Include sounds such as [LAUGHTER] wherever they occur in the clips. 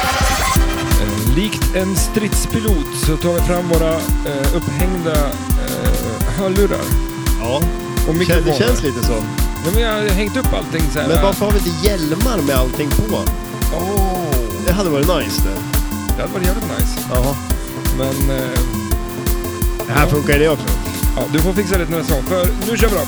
Eh, Likt en stridspilot så tar vi fram våra eh, upphängda eh, hörlurar Ja, och det kän- mikrofoner. det känns lite så. Ja, men jag har hängt upp allting så här. Men varför har vi inte hjälmar med allting på? Åh, Det hade varit nice det. det hade varit jävligt nice. Jaha. Men eh, Det här funkar ju det också. ja, du får fixa det till nästa gång, för nu kör vi då.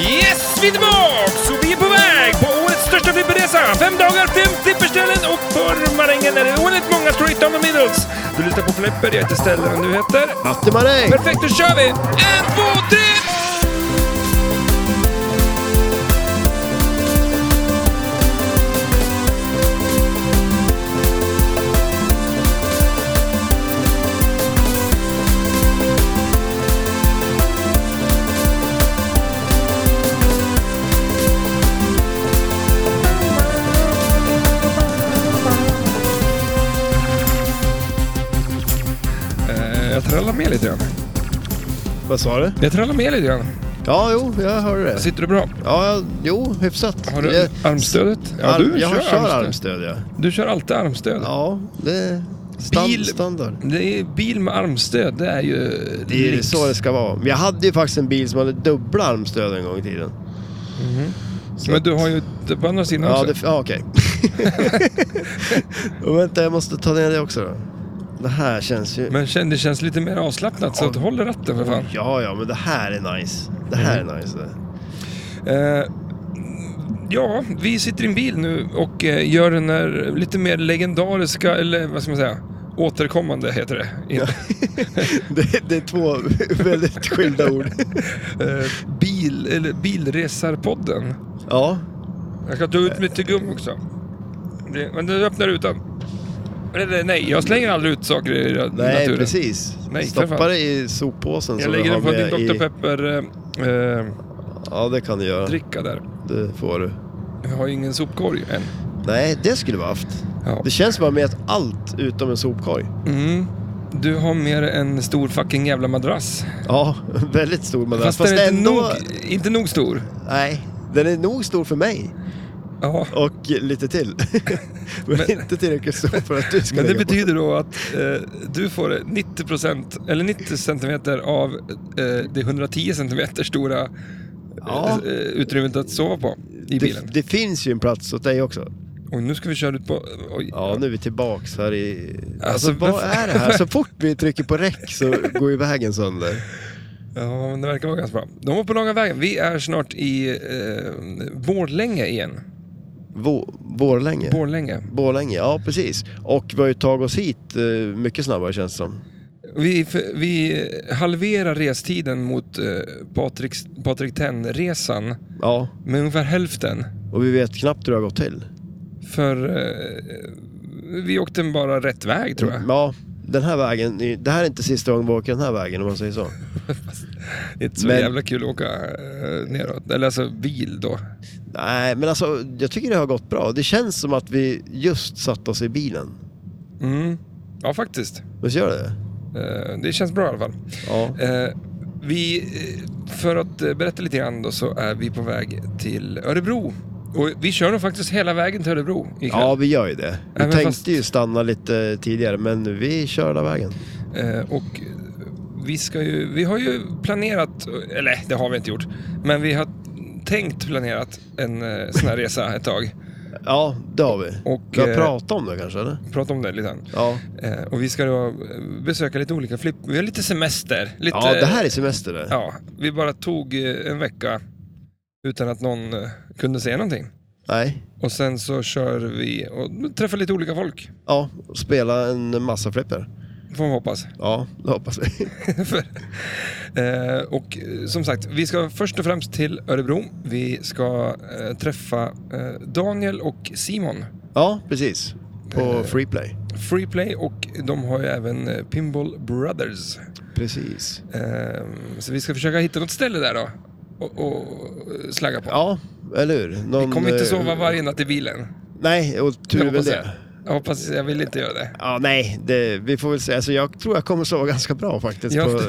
Yes, vi är tillbaks och vi är på väg på årets största flipperresa. Fem dagar, fem flipperställen och för marängen är det oerhört många straight down the middles. Du lyssnar på Flipper, jag heter Stellan och du heter? Matte Maräng! Perfekt, då kör vi! En, två, tre! Eh, Jag trallar med lite grann. Vad sa du? Jag trallar med lite grann. Ja, jo, jag hörde det. Sitter du bra? Ja, jag- jo, hyfsat. Har du jag, armstödet? arm- jag kör armstöd. armstöd, ja. Du kör alltid armstöd. Ja, det är stand, Bil- standard. Det är bil med armstöd, det är ju Det är lyx. så det ska vara. Men jag hade ju faktiskt en bil som hade dubbla armstöd en gång i tiden. Mhm. Så Men du har ju det på andra sidan Ja, också. det, ja [LAUGHS] okej. Och vänta, jag måste ta ner det också då. Det här känns ju... Men kän- det känns lite mer avslappnat så att du håller ratten för fan. Ja, ja, men det här är nice. Det här [LAUGHS] är nice. det. Eh, ja, vi sitter i en bil nu och eh, gör den här lite mer legendariska, eller vad ska man säga, återkommande heter det. In, Det, det är två väldigt skilda ord. [LAUGHS] eh, bil, eller bilresarpodden. Ja, Jag ska ta ut mitt tuggummi också. Det, men du öppnar utan. Eller nej, jag slänger aldrig ut saker i ra- nej naturen. precis. Nej, för Stoppa fan. det i soppåsen. Jag som du lägger har den på din med Dr. i- Pepper-dricka Ja, det kan du göra. där. Det får du. Jag har ju ingen sopkorg än. Nej, det skulle vi haft. Ja. Det känns bara med att allt utom en sopkorg. Mm. Du har mer en stor fucking jävla madrass. Ja, [LAUGHS] väldigt stor madrass. Fast, den är inte, nog, inte nog stor. Nej, den är nog stor för mig. Ja. Och lite till. [LAUGHS] men, Men- inte tillräckligt stor för att du ska Men det ligga på. betyder då att eh, du får 90% eller 90 centimeter av eh, det 110 centimeter stora eh, Ja. eh, utrymmet att sova på i bilen. Det, det finns ju en plats åt dig också. Och nu ska vi köra ut på... Oj. Ja, nu är vi tillbaks här i... Alltså, Alltså, vad varför- är det här? Så fort vi trycker på räck så går ju vägen sönder. Ja, men det verkar vara ganska bra. De var på långa vägen. Vi är snart i eh, Borlänge igen. Vå, Borlänge. Borlänge. Borlänge, ja precis. Och vi har ju tagit oss hit eh, mycket snabbare känns det som. Vi, f- vi halverar restiden mot eh, Patriks- Patrik Tenn-resan Ja, med ungefär hälften. och vi vet knappt hur det har gått till. För eh, vi åkte bara rätt väg tror jag. Ja, den här vägen, det här är inte sista gången vi åker den här vägen om man säger så. Det är inte så Men- jävla kul att åka eh, neråt. Eller alltså bil då. Nej, men alltså jag tycker det har gått bra. Det känns som att vi just satt oss i bilen. Mm. Ja, faktiskt. Visst gör det det? Eh, det känns bra i alla fall. Ja. Eh, vi, eh, för att eh, berätta lite grann då, så är vi på väg till Örebro. Och vi kör nog faktiskt hela vägen till Örebro ikväll. Ja, vi gör ju det. Vi men tänkte fast- ju stanna lite tidigare, men vi kör hela vägen. Eh, och eh, vi, ska ju, vi har ju planerat, eller det har vi inte gjort, men vi har tänkt planerat en eh, sån här resa ett tag. Ja, det har vi. Och, vi har eh, pratat om det kanske, eller? Prata om det lite grann. Ja. Eh, och vi ska då eh, besöka lite olika flipp... Vi har lite semester. Lite, Ja, det här är semester det. Ja, vi bara tog eh, en vecka utan att någon eh, kunde säga någonting. Nej. Och sen så kör vi och träffar lite olika folk. Ja, spela en massa flipper. Får man hoppas. [LAUGHS] Ja, det hoppas vi. [LAUGHS] För- eh, och eh, som sagt, vi ska först och främst till Örebro. Vi ska eh, träffa eh, Daniel och Simon. Ja, precis. På Eh. Freeplay. Freeplay och de har ju även eh, Pinball Brothers. Precis. Eh, så vi ska försöka hitta något ställe där då. Och, och slagga på. Ja, eller hur? Någon, vi kommer inte eh, sova varje natt i bilen. Nej, och Jag tur är väl hoppas det. Jag hoppas, jag vill inte göra det. Ja, nej, det, vi får väl se. Alltså, jag tror jag kommer sova ganska bra [LAUGHS] faktiskt Ja. på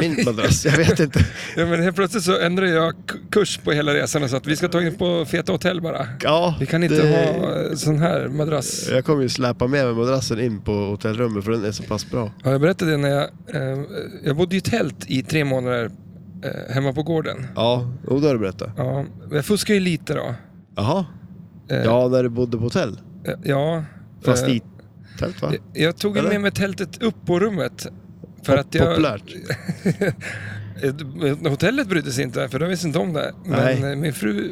min madrass. Jag vet inte. Ja, men helt plötsligt så ändrar jag k- kurs på hela resan och så att vi ska ta in på feta hotell bara. Ja, Vi kan inte det- ha eh, sån här madrass. Jag kommer ju släpa med mig madrassen in på hotellrummet för den är så pass bra. Har jag berättat det när jag... Eh, jag bodde i tält i tre månader eh, hemma på gården. Ja, jo, det har du berättat. Ja, jag fuskar ju lite då. Jaha. Eh, Ja, när du bodde på hotell. eh, Ja. Fast Eh, i tält va? jag, jag tog ju Eller? med mig tältet upp på rummet. För att jag, Populärt. Eh, Hotellet brydde sig inte, för de visste inte om det. Men Nej. eh, min fru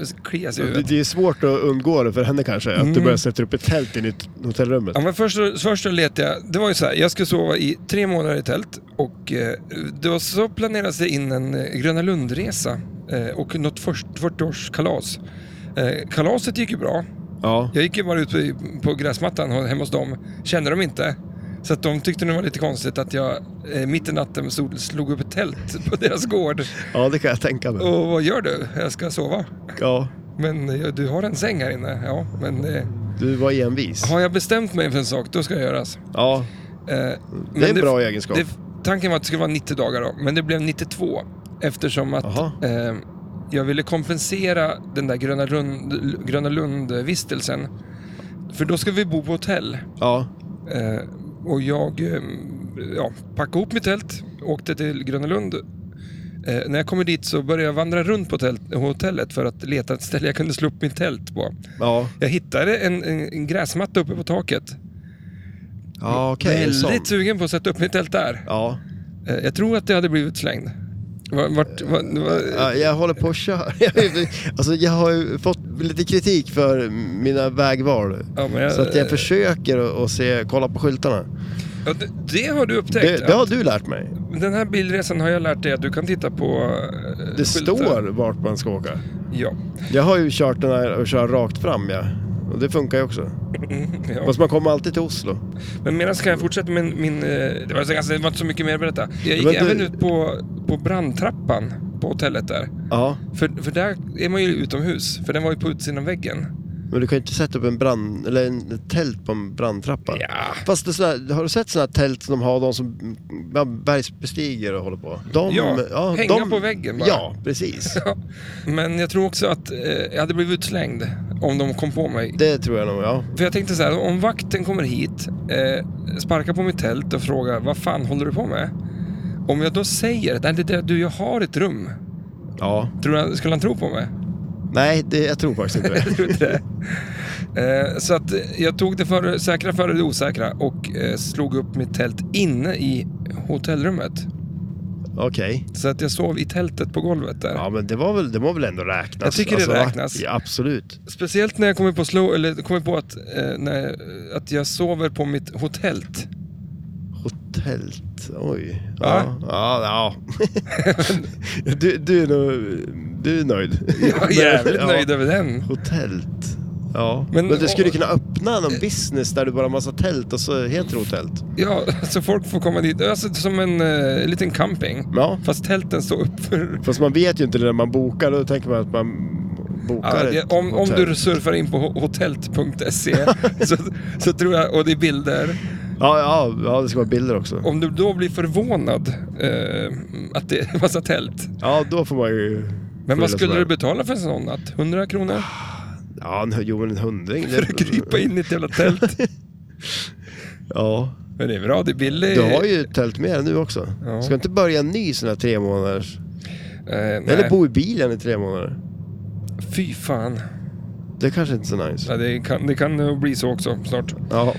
eh, kliar sig i Det, huvudet. det är svårt att undgå det för henne kanske, att du Mm. börjar sätta upp ett tält in i t- hotellrummet. Ja, men först, först så letade jag. Det var ju så här, jag skulle sova i tre månader i tält och eh, det var så planerades det in en eh, Gröna Lundresa eh, och något först- 40-årskalas. Eh, kalaset gick ju bra. Ja. Jag gick ju bara ut på, på gräsmattan och- hemma hos dem. Kände de inte. Så att de tyckte det var lite konstigt att jag eh, mitt i natten stod, slog upp ett tält på deras gård. ja, det kan jag tänka mig. Och vad gör du? Jag ska sova. Ja, Men eh, du har en säng här inne. Ja, men eh, du var envis. har jag bestämt mig för en sak, då ska det göras. Ja, Eh, det är men en bra egenskap. det, tanken var att det skulle vara 90 dagar då, men det blev 92. Eftersom att Jaha. eh, jag ville kompensera den där Gröna, Lund, Gröna Lund-vistelsen. För då ska vi bo på hotell. Ja, Eh, och jag eh, ja, packade ihop mitt tält, åkte till Gröna Lund. Eh, när jag kommer dit så började jag vandra runt på tält, hotellet för att leta ett ställe jag kunde slå upp mitt tält på. ja, Jag hittade en, en, en gräsmatta uppe på taket. ja okej. en sån. Väldigt sugen på att sätta upp mitt tält där. Ja. Eh, Jag tror att det hade blivit slängd. Vart, vart, vart, Ja, jag håller på att köra. [LAUGHS] alltså, jag har ju fått lite kritik för mina vägval. ja, men jag, Så att jag försöker att att se, kolla på skyltarna. ja, det, det har du upptäckt. Det, det har du lärt mig. att Den här bilresan har jag lärt dig att du kan titta på eh, Det skyltar. står vart man ska åka. Ja. [LAUGHS] Jag har ju kört den här och kör rakt fram ja. Och det funkar ju också. ja. Fast man kommer alltid till Oslo. Men medan kan jag fortsätta med min... min eh, det, var, alltså, det var inte så mycket mer att berätta. Jag gick Men du- även ut på, på brandtrappan på hotellet där. Ja. För, för där är man ju utomhus, för den var ju på utsidan av väggen. Men du kan ju inte sätta upp en brand, eller en ett tält på en brandtrappa. Ja. Fast det är såna här, har du sett sådana här tält som de har, de som mm, ja, bergsbestiger och håller på? De, Ja, hänga på väggen bara. Ja, precis. Ja. Men jag tror också att eh, jag hade blivit utslängd om de kom på mig. Det tror jag nog, ja. För jag tänkte så här, om vakten kommer hit, eh, sparkar på mitt tält och frågar vad fan håller du på med? Om jag då säger att "Nej, det där, du, jag har ett rum, Ja. tror han, skulle han tro på mig? [LAUGHS] Nej, det, jag tror faktiskt inte det. Jag tror inte det. Eh, så att eh, jag tog det före, säkra före det osäkra och eh, slog upp mitt tält inne i hotellrummet. Okej. Så att jag sov i tältet på golvet där. Ja, men det var väl, det må väl ändå räknas? Jag tycker det va? räknas. Ja, absolut. Speciellt när jag kommer på, slow, eller kommer på att, eh, när, att jag sover på mitt hotellt. Hotellt, oj. Ja. Ja, ja. ja. [LAUGHS] du, du, är nog, du är nöjd. [LAUGHS] Jag är jävligt Ja. nöjd över den. Hotellt. Ja, Men- men, du skulle kunna öppna någon business där du bara har massa tält och så heter det hotellt. Ja, [LAUGHS] så folk får komma dit. Alltså som en eh, liten camping. Ja. Fast tälten står upp för... Fast man vet ju inte det när man bokar, då tänker man att man Ja, bokar det- ett om, om hotell. du surfar in på ho- hotellt.se [LAUGHS] så, så tror jag, och det är bilder. Ja, ja, ja, det ska vara bilder också. Om du då blir förvånad eh, att det är massa tält. Ja, då får man ju... Men skylla vad sig skulle du själv. betala för en sån natt? 100 kronor? Ah, Ja, en- jo men en [LAUGHS] hundring. För att krypa in i ett jävla [LAUGHS] tält. Ja. Men det är bra, det är billigt. Du har ju ett tält med dig nu också. Ja. Ska inte börja en ny sån här tre månaders... Eh, Eller nej. bo i bilen i tre månader. Fy fan. Det är kanske inte är så nice. Ja, det, kan, det kan nog bli så också snart. Ja.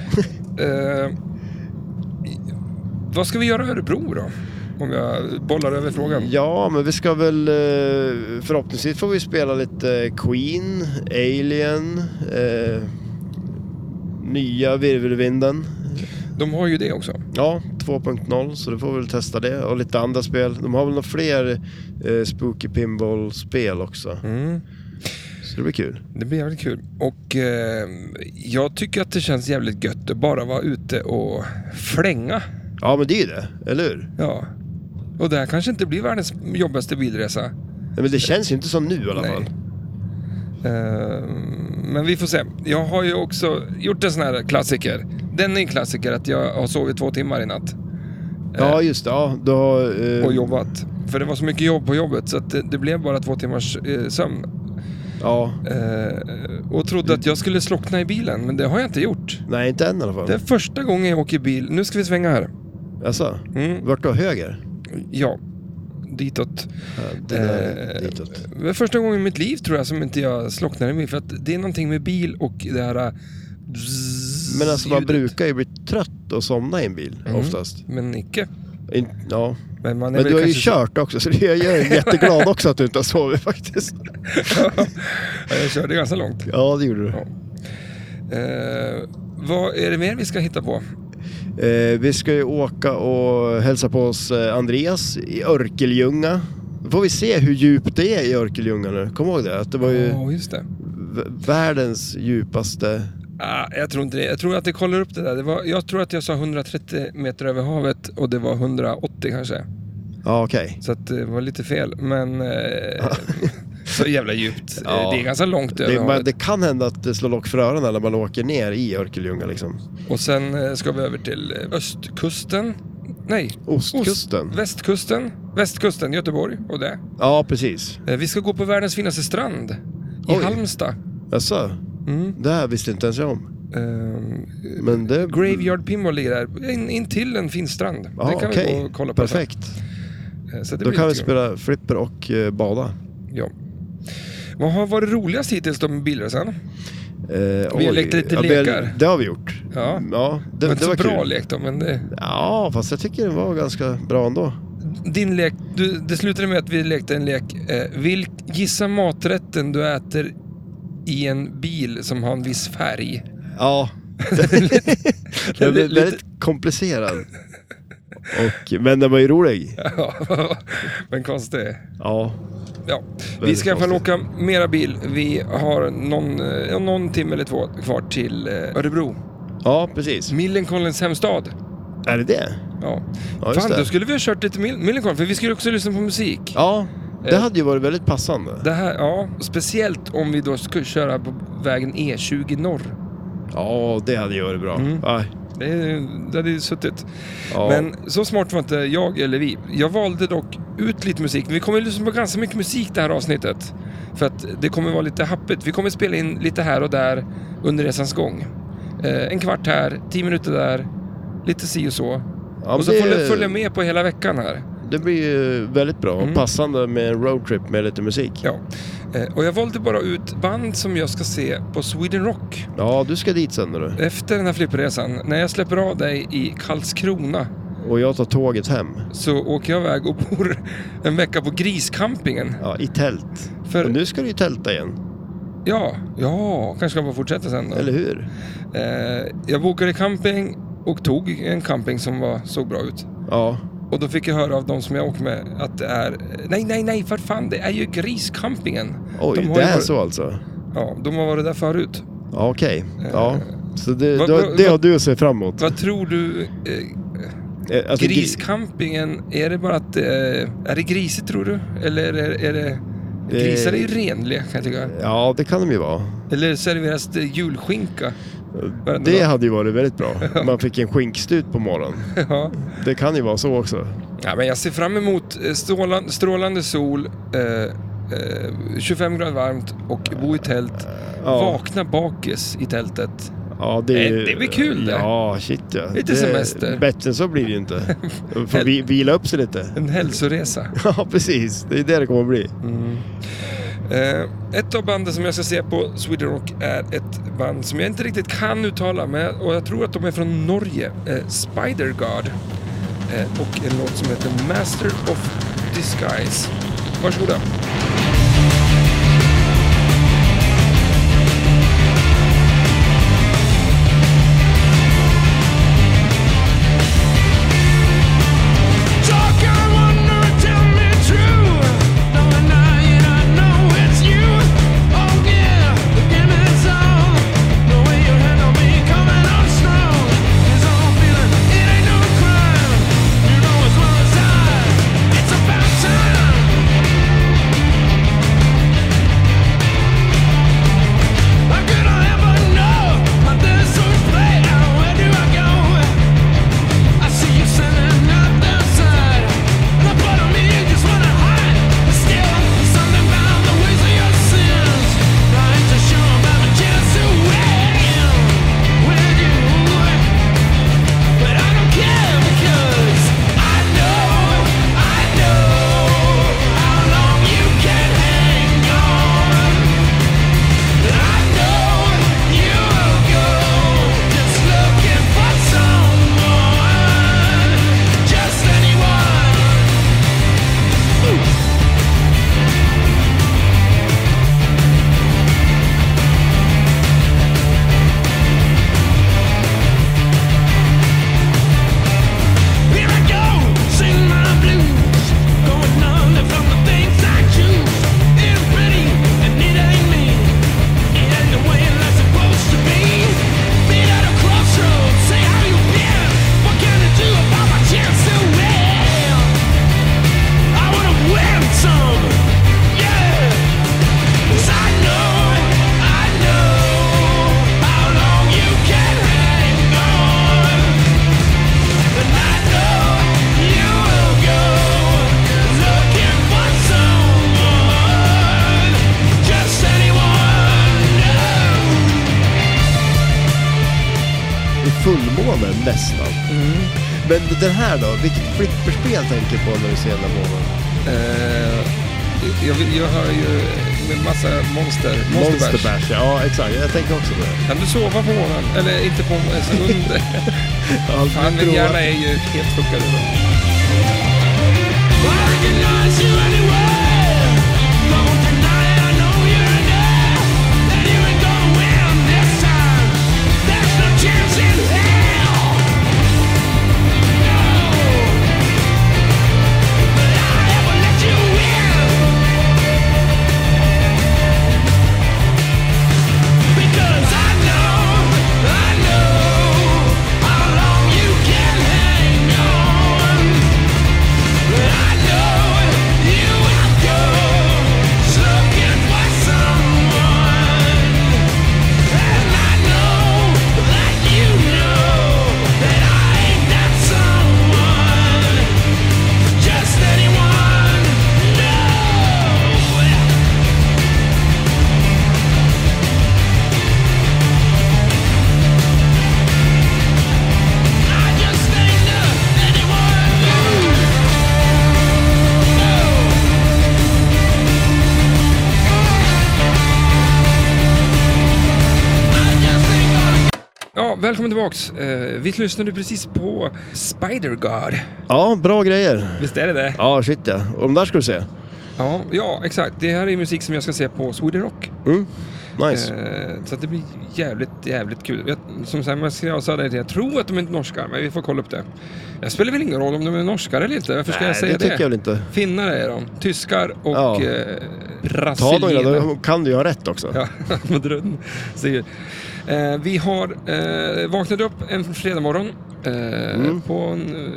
Eh, vad ska vi göra i Örebro då? Om jag bollar över frågan. [LAUGHS] ja, men vi ska väl... eh, Förhoppningsvis får vi spela lite Queen, Alien, eh, nya Virvelvinden. De har ju det också. Ja, 2.0 så då får vi väl testa det och lite andra spel. De har väl några fler eh, Spooky Pinball-spel också. Så det blir kul. Det blir jävligt kul. Och eh, jag tycker att det känns jävligt gött att bara vara ute och flänga. Ja, men det är ju det, eller hur? Ja. Och det här kanske inte blir världens jobbigaste bilresa. Nej, men det känns ju inte som nu i alla Nej. fall. Eh, Men vi får se. Jag har ju också gjort en sån här klassiker. Den är en klassiker att jag har sovit två timmar i natt Ja, just det. Ja, du har... eh, och jobbat. För det var så mycket jobb på jobbet så att det, det blev bara två timmars eh, sömn. ja. Eh, och trodde att jag skulle slockna i bilen, men det har jag inte gjort. Nej, inte än i alla fall. Det är första gången jag åker bil. Nu ska vi svänga här. Alltså, Mm, vart då? Höger? ja, ditåt. Ja, det där, Eh, ditåt. Det är första gången i mitt liv tror jag som inte jag slocknar i bil. För att det är någonting med bil och det här... eh, bzzz- Men alltså man ljudet. brukar ju bli trött och somna i en bil Mm. oftast. Men icke. In, ja. Men, man är väl Men du har ju kanske- kört också så det- jag är jätteglad också att du inte har sovit faktiskt. [LAUGHS] Ja, jag körde ganska långt. Ja, det gjorde du. Ja. Eh, vad är det mer vi ska hitta på? Eh, vi ska ju åka och hälsa på oss eh, Andreas i Örkeljunga. Då får vi se hur djupt det är i Örkeljunga nu. Kom ihåg det, att det var ju Ja, just det. v- världens djupaste... Ah, jag tror inte det. Jag tror att det kollar upp det där. Det var, jag tror att jag sa 130 meter över havet och det var 180 kanske. Ja, okej. Så att det var lite fel. Men [LAUGHS] eh, så jävla djupt. Eh, Ja. Det är ganska långt över Det, men havet. det kan hända att det slår lock för öronen när man åker ner i Örkeljunga liksom. Och sen eh, ska vi över till eh, östkusten. Nej, Ostkusten. västkusten. Västkusten, Göteborg och det. Ja, precis. Eh, vi ska gå på världens finaste strand. I Oj. Halmstad. Jaså? Mm. Det här visste inte ens jag om. Ehm, Men det... Graveyard Pinball ligger där, in, in till en fin strand. Ja, Mm. det kan vi Ah, okej. gå och kolla på. Perfekt. sen. Eh, Så det Då blir kan vi jättekul. spela flipper och eh, bada. Ja. Vad har varit roligast hittills då med bilresan? Eh, vi har lekt lite lekar. Det har vi gjort. Ja. Ja, Det var det, det, inte var så bra kul. lek då, men det, Ja, fast jag tycker den var ganska bra ändå. din lek, du, det slutade med att vi lekte en lek. Eh, vilk, gissa maträtten du äter i en bil som har en viss färg. Ja. det är den var lite- [LAUGHS] väldigt komplicerad. Och, men den var ju rolig. Ja, men konstig. Ja. Ja, vi Väldigt ska i alla fall konstigt. åka mera bil. Vi har någon, eh, ja, någon timme eller två kvar till eh, Örebro. Ja, precis. Millencolins hemstad. Är det det? Ja. Ja, just Fan, det. då skulle vi ha kört lite Mill- Millencolin, för vi skulle också lyssna på musik. Ja, det Eh. hade ju varit väldigt passande. Det här, ja, speciellt om vi då skulle köra på vägen E20 norr. Ja, det hade ju varit bra. Mm. Aj. Det, är- det hade ju suttit. Ja. Men så smart var inte jag eller vi. Jag valde dock ut lite musik. Vi kommer att lyssna på ganska mycket musik det här avsnittet. För att det kommer vara lite happigt. Vi kommer spela in lite här och där under resans gång. Eh, en kvart här, tio minuter där, lite si och så. ja, och så men får du det, följa med på hela veckan här. det blir ju väldigt bra. Mm. och Passande med en roadtrip med lite musik. Ja. Eh, och jag valde bara ut band som jag ska se på Sweden Rock. Ja, du ska dit sen du. Efter den här flippresan, när jag släpper av dig i Karlskrona Och jag tar tåget hem. så åker jag iväg och bor [LAUGHS] en vecka på griscampingen. Ja, i tält. För, Och nu ska du ju tälta igen, ja, ja, kanske ska jag bara fortsätta sen då. eller hur? Eh, jag bokade camping och tog en camping som var, såg bra ut. Ja, Och då fick jag höra av de som jag åker med att det är... Nej, nej, nej, för fan, det är ju griscampingen. oj, De har det ju är varit- så alltså? Ja, de har varit där förut. Ja, okej. Eh. Ja. Så det, vad- det, vad- det har du att se fram emot? Vad tror du? Eh, Eh, alltså, gri- Griscampingen, är det bara att... Eh, är det grisigt tror du? Eller är det... Är det Det- grisar är ju renliga kan jag tycka. Ja, det kan de ju vara. Eller serveras det julskinka? Varenda Det dag. hade ju varit väldigt bra. [LAUGHS] Man fick en skinkstut på morgonen. ja. Det kan ju vara så också. ja, men jag ser fram emot eh, strålan, strålande sol, eh, eh, 25 grader varmt och bo i tält. Ja, Vakna bakis i tältet. ja det, är ju- Nej, det blir kul det. Ja, shit ja. Lite Det- semester. Bättre än så blir det [LAUGHS] ju inte. Får vi, vila upp sig lite. En hälsoresa. [LAUGHS] Ja, precis. Det är det det kommer att bli. Eh, ett av banden som jag ska se på Sweden Rock är ett band som jag inte riktigt kan uttala men jag- och jag tror att de är från Norge. Eh, Spider God. Eh, och en låt som heter Master of Disguise. Varsågoda. Oh, Time! fullmånen nästan. Mm. Men den här då? Vilket flipperspel tänker du på när du ser den här månen? Eh, jag, vill- jag hör ju en massa monster. Monsterbash. Bash, ja exakt. Jag tänker också [LAUGHS] på det. Kan du sova på morgonen? Eller inte på morgonen, så [LAUGHS] under. Ja, Fan, min prova. hjärna är ju helt fuckad idag. Because I know, I know how long you can hang on. I know you will go looking for someone, and I know that you know that I ain't that someone, just anyone. No. I just ain't anyone new. No. Ja, välkommen tillbaks. Eh, vi lyssnade precis på Spider God. Ja, bra grejer. Visst är det det? Ja, shit ja. Och de där ska du se. Ja, ja exakt. Det här är musik som jag ska se på Sweden Rock. Mm. Nice. Eh, så att det blir jävligt, jävligt kul. Jag, som sagt, jag sa det, jag tror att de är inte norska, men vi får kolla upp det. Det spelar väl ingen roll om de är norskar eller inte. Varför ska Nej, jag säga det det? tycker jag väl inte. Finnare är de. Tyskar och eh, Ja. Ta några, brasilienare. då kan du ju ha rätt också. Ja, [LAUGHS] Madrun säger. Eh, vi har eh, vaknat upp en fredagmorgon. Eh, Mm. på en, eh,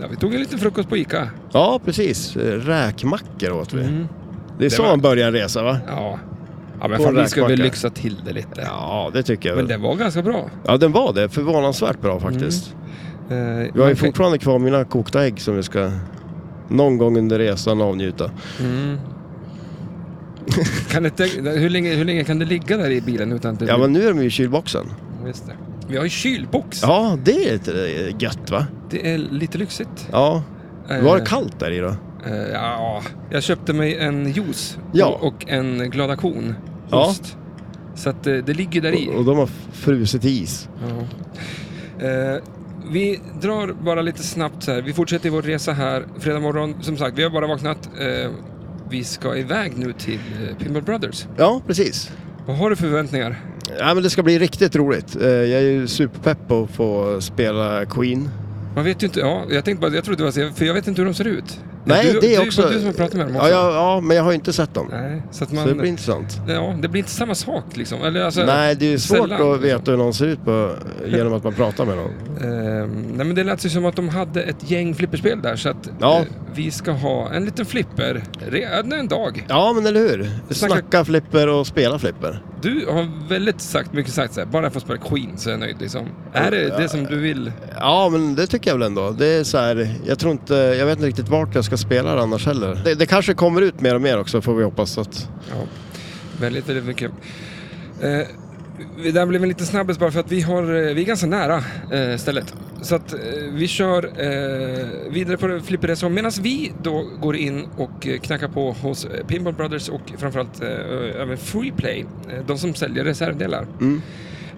ja, vi tog en liten frukost på Ica. Ja, precis. Eh, Räkmackor åt vi. Det är så Mm. var- man börjar en resa va? Ja, ja men På fan, en vi ska väl räkmacka. lyxa till det lite. Ja, det tycker jag Men väl. det Mm. var ganska bra. Ja, den var det. Förvånansvärt bra faktiskt. Eh, Jag har ju man kan- fortfarande kvar mina kokta ägg som vi ska någon gång under resan avnjuta. Mm. kan inte, hur, länge, hur länge kan det ligga där i bilen utan att det Ja, men nu är de ju i kylboxen. Just det. Vi har ju kylbox. Ja, det är lite gött va? Det är lite lyxigt. Ja. Eh, Var det kallt där i då? eh, ja, jag köpte mig en juice Ja. och, och en Glada kon. Ja. Ost. Så att eh, det ligger där i. Och, och de har frusit is. Ja. Eh, vi drar bara lite snabbt så här. Vi fortsätter vår resa här fredag morgon. Som sagt, vi har bara vaknat. Eh, vi ska iväg nu till eh, Pinball Brothers. Ja, precis. Vad har du för förväntningar? Ja, men det ska bli riktigt roligt. Eh, Jag är ju superpepp på att få spela Queen. Man vet ju inte. Ja, jag tänkte bara, jag trodde det var så, för jag vet inte hur de ser ut. Nej, du, det du, är också... Du som har pratat med dem också. ja, ja, ja, men jag har ju inte sett dem. Nej, så att Så det man... blir intressant. Ja, det blir inte samma sak liksom. Eller, alltså, Nej, det är ju svårt sällan, att veta hur någon ser ut på, genom att man pratar [LAUGHS] med någon. Eh, nej, men det lät ju som att de hade ett gäng flipperspel där. Så att Ja. eh, vi ska ha en liten flipper. Re- en dag. Ja, men eller hur? Snacka- Snacka flipper och spela flipper. Du har väldigt sagt, mycket sagt så här, bara jag får spela Queen så är jag nöjd liksom. Är det det som du vill? Ja, men det tycker jag väl ändå. Det är så här, jag tror inte, jag vet inte riktigt vart jag ska spela det annars heller. Det, det kanske kommer ut mer och mer också får vi hoppas att... Ja, väldigt, väldigt mycket. Eh, det där blev en liten snabbis bara för att vi, har, eh, vi är ganska nära eh, stället. Så att eh, vi kör eh, vidare på flipperresan medan vi då går in och eh, knackar på hos eh, Pinball Brothers och framförallt eh, även Freeplay, eh, de som säljer reservdelar.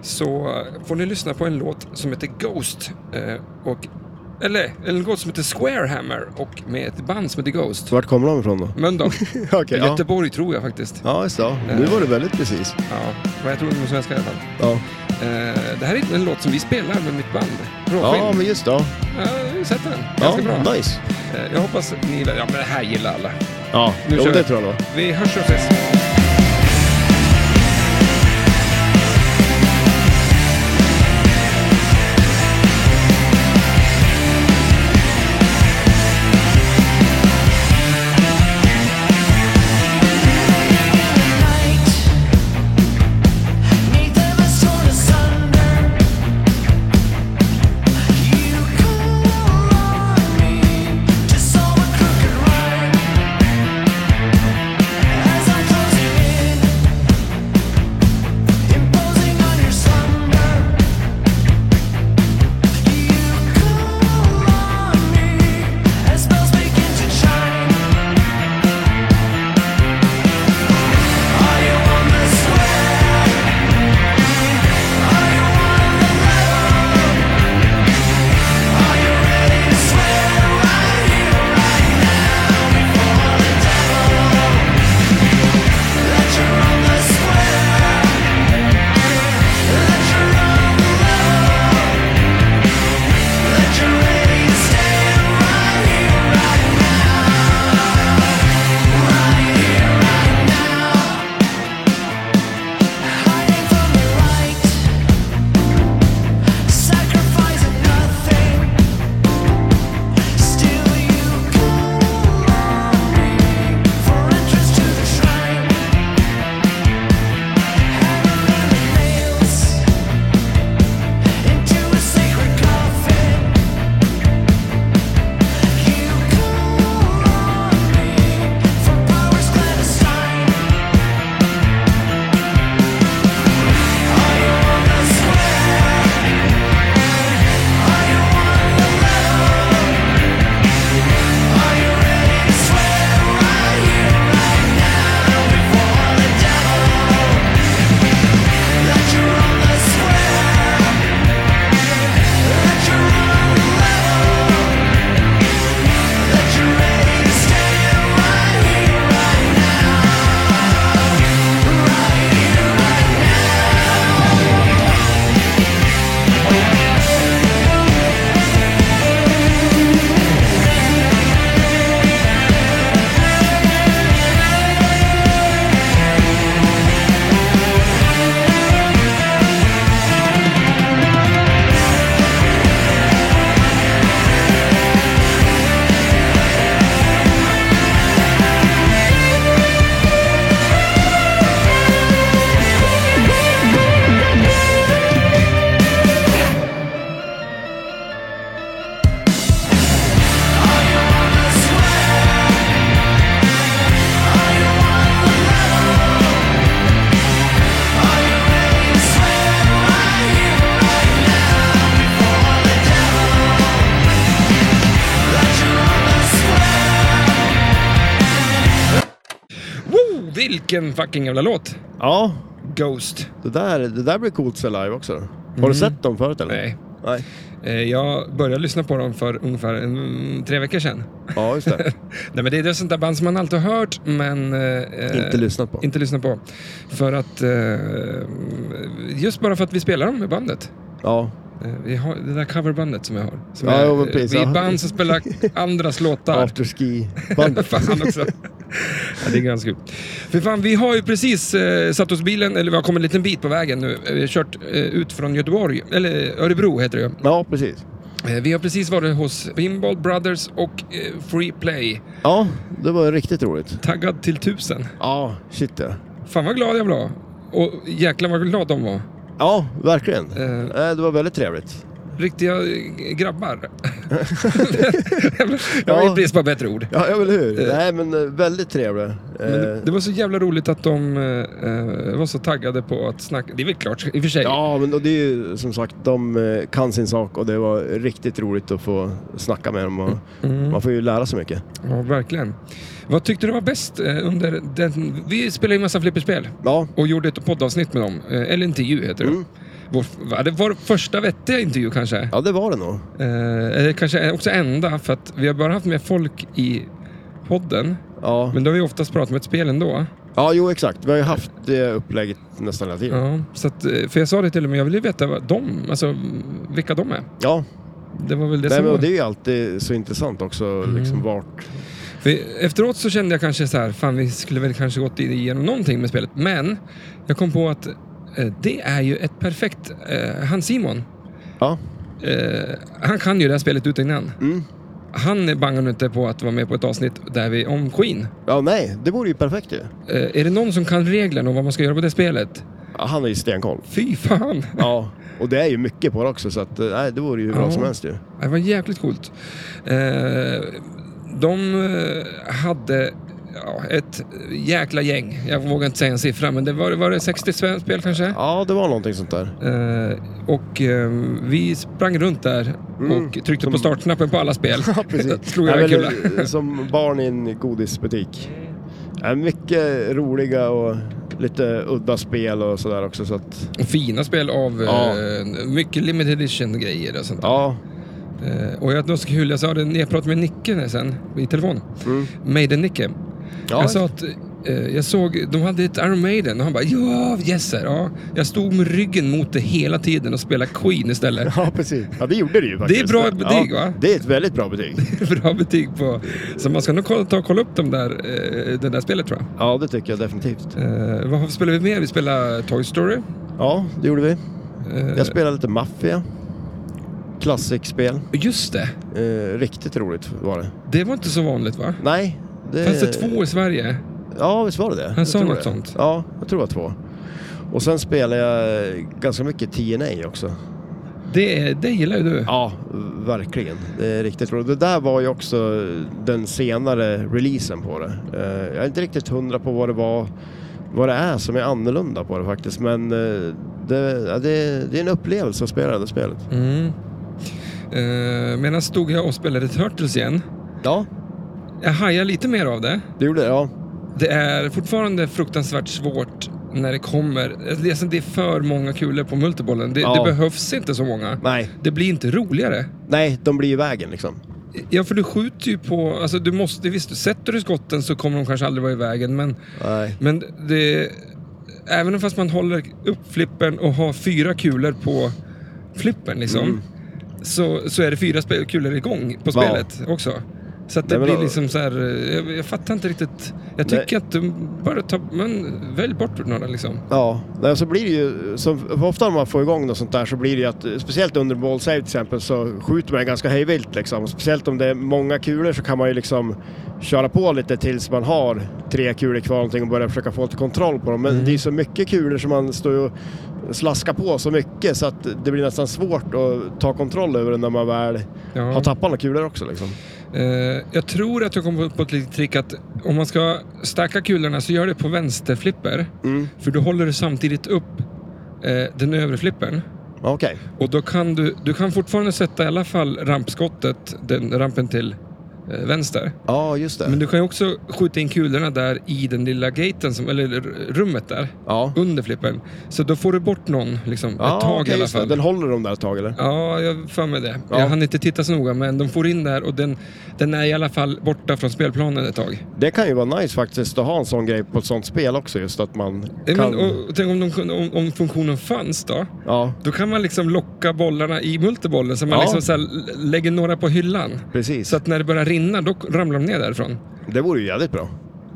Så eh, får ni lyssna på en låt som heter Ghost eh, och eller en låt som heter Squarehammer och med ett band som heter Ghost. Vart kommer [LAUGHS] de ifrån då? Mölndal. Okej, ja. Göteborg tror jag faktiskt. Ja, just det. Ja. Nu var det väldigt precis. Ja, men jag tror de är svenska i alla fall. Ja, Eh, det här är en låt som vi spelar med mitt band, Råskinn. ja men just det. Ja, Ja, sätt den. ja Ganska bra. nice. Eh, jag hoppas att ni... Ja, men det här gillar alla. Ja, Nu jo, kör vi. det tror jag nog. Vi hörs och ses. Just saw a crooked right as I close your Vilken fucking jävla låt! Ja, Ghost. det där, det där blir coolt för live också. Har du sett dem förut eller? Mm. Nej. Nej. Eh, Jag började lyssna på dem för ungefär mm, tre veckor sedan. Ja, just [LAUGHS] det. Nej, men det är det sånt där band som man alltid har hört, men... eh, Inte lyssnat på. Inte lyssnat på. För att... eh, Just bara för att vi spelar dem med bandet. Ja, Eh, Vi har det där coverbandet som jag har. Som Ja, är, eh, jo, men precis. vi är Ja. ett band som [LAUGHS] spelar andras låtar. afterski [LAUGHS] bandet fan också. Ja, det är ganska kul. För fan, vi har ju precis eh, satt oss i bilen, eller vi har kommit en liten bit på vägen nu. Vi har kört eh, ut från Göteborg, eller eh, Örebro heter det ju. Ja, precis. Eh, Vi har precis varit hos Pinball Brothers och eh, Free Play. Ja, det var riktigt roligt. Taggad till tusen. Ja, shit ja. Fan vad glad jag var. Och jäklar vad glad de var. Ja, verkligen. Eh. Eh, Det var väldigt trevligt. Riktiga eh, [LAUGHS] grabbar. [LAUGHS] jag vill Ja. brist på bättre ord. Ja, eller hur? Nej, men eh, väldigt trevligt. Men Eh, det, det var så jävla roligt att de eh, var så taggade på att snacka. Det är väl klart i och för sig. Ja, men och det är ju som sagt, de eh, kan sin sak och det var riktigt roligt att få snacka med dem. Och Mm. Man får ju lära sig mycket. Ja, verkligen. Vad tyckte du var bäst eh, under den... Vi spelade ju massa flipperspel Ja, och gjorde ett poddavsnitt med dem. Eh, Eller intervju heter det. Mm. Vår, va, det var första vettiga intervju kanske. ja det var det nog. Eh, eller kanske också enda, för att vi har bara haft med folk i podden. Ja, Men då har vi oftast pratat med ett spel ändå. ja jo exakt. Vi har ju haft det upplägget nästan hela tiden. Ja, så att, eh, för jag sa det till dem, jag ville veta vad de, alltså, vilka de är. Ja, Det var väl det Nej, som men och var. Mm. det är ju alltid så intressant också, liksom vart... För efteråt så kände jag kanske så här, fan vi skulle väl kanske gått igenom någonting med spelet. Men jag kom på att eh, det är ju ett perfekt, eh, han Simon, Ja, eh, han kan ju det här spelet utan innan. Mm. Han bangar nu inte på att vara med på ett avsnitt där vi om Queen. ja nej, det vore ju perfekt ju. Eh, är det någon som kan reglerna och vad man ska göra på det spelet? Ja, han är ju stenkoll. Fy fan! [LAUGHS] Ja, och det är ju mycket på det också så att, eh, nej, det vore ju hur bra Ja. som helst ju. Det var jäkligt coolt. Eh, de eh, hade ja, ett jäkla gäng. Jag vågar inte säga en siffra, men det var, var det 60 svenska spel kanske? Ja, det var någonting sånt där. Eh, och eh, vi sprang runt där Mm. och tryckte Som- på startknappen på alla spel. [LAUGHS] Ja, precis. [LAUGHS] Slog jag en Nej, kula. men, eh, som barn i en godisbutik. Ja, mycket roliga och lite udda spel och sådär också. Så att, Och Fina spel av Ja. eh, mycket limited edition-grejer och sånt. ja, Eh, och jag, det var så kul, jag sa det när jag pratade med Nicke där sen i telefon. Mm. Maiden-Nicke. ja, Jag sa att eh, jag såg, de hade ett Iron Maiden och han bara ja, yes sir, ja. Jag stod med ryggen mot det hela tiden och spelade Queen istället. [LAUGHS] ja, precis. Ja, det gjorde det ju faktiskt. bra betyg, ja, va? Det är ett väldigt bra betyg. Bra betyg på... Så man ska nog kolla, ta och kolla upp de där, eh, det där spelet tror jag. Ja, det tycker jag definitivt. Eh, vad spelade vi mer? Vi spelade Toy Story. Ja, det gjorde vi. Eh, Jag spelade lite Mafia. Klassikspel. just det, Eh, riktigt roligt var det. det var inte så vanligt va? Nej. Det... Fanns det två i Sverige? Ja, visst var det det? Jag sa tror något det. sånt. Ja, jag tror det var två. Och sen spelade jag ganska mycket TNA också. Det, det gillar ju du. Ja, verkligen. Det är riktigt roligt. Det där var ju också den senare releasen på det. Eh, Jag är inte riktigt hundra på vad det var, vad det är som är annorlunda på det faktiskt. Men eh, det, ja, det, det är en upplevelse att spela det här spelet. Mm. Eh, Medan stod jag och spelade Turtles igen. Ja, Jag hajar lite mer av det. det gjorde det. Ja, Det är fortfarande fruktansvärt svårt när det kommer. Det är, alltså, det är för många kulor på multibollen. Det, Ja. det behövs inte så många. nej, Det blir inte roligare. nej, de blir i vägen liksom. Ja, för du skjuter ju på... Alltså, du måste, visst, sätter du skotten så kommer de kanske aldrig vara i vägen, men, Nej. men det... Även fast man håller upp flippen och har fyra kulor på flippen, liksom, så, så är det fyra spe- kulor igång på Mm. Ja. spelet också. Så att det Nej, men blir då- liksom så här... eh, Jag, jag fattar inte riktigt. Jag Nej. tycker att du bara ta, men välj bort några liksom. Ja, nej, så blir det ju, som, för ofta när man får igång något sånt där så blir det ju att, speciellt under ball save till exempel, så skjuter man ganska hejvilt liksom. Speciellt om det är många kulor så kan man ju liksom köra på lite tills man har tre kulor kvar och någonting och börjar försöka få lite kontroll på dem. Mm. Men det är ju så mycket kulor som man står ju och slaskar på så mycket så att det blir nästan svårt att ta kontroll över det när man väl Mm. Ja. har tappat några kulor också liksom. Eh, jag tror att jag kom på- på ett litet trick att om man ska stacka kulorna så gör det på vänsterflipper. Mm. För då håller du samtidigt upp eh, den övre flippern. Okej, Och då kan du, du kan fortfarande sätta i alla fall rampskottet, den rampen till eh, vänster. Ja, just det. Men du kan ju också skjuta in kulorna där i den lilla gaten, som, eller r- rummet där, Ja. under flippen. Så då får du bort någon, liksom, Ja, ett tag okej, i alla just det. fall. Den håller de där ett tag eller? Ja, jag har för mig det. Ja. Jag hann inte titta så noga, men de får in där och den, den är i alla fall borta från spelplanen ett tag. Eh, Det kan ju vara nice faktiskt att ha en sån grej på ett sånt spel också just att man Eh, kan... Men, och, och tänk om, de, kunde- om, om funktionen fanns då? Ja, Då kan man liksom locka bollarna i multibollen så man Ja. liksom så här, l- lägger några på hyllan. precis. Så att när det börjar rinna, då ramlar de ner därifrån. Det vore ju jävligt bra.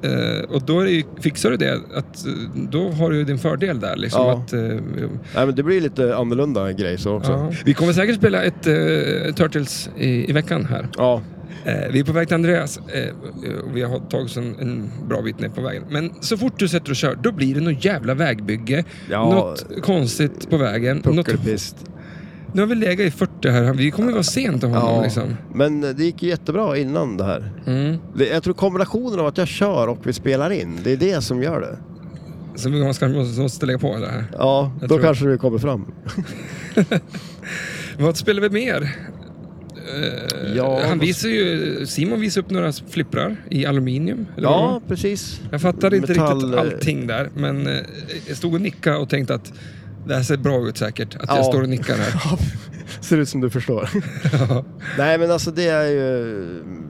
Eh, och då är det ju, fixar du det, att, eh, då har du ju din fördel där. Liksom, Ja. att, eh, Nej, men det blir lite annorlunda grej så också. ja. Vi kommer säkert spela ett eh, Turtles i, i veckan här. Ja, Eh, vi är på väg till Andreas eh, och vi har tagit oss en, en bra bit ner på vägen. Men så fort du sätter och kör, då blir det något jävla vägbygge. Ja. Något konstigt på vägen. Något, puckelpist. nu har vi legat i 40 här, vi kommer vara sent till honom. Ja. Liksom. Men det gick ju jättebra innan det här. Mm. Det, jag tror kombinationen av att jag kör och vi spelar in, det är det som gör det. Så vi måste, måste, måste lägga på det här. Ja, Jag då tror- kanske vi kommer fram. Vad spelar vi mer? Eh, Ja, han vad- visar ju, Simon visar upp några flipprar i aluminium. eller vad det var. Ja, precis. Jag fattade inte Metall- riktigt eh, allting där, men eh, jag stod och nickade och tänkte att det här ser bra ut säkert, att jag Ja. står och nickar [LAUGHS] här. Ser ut som [LAUGHS] du förstår. Ja. Nej men alltså det är ju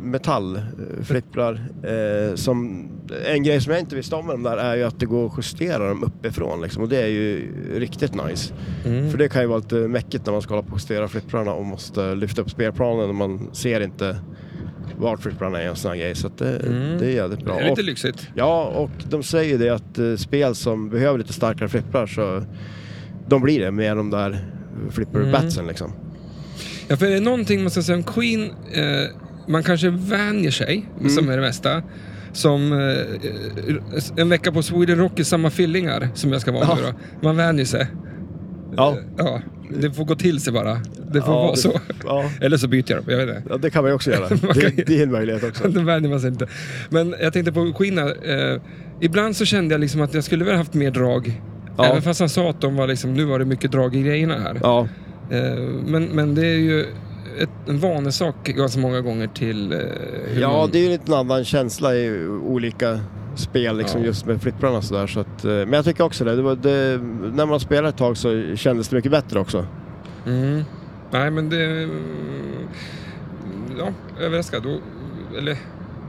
metallflipprar. Eh, som, en grej som jag inte visste om med de där är ju att det går att justera dem uppifrån liksom, och det är ju riktigt nice. Mm. För det kan ju vara lite mäckigt när man ska hålla på och justera flipprarna och måste lyfta upp spelplanen och man ser inte vart flipprarna är och sådana grejer. Så att det, det är jävligt bra. Mm. Det är lite Och- lyxigt. Ja, och de säger det att eh, spel som behöver lite starkare flipprar så de blir det med de där flipper-batsen liksom. Ja, för är det någonting man ska säga om Queen, eh, man kanske vänjer sig, Mm. som är det mesta. Som eh, eh, en vecka på Sweden Rock i samma fillingar som jag ska vara nu Ja. då. Man vänjer sig. Ja, Ja, det får gå till sig bara. Det får Ja, vara det- så. ja. Eller så byter jag dem, jag vet inte. Ja, det kan man ju [LAUGHS] också göra. Man kan ju- Det, det är en [LAUGHS] möjlighet också. Då vänjer man sig inte. Men jag tänkte på Queen här, eh, Ibland så kände jag liksom att jag skulle väl haft mer drag. Ja. Även fast han sa att de var liksom, nu var det mycket drag i grejerna här. Ja, Eh, men, men det är ju ett, en vanesak ganska många gånger till eh, hur ja man- det är ju en liten annan känsla i olika spel liksom Ja. just med flipprarna och sådär. Så att, eh, men jag tycker också det. det, var, det när man spelade ett tag så kändes det mycket bättre också. Mm. Nej, men det... mm, Ja, överraskad. Och, eller,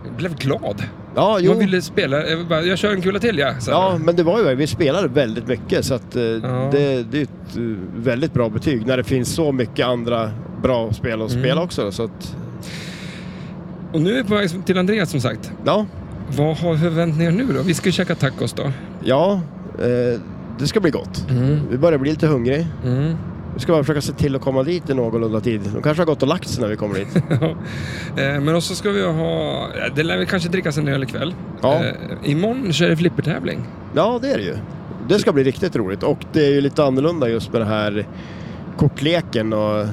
jag blev glad. Ja, jo. Man ville spela. Jag, bara, jag kör en kula till, ja. Så här. Ja, men det var ju vi spelade väldigt mycket så att eh, det, det är ett eh, väldigt bra betyg när det finns så mycket andra bra spel att spela också. Så att, Och nu är vi på väg till Andreas, som sagt. ja, Vad har vi förväntningar nu då? Vi ska ju käka tacos då. ja eh, det ska bli gott. Vi börjar bli lite hungrig. Mm. Vi ska bara försöka se till att komma dit i någorlunda tid. De kanske har gått och lagt sig när vi kommer dit. Ja. [LAUGHS] Eh, Men också ska vi ha... Det lär vi kanske drickas en öl ikväll. Ja. Eh, Imorgon så är det flippertävling. Ja, det är det ju. Det ska bli riktigt roligt och det är ju lite annorlunda just med det här kortleken och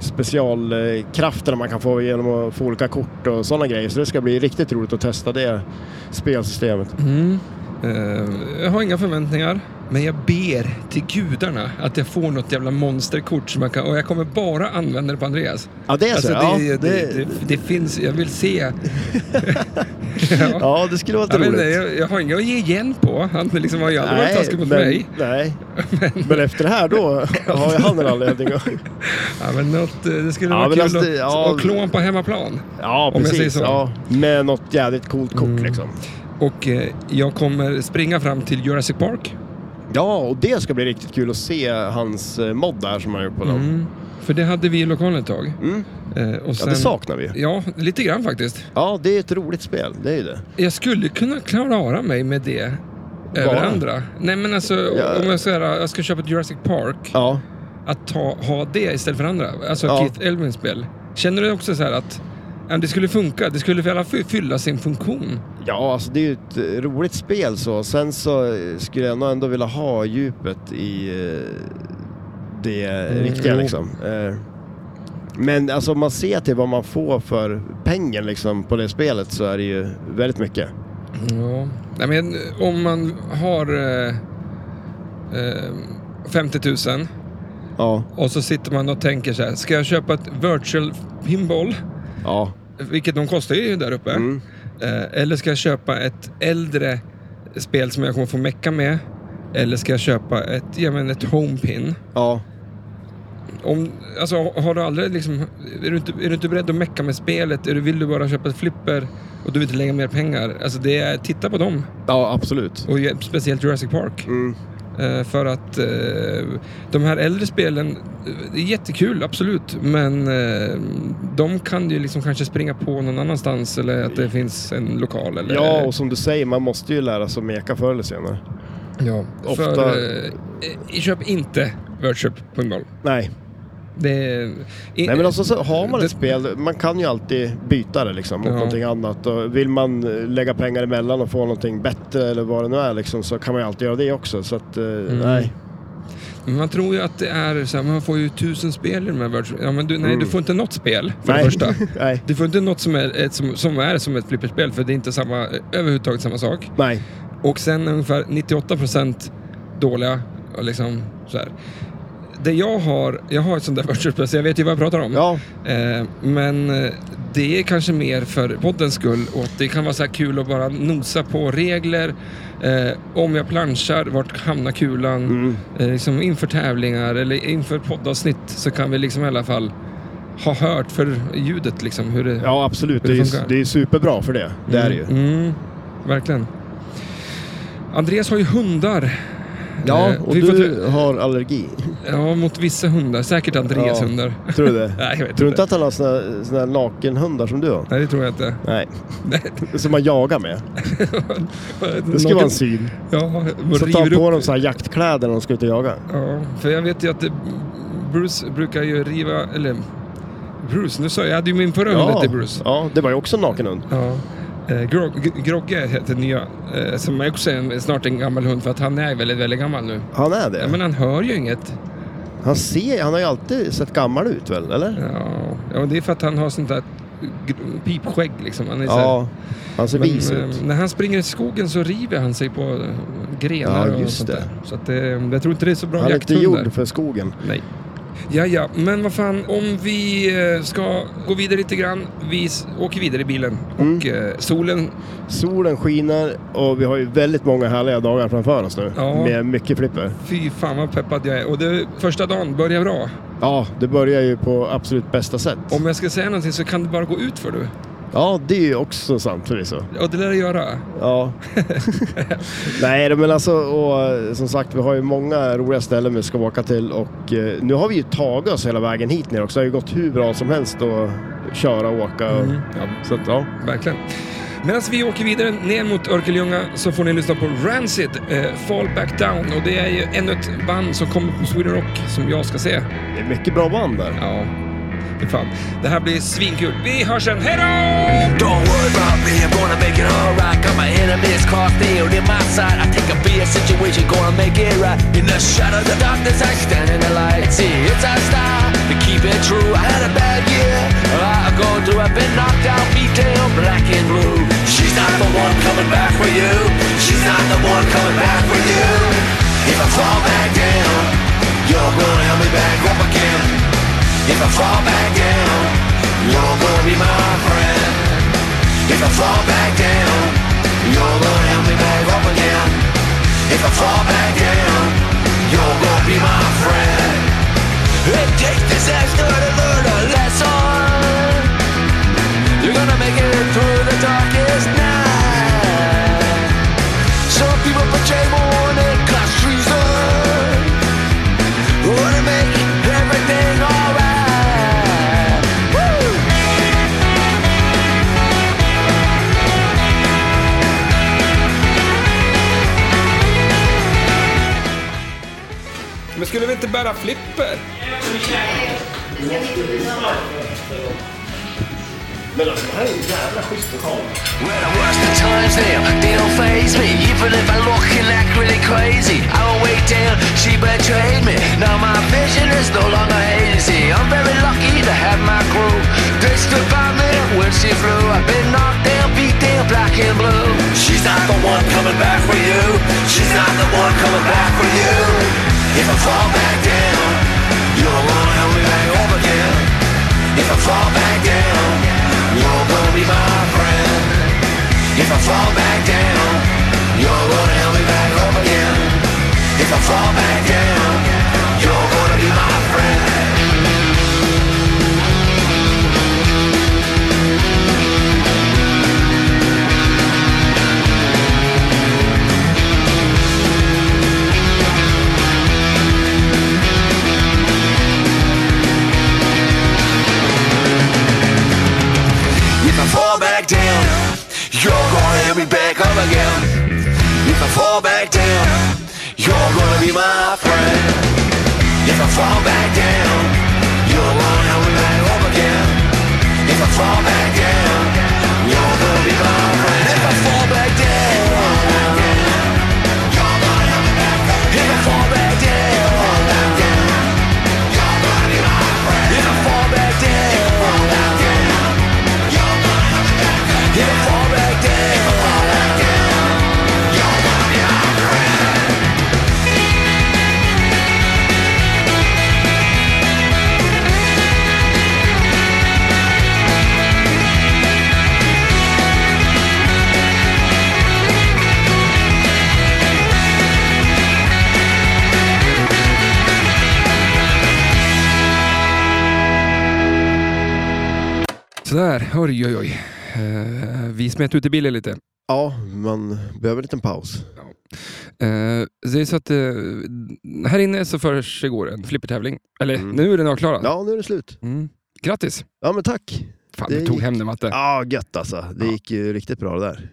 specialkrafterna man kan få genom att få olika kort och sådana grejer. Så det ska bli riktigt roligt att testa det spelsystemet. Mm. Eh, Jag har inga förväntningar. Men jag ber till gudarna att jag får något jävla monsterkort som jag kan, och jag kommer bara använda det på Andreas. Ja, det är så. Alltså, ja, det, det, det, det finns, jag vill [LAUGHS] se. ja. ja, det skulle vara Jag, lite vet inte, roligt. jag, jag har inget att ge igen på. Han liksom har ju aldrig varit taskig mot men, mig. nej. [LAUGHS] men efter det här då har jag han en anledning [LAUGHS] att... Ja, men något, eh, det skulle Ja, vara men kul alltså, att, det- ja. att klå honom på hemmaplan. Ja, Om jag säger precis. så. Mm. Ja, med något jävligt coolt kort liksom. Och eh, jag kommer springa fram till Jurassic Park. Ja, och det ska bli riktigt kul att se hans eh, mod där som han gjort på dem. Mm. För det hade vi i lokalen ett tag. Eh, och Mm. Ja, sen, det saknar vi. Ja, lite grann faktiskt. Ja, det är ett roligt spel, det är ju det. Jag skulle kunna klara mig med det över Bara? andra. Nej men alltså, Ja. om jag säger jag ska köpa ett Jurassic Park. Ja. Att ta, ha det istället för andra. Alltså Ja. Keith Elwins spel. Känner du också så här att ja, det skulle funka? Det skulle i alla fall fylla sin funktion. Ja, alltså det är ju ett eh, roligt spel så. Sen så eh, skulle jag nog ändå vilja ha djupet i eh, det riktiga jo. liksom. Eh, Men alltså om man ser till vad man får för pengen liksom på det spelet så är det ju väldigt mycket. Ja. Nej, men om man har eh, eh, 50 000 Ja, och så sitter man och tänker så här. Ska jag köpa ett virtual pinball? ja, vilket de kostar ju där uppe. Mm. Eh, eller ska jag köpa ett äldre spel som jag kommer få mecka med? Eller ska jag köpa ett, ja, men ett homepin? Ja. Om, alltså, har du aldrig liksom, är, du inte, är du inte beredd att mecka med spelet? Är du, vill du bara köpa ett flipper och du vill inte lägga mer pengar? Alltså, det är, titta på dem. ja, absolut. Och ju- speciellt Jurassic Park. Mm. Eh, För att eh, de här äldre spelen, eh, det är jättekul, absolut. Men eh, de kan ju liksom kanske springa på någon annanstans eller att det finns en lokal. Eller, Ja, och som du säger, man måste ju lära sig att meka förr eller senare. ja. ofta- För, eh, eh, köp inte Workshop Pinball. Nej, Det, eh, Nej men alltså så har man det- ett spel, man kan ju alltid byta det liksom mot Ja. någonting annat. Och vill man eh, lägga pengar emellan och få någonting bättre eller vad det nu är liksom, så kan man ju alltid göra det också. Så att, eh, Mm. nej. Men Man tror ju att det är så här, man får ju tusen spel i de här Workshop. Ja, men du, nej, du får inte något spel för Mm. nej. det [LAUGHS] första. nej. Du får inte något som är, ett, som, som är som ett flipperspel för det är inte samma, överhuvudtaget samma sak. Nej. Och sen ungefär 98% dåliga. och Liksom, så här. Det jag har, jag har ett sånt där [LAUGHS] workshop, så jag vet ju vad jag pratar om. Ja, Eh, men eh, det är kanske mer för poddens skull och att det kan vara så här kul att bara nosa på regler. Eh, om jag planschar, vart hamnar kulan? Mm. Eh, liksom inför tävlingar eller inför poddavsnitt så kan vi liksom i alla fall ha hört för ljudet liksom hur det, ja absolut. Hur det Det är, ju- funkar. det är superbra för det. Det är det ju. Mm, verkligen. Andreas har ju hundar. Ja, Eh, och vi får du har allergi. Ja, mot vissa hundar. Säkert Andreas Ja. hundar. [LAUGHS] Tror du det? Nej, jag vet Tror du inte. inte att han har såna, såna här nakenhundar som du har? Nej, det tror jag inte. [LAUGHS] Nej. Som man jagar med. Det skulle Någon- vara en syn. Ja, Så river tar på upp. dem så här jaktkläder när de ska ut och jaga. Ja, för jag vet ju att det, Bruce brukar ju riva, eller Bruce, nu sa jag, jag hade ju min förra hund hette Bruce. ja, det var ju också en nakenhund. Ja. Eh, Grog- G- Grogge heter nya, eh, som är också en, snart en gammal hund för att han är väldigt, väldigt gammal nu. Han är Ja, det. men han hör ju inget. Han ser, han har ju alltid sett gammal ut väl, eller? Ja, ja men det är för att han har sånt där gr- pipskägg liksom. Han är så här- Ja, han ser Men, vis eh, ut. När han springer i skogen så river han sig på eh, grenar Ja, och just sånt det. där. Så att, eh, jag tror inte det är så bra Han är inte jakthundar. gjord för skogen. Nej. Ja, ja, men vad fan, om vi eh, ska gå vidare lite grann. Vi s- åker vidare i bilen Mm. och eh, solen, Solen skiner och vi har ju väldigt många härliga dagar framför oss nu. Ja. Med mycket flipper. fy fan vad peppad jag är. Och det, första dagen börjar bra. Ja, det börjar ju på absolut bästa sätt. Om jag ska säga någonting så kan det bara gå ut för du. Ja, det är ju också sant förvisso. Och det lär det göra. [LAUGHS] Ja. Nej, men alltså och, eh, som sagt, vi har ju många roliga ställen vi ska åka till och eh, nu har vi ju tagit oss hela vägen hit ner också. Det har ju gått hur bra som helst att köra och åka. och- Ja, Så att, ja. Verkligen. Medan vi åker vidare ner mot Örkelljunga så får ni lyssna på Rancid, eh, Fall Back Down. Och det är ju ännu ett band som kommer på Sweden Rock som jag ska se. Det är mycket bra band där. Ja, fy fan. Det här blir svinkul. Vi hörs sen. Hej då! Don't worry about me, I'm gonna make it alright. Got my enemies crossed, they on my side. I think I'll be a situation, gonna make it right. In the shadow, the darkness, I stand in the light. See, it's our style to keep it true. I had a bad year, I've gone through. I've been knocked out, beat down, black and blue. She's not the one coming back for you. She's not the one coming back for you. If I fall back down, you're gonna help me back up again. If I fall back down, you're gonna be my friend. If I fall back down, you're gonna help me back up again. If I fall back down, you're gonna be my friend. It takes disaster to learn a lesson. You're gonna make it through the darkest night. Some people put shame on it 'cause treason. Wanna make everything alright. Woo! Men skulle vi inte bära flipper? Well, the worst of times now, they don't phase me. Even if I look and act really crazy, I won't wait till she betrayed me. Now my vision is no longer hazy. I'm very lucky to have my crew. They stood by me when she flew. I've been knocked down, beat down, black and blue. She's not the one coming back for you. She's not the one coming back for you. If I fall back down, you're the one help me back up again. If I fall back down, you're the gonna be back up again. If I fall back down, you're gonna be my friend. If I fall back down, you're gonna help me back up again. If I fall back down, you're gonna be my friend. If I fall back down, you're gonna help me back up. If I fall back down, you're gonna be my friend. If I fall back down, you're gonna help me back up. If I fall back down. Sådär, oj oj oj. Eh, vi smet ut i bilen lite. Ja, man behöver en liten paus. Eh, det är så att eh, här inne så försiggår en flippertävling. Eller Mm. nu är den avklarad. Ja, nu är det slut. Mm. Grattis! Ja, men tack. Fan, Det du tog gick- hem den Matte. Ja, gött alltså. Det gick ju riktigt bra det där.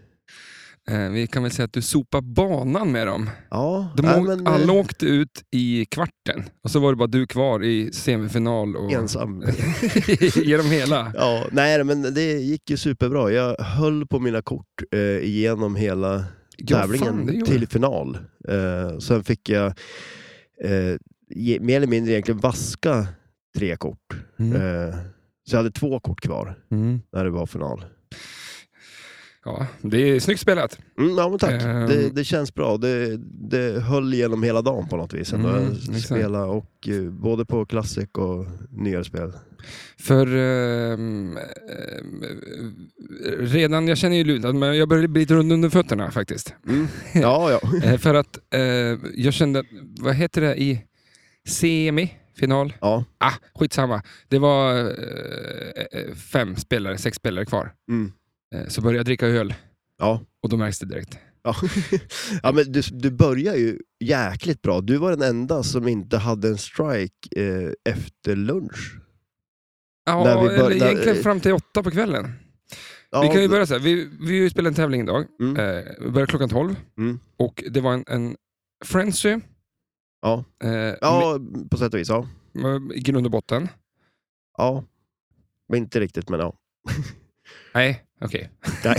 Eh, vi kan väl säga att du sopar banan med dem. Ja, De nej, å- men, alla eh, åkte ut i kvarten och så var det bara du kvar i semifinal och ensam. [LAUGHS] genom hela. Ja, nej, men det gick ju superbra. Jag höll på mina kort eh, igenom hela Ja, fan, tävlingen det gjorde till du. final. Eh, sen fick jag eh, ge, mer eller mindre egentligen vaska tre kort. Mm. Eh, så jag hade två kort kvar Mm. när det var final. Ja, det är snyggt spelat. Mm, ja, men tack. Ehm. Det, det känns bra. Det, det höll genom hela dagen på något vis. Ändå. Mm, jag exakt. spelade och, eh, både på classic och [LAUGHS] nyare spel. För ehm, ehm, redan, jag känner ju lutan, men jag börjar bli lite rund under fötterna [LAUGHS] faktiskt. Ja, ja. Eh, för att eh, jag kände, att- vad heter det i semi? Final? ja. Ah, skitsamma. Det var eh, eh, fem spelare, sex spelare kvar. Mm. Eh, så började jag dricka öl Ja. och då märks det direkt. Ja. [LAUGHS] ja, men du, du börjar ju jäkligt bra. Du var den enda som inte hade en strike eh, efter lunch. Ja, När vi bör- eller när- egentligen fram till åtta på kvällen. Ja, vi kan ju börja så här. Vi, vi spelade en tävling idag. Mm. Eh, vi började klockan 12 Mm. och det var en, en frenzy. Ja. Eh, Ja, på sätt och vis. Ja. med- I grund och botten. ja. Men inte riktigt, men ja. Nej, [LAUGHS] okej. Nej.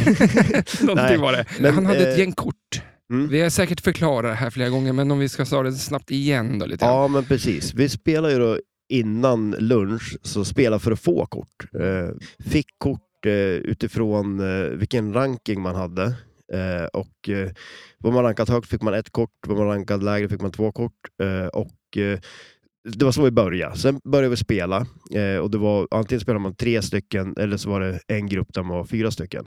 Någonting Nej, var det. men, Han hade ett eh, gäng kort. Mm. Vi har säkert förklarat det här flera gånger, men om vi ska ta det snabbt igen då lite. ja, men precis. Vi spelar ju då innan lunch, så spela för att få kort. Eh, fick kort eh, utifrån eh, vilken ranking man hade. Eh, och eh, var man rankat högt fick man ett kort, var man rankad lägre fick man två kort. Eh, och eh, det var så vi började. Sen började vi spela eh, och det var antingen spelade man tre stycken eller så var det en grupp där man var fyra stycken.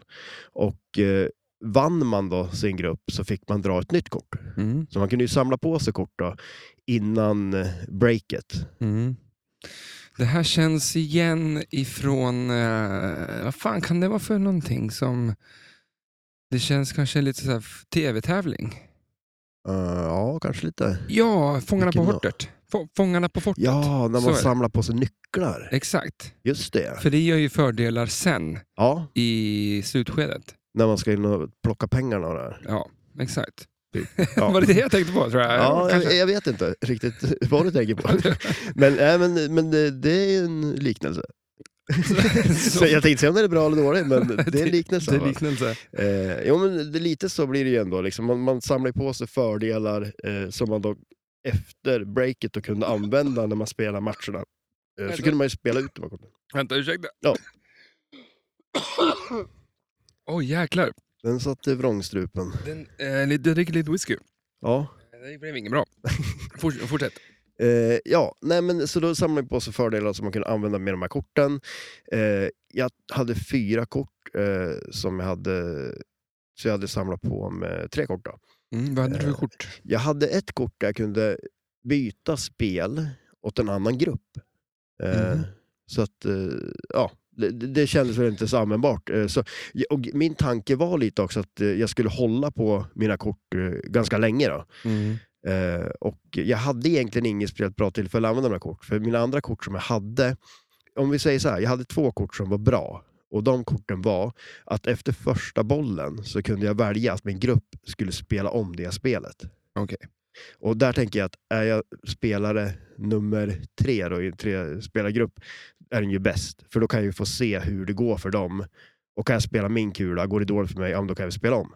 Och eh, vann man då sin grupp så fick man dra ett nytt kort. Mm, Så man kunde ju samla på sig kort då, innan eh, breaket. mm. Det här känns igen ifrån, eh, vad fan kan det vara för någonting som, det känns kanske lite så här f- tv-tävling. Eh, ja, kanske lite. Ja, Fångarna på Vilken då? fortet. Få- Fångarna på fortet. Ja, när Så är man det. samlar på sig nycklar. Exakt. Just det. För det gör ju fördelar sen Ja, i slutskedet. när man ska in och plocka pengarna och det här. Ja, exakt. [LAUGHS] Ja. Var det det jag tänkte på tror jag? Ja, [LAUGHS] jag, Kanske. jag vet inte riktigt [LAUGHS] vad du tänker på. Men, äh, men, men det, det är ju en liknelse. [LAUGHS] Så- Så jag tänkte säga om det är bra eller dåligt, men det är en [LAUGHS] liknelse. Det va? är liknelse. Eh, jo, men det, lite så blir det ju ändå. Liksom. Man, man samlar ju på sig fördelar eh, som man då efter breaket då kunde använda när man spelar matcherna. Eh, så kunde man ju spela ut de här korten. Vänta, ursäkta. [COUGHS] Ja. Åh jäklar. Den satt i vrångstrupen. Den, eh, lite- jag dricker lite whisky. Ja. Det blev inget bra. Forts- Fortsätt. Eh, ja, nej men så då samlade jag på sig fördelar som man kunde använda med de här korten. Eh, jag hade fyra kort eh, som jag hade, så jag hade samlat på mig tre kort. Då. Mm, vad hade du för Eh, kort? Jag hade ett kort där jag kunde byta spel åt en annan grupp. Eh, Mhm. Så att, eh, ja, det, det det kändes väl inte så användbart. Eh, så, och min tanke var lite också att eh, jag skulle hålla på mina kort eh, ganska länge. Då. Eh, och jag hade egentligen inget speciellt bra tillfälle att använda mina kort. För mina andra kort som jag hade, om vi säger så här, jag hade två kort som var bra Och de korten var att efter första bollen så kunde jag välja att min grupp skulle spela om det spelet. Okej. Och där tänker jag att är jag spelare nummer tre då, i en tre spelargrupp är den ju bäst. För då kan jag ju få se hur det går för dem. Och kan jag spela min kula, går det dåligt för mig, ja, men då kan jag spela om.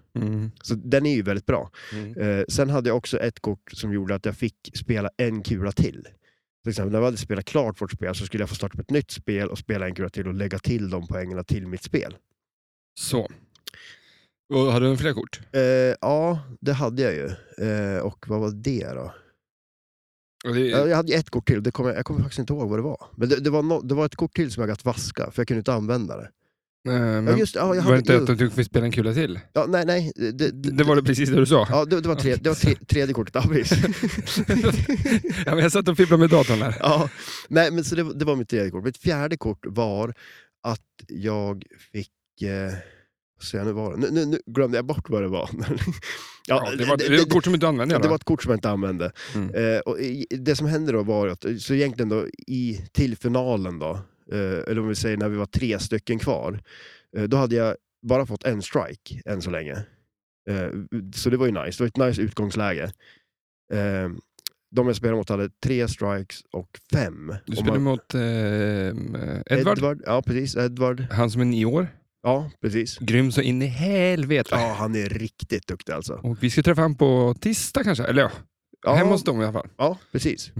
Så den är ju väldigt bra. Mm. Eh, sen hade jag också ett kort som gjorde att jag fick spela en kula till. Till exempel när vi hade spelat klart vårt spel så skulle jag få starta upp ett nytt spel och spela en kula till och lägga till de poängerna till mitt spel. Så. Och hade du fler kort? Eh, ja, det hade jag ju. Eh, och vad var det då? Och det, Jag, jag hade ju ett kort till, det kommer jag, jag kommer faktiskt inte ihåg vad det var. Men det, det, var no, det var ett kort till som jag att vaska, för jag kunde inte använda det. eh, men, ja, just, det, ja, jag var det hade, inte att ju, du fick spela en kula till? ja, nej, nej. Det, det, Det var det precis det du sa. ja, det, det var, tre, det var tre, tredje kortet, ja, precis. Ja, men jag satt och fipplade med datorn här. ja. Nej, men så det, det var mitt tredje kort. Mitt fjärde kort var att jag fick... Eh, vad säger jag nu, var det? Nu, nu, nu glömde jag bort vad det var. [LAUGHS] Ja, det var det, var ett kort som inte använde. det va? var ett kort som jag inte använde. Mm. Eh, och i- det som hände då var att, så egentligen då, i, till finalen då, eh, eller om vi säger när vi var tre stycken kvar, eh, då hade jag bara fått en strike än så länge. Eh, så det var ju nice, det var ett nice utgångsläge. Eh, de jag spelade mot hade tre strikes och fem. Du Om spelade man- mot eh, Edvard. Ja, precis. Edward. Han som är nio år. Ja, precis. Grym så in i helvete. Ja, han är riktigt duktig alltså. Och vi ska träffa honom på tisdag kanske. Eller ja, Ja, hemma hos dem i alla fall. ja precis.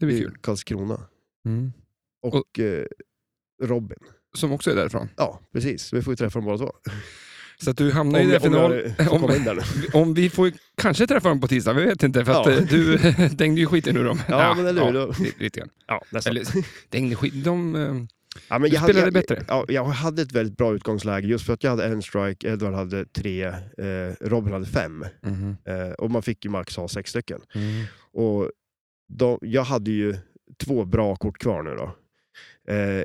Det blir I kul. Karlskrona. Mm. Och, eh, Robin. Som också är därifrån. Ja, precis. Vi får ju träffa dem båda två. Så att du hamnar i det om final. jag får Om- komma in där nu. Om vi får kanske träffa dem på tisdag, vi vet inte. För att Ja. eh, du [LAUGHS] dängde ju skiten ur dem. Ja, men eller hur? Ja, Då- lite- lite grann. Ja, nästan. Eller dängde skiten. De, eh, ja, men du spelade jag, bättre. Ja, jag hade ett väldigt bra utgångsläge just för att jag hade en strike, Edward hade tre, eh, Robin hade fem. Mhm. Eh, och man fick ju max ha sex stycken. Mm. Och de, jag hade ju två bra kort kvar nu då. Eh,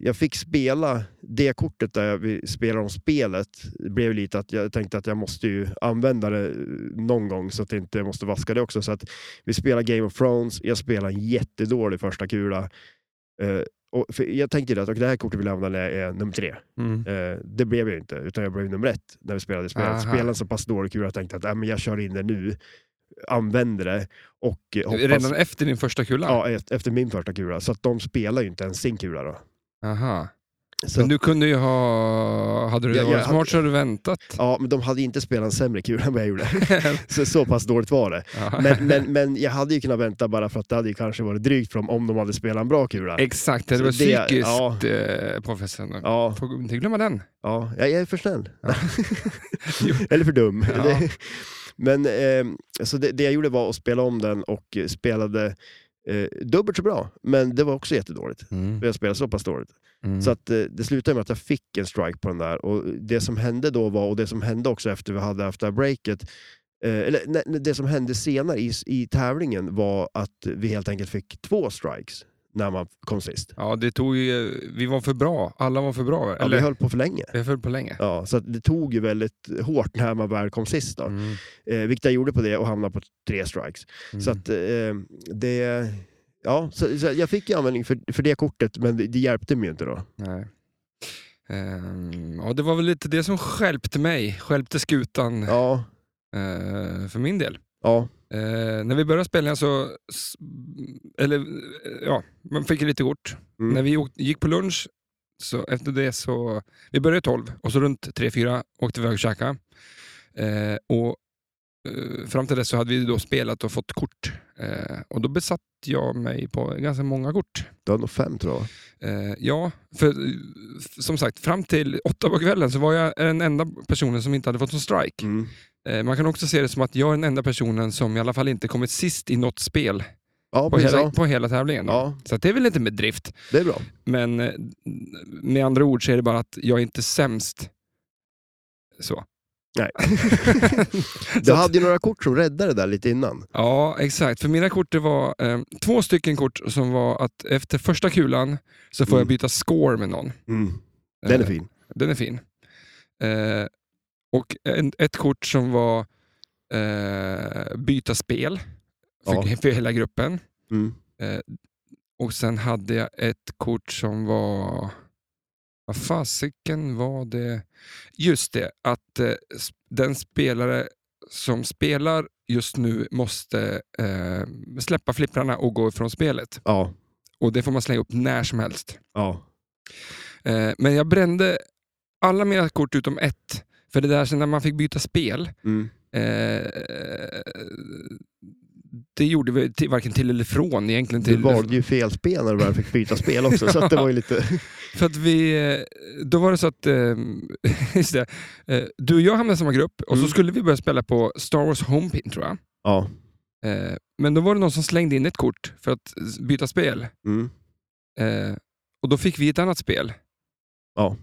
jag fick spela det kortet där vi spelar om spelet. Det blev ju lite att jag tänkte att jag måste ju använda det eh, någon gång så att jag inte måste vaska det också. Så att vi spelar Game of Thrones, jag spelar en jättedålig första kula. Eh, och för jag tänkte ju att okay, det här kortet vill jag använda när jag är nummer tre. Mm. Eh, det blev jag ju inte, utan jag blev nummer ett när vi Aha. spelade spelet. Spelade en så pass dålig kula att jag tänkte att äh, men jag kör in det nu, använder det och eh, hoppas... Redan efter din första kula? Ja, e- efter min första kula. Så att de spelar ju inte ens sin kula då. Aha. Så Men att, du kunde ju ha... Hade du Ja, varit jag- smart så hade du väntat. ja, men de hade inte spelat en sämre kula [LAUGHS] än vad [LAUGHS] jag gjorde. så, så pass dåligt var det. Ja. [LAUGHS] Men, men, men jag hade ju kunnat vänta bara för att det hade ju kanske varit drygt för dem om de hade spelat en bra kula. Exakt, det Så var det- psykiskt ja. eh, påfrestande. Ja, Får inte glömma den. ja, jag är för snäll. [LAUGHS] Ja. Eller för dum. Ja. Det- Men eh, så det, det jag gjorde var att spela om den och eh, spelade eh, dubbelt så bra. Men det var också jättedåligt. För jag spelade så pass dåligt. Mm. Så att, eh, det slutade med att jag fick en strike på den där. Och det som hände då var, och det som hände också efter vi hade haft det här breaket, eh, eller nej, nej, det som hände senare i, i tävlingen var att vi helt enkelt fick två strikes när man kom sist. Ja, det tog ju... eh, Vi var för bra. Alla var för bra. Ja, Eller? vi höll på för länge. Vi höll på länge. Ja, så att det tog ju väldigt hårt när man väl kom sist. Då. Mm. Eh, vilket jag gjorde på det och hamnade på tre strikes. Mm. Så att eh, det... Ja, så, så jag fick ju användning för, för det kortet, men det, det hjälpte mig ju inte då. Nej. Ehm, ja, det var väl lite det som stjälpte mig, stjälpte skutan Ja, eh, för min del. ja, Eh, när vi började spelningen så, s- eller eh, ja, man fick lite kort. Mm. När vi åkte, gick på lunch, så efter det så, vi började 12 och så runt 3-4 åkte vi iväg och käkade. Eh, och eh, fram till dess så hade vi då spelat och fått kort. Eh, och då besatt jag mig på ganska många kort. du hade nog fem tror jag. Eh, ja, för eh, f- som sagt, fram till åtta på kvällen så var jag den enda personen som inte hade fått någon strike. Mm. Eh, man kan också se det som att jag är den enda personen som i alla fall inte kommit sist i något spel Ja, på precis. hela, Ja. på hela tävlingen. då. ja, Så att det är väl inte med drift, det är bra. men eh, med andra ord så är det bara att jag är inte sämst. [LAUGHS] Så. [LAUGHS] Nej. Så Du att- hade ju några kort som räddade det där lite innan. Ja, exakt. För mina kort det var eh, två stycken kort som var att efter första kulan så får jag Mm. byta score med någon. Den är Eh, fin. Den är fin. Eh, och en, ett kort som var eh, byta spel för, för hela gruppen. Mm. Och sen hade jag ett kort som var Vad fasiken var det? Just det, att eh, s- den spelare som spelar just nu måste eh, släppa flipprarna och gå ifrån spelet. Ja, Och det får man slänga upp när som helst. ja. Eh, men jag brände alla mina kort utom ett. För det där sen när man fick byta spel, Mm. eh, det gjorde vi till, varken till eller från egentligen. Du Till, valde ju fel spel när du väl fick byta spel också, så att det var ju lite... [LAUGHS] För att vi, eh, då var det så att, eh, [LAUGHS] just det, eh, du och jag hamnade i samma grupp och så Mm. skulle vi börja spela på Star Wars Homepin tror jag. Ja. Eh, men då var det någon som slängde in ett kort för att s- byta spel. Mm. Eh, och då fick vi ett annat spel. Ja.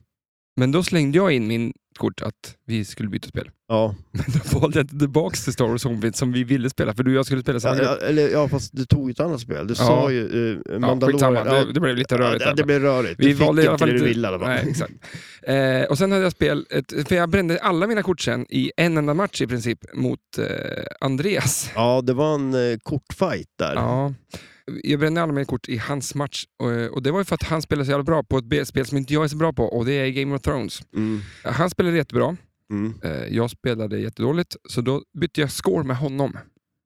Men då slängde jag in min kort att vi skulle byta spel. Ja. Men då valde jag inte tillbaka till Star Wars Homepin som vi ville spela, för du och jag skulle spela samma Ja, grupp. ja, eller, ja, fast du tog ju ett annat spel. Du Ja. sa ju eh, Ja, skitsamma, Mandalorian. det, det blev lite ja, rörigt. det, där. det blev rörigt. Vi Vi du fick valde i alla inte fall det du inte- ville i alla fall. Nej, exakt. Eh, och sen hade jag spel, ett, för jag brände alla mina kort sen i en enda match i princip mot eh, Andreas. Ja, det var en eh, kortfight där. Ja. Jag brände alla mina kort i hans match eh, och, och det var ju för att han spelade så jävla bra på ett B- spel som inte jag är så bra på och det är Game of Thrones. Mm. Han spelade jättebra, Mm. eh, jag spelade jättedåligt så då bytte jag score med honom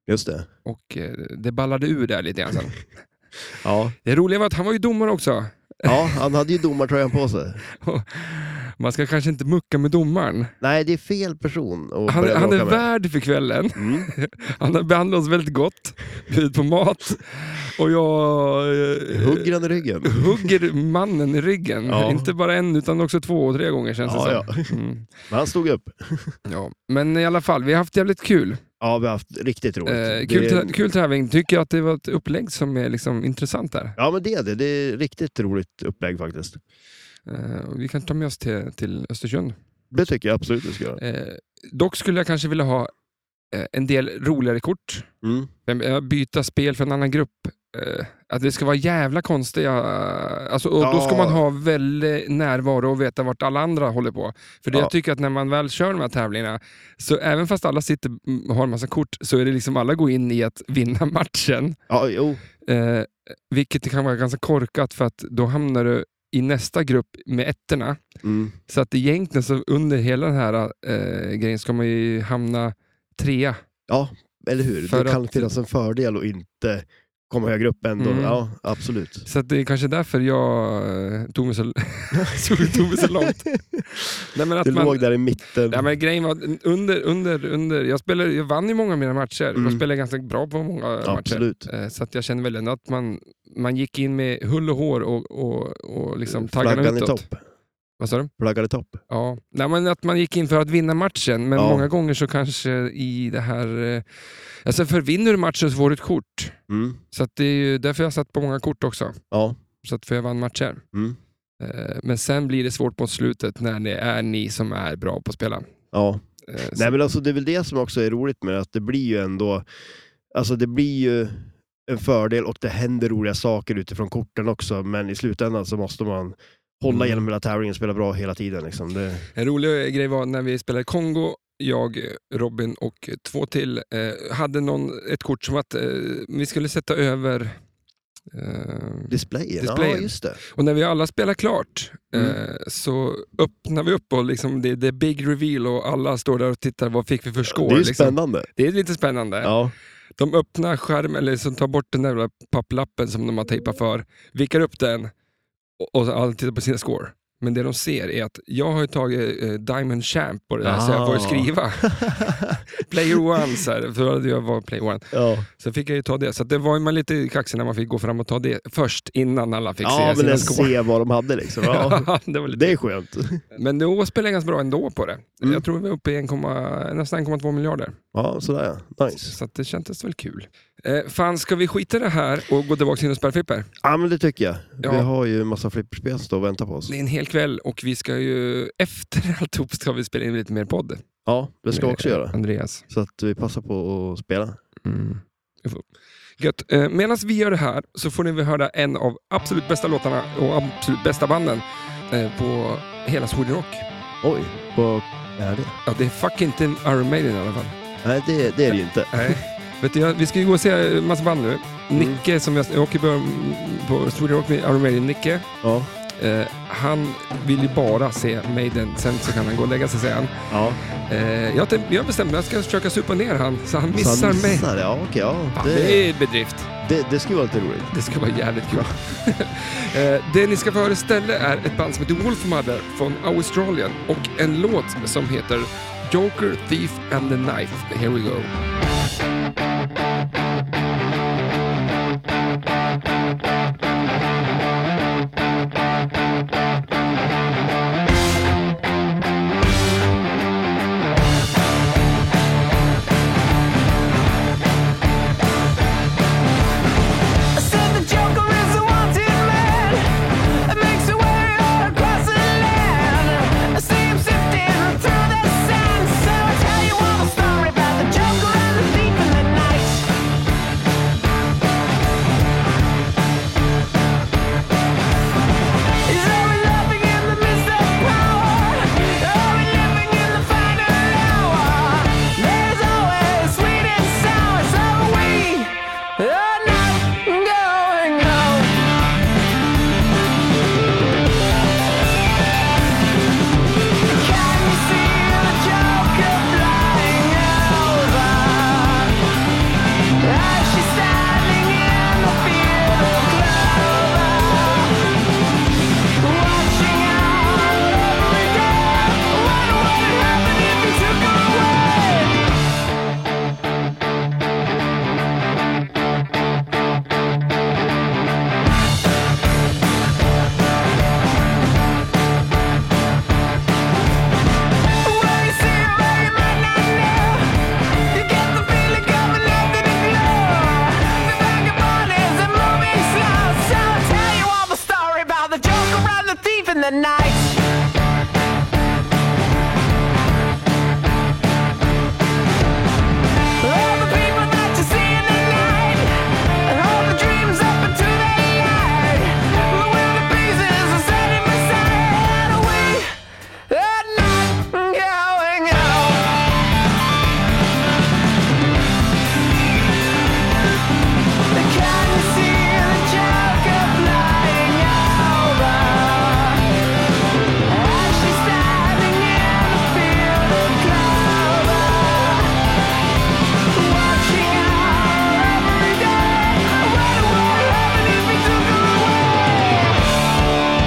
Just det. och eh, det ballade ur där lite grann sen. [LAUGHS] Ja. Det roliga var att han var ju domare också. [LAUGHS] ja, han hade ju domartröjan på sig. Man ska kanske inte mucka med domaren. Nej, det är fel person att Han, börja han bråka är med. värd för kvällen. Mm. [LAUGHS] Han har behandlat oss väldigt gott, bjudit på mat och jag eh, Hugger han [LAUGHS] i ryggen? hugger mannen i ryggen. Ja. Inte bara en utan också två och tre gånger känns det Ja, som. Mm. Men han stod upp. Ja. Men i alla fall, vi har haft jävligt kul. Ja, vi har haft riktigt roligt. Eh, Det- kul, tä- kul tävling. Tycker jag att det var ett upplägg som är liksom intressant där. Ja, men det är det. Det är riktigt roligt upplägg faktiskt. Eh, och vi kan ta med oss till, till Östersund. Det tycker jag absolut du ska göra. Eh, dock skulle jag kanske vilja ha eh, en del roligare kort. Mm. Men, eh, Byta spel för en annan grupp. Eh, Att det ska vara jävla konstiga... Alltså, och Då ska Ja. man ha väldigt närvaro och veta vart alla andra håller på. För det Ja. jag tycker att när man väl kör de här tävlingarna, så även fast alla sitter mm, och har en massa kort, så är det liksom alla går in i att vinna [LAUGHS] matchen. Ja, jo. Eh, vilket kan vara ganska korkat, för att då hamnar du i nästa grupp med ettorna. Mm. Så att egentligen så under hela den här eh, grejen ska man ju hamna trea. Eller hur? För det kan att- finnas en fördel att inte komma högre upp ändå. Mm. Ja, absolut. Så att det är kanske därför jag eh, tog mig så, [LAUGHS] tog, tog mig så långt. [LAUGHS] Nej, men Det att man, låg där i mitten. Nej, men grejen var, under, under, under, jag, spelade, jag vann ju många av mina matcher. Mm. Jag spelade ganska bra på många matcher. absolut. Eh, Så att jag kände väl ändå att man, man gick in med hull och hår och, och, och liksom taggarna Eh, Flaggan i utåt. topp. Vad sa du? Flaggan i topp. Ja. Nej, men att man gick in för att vinna matchen, men Ja. många gånger så kanske i det här... eh, Alltså för vinner du matchen så får du ett kort. Mm. Så att det är ju därför jag satt på många kort också. Ja. Så att för jag vann matcher. Mm. Eh, Men sen blir det svårt mot slutet när det är ni som är bra på att spela. ja. Eh, så- Nej, men alltså, det är väl det som också är roligt med det, att det blir ju ändå... Alltså det blir ju en fördel och det händer roliga saker utifrån korten också, men i slutändan så måste man hålla Mm. genom hela tävlingen och spela bra hela tiden. Liksom. Det, En rolig grej var när vi spelade Kongo, jag, Robin och två till eh, hade någon, ett kort som att eh, vi skulle sätta över eh, displayen. Displayen. Ja, just det. och när vi alla spelar klart eh, Mm. så öppnar vi upp och liksom det, det är big reveal och alla står där och tittar vad fick vi för score. Det är ju liksom. spännande. det är lite spännande. Ja. De öppnar skärmen, eller som tar bort den där jävla papplappen som de har tejpat för, vickar upp den och- och så alla tittar på sina score. Men det de ser är att jag har ju tagit eh, Diamond Champ på det där, så jag får ju Ah. [LAUGHS] skriva Player One, så här, för jag var Player One. ja. Så fick jag ju ta det. Så att det var ju man lite kaxig när man fick gå fram och ta det först, innan alla fick Ja, se men sina att score. se vad de hade liksom. [LAUGHS] Ja. det var lite... Det är skönt. Men då spelade jag ganska bra ändå på det. Mm. Jag tror vi är uppe i 1,2 nästan 1,2 miljarder. Ja, sådär ja. Nice. Så att det kändes väl kul. Eh, fan, ska vi skita i det här och gå tillbaka in och spela flipper? Ja, men det tycker jag. Ja. Vi har ju en massa flipperspel som står och väntar på oss. Det är en hel kväll och vi ska ju [LAUGHS] efter alltihop ska vi spela in lite mer podd. Ja, det ska vi också Med göra. Andreas. Mm. Så att vi passar på att spela. Gött. Eh, Medan vi gör det här så får ni väl höra en av absolut bästa låtarna och absolut bästa banden eh, på hela Sweden Rock. Oj, vad är det? Ja, det är fuck inte en Iron Maiden i alla fall. Nej, det, det är det ju inte. Nej. Vet du, jag, vi ska ju gå och se eh, en Mm. massa band nu. Nicke, som jag, jag åker på, på Sweden Rock med Iron Maiden, Nicke. Ja. Eh, han vill ju bara se Maiden, sen så kan han gå och lägga sig sen. Ja. Eh, jag, tänk- jag har bestämt mig, jag ska försöka supa ner han så han Så missar han mig. missar det. Ja, okej, ja. Fan, Det, det är en bedrift. det, det skulle vara lite roligt. Det ska vara jävligt kul. [LAUGHS] Eh, det ni ska få höra istället är ett band som heter Wolfmother från Australien och en låt som heter Joker, Thief and the Knife. Here we go. Are not going home. Can you see the Joker flying over? As she's standing in the field of clover, watching out every day. What would happen if you took her away? Where you see her, where you might not know. You get the feeling of a love that is The vagabond is a moving slow, so i tell you all the story about the joker and the thief in the night. All the people that you see in the night, and all the dreams up into the light. The way the pieces are set in the sand, and we are not going home. Can you see the joker flying over? As she's standing in the field of clover. Watching out every day. What would happen if we took her away?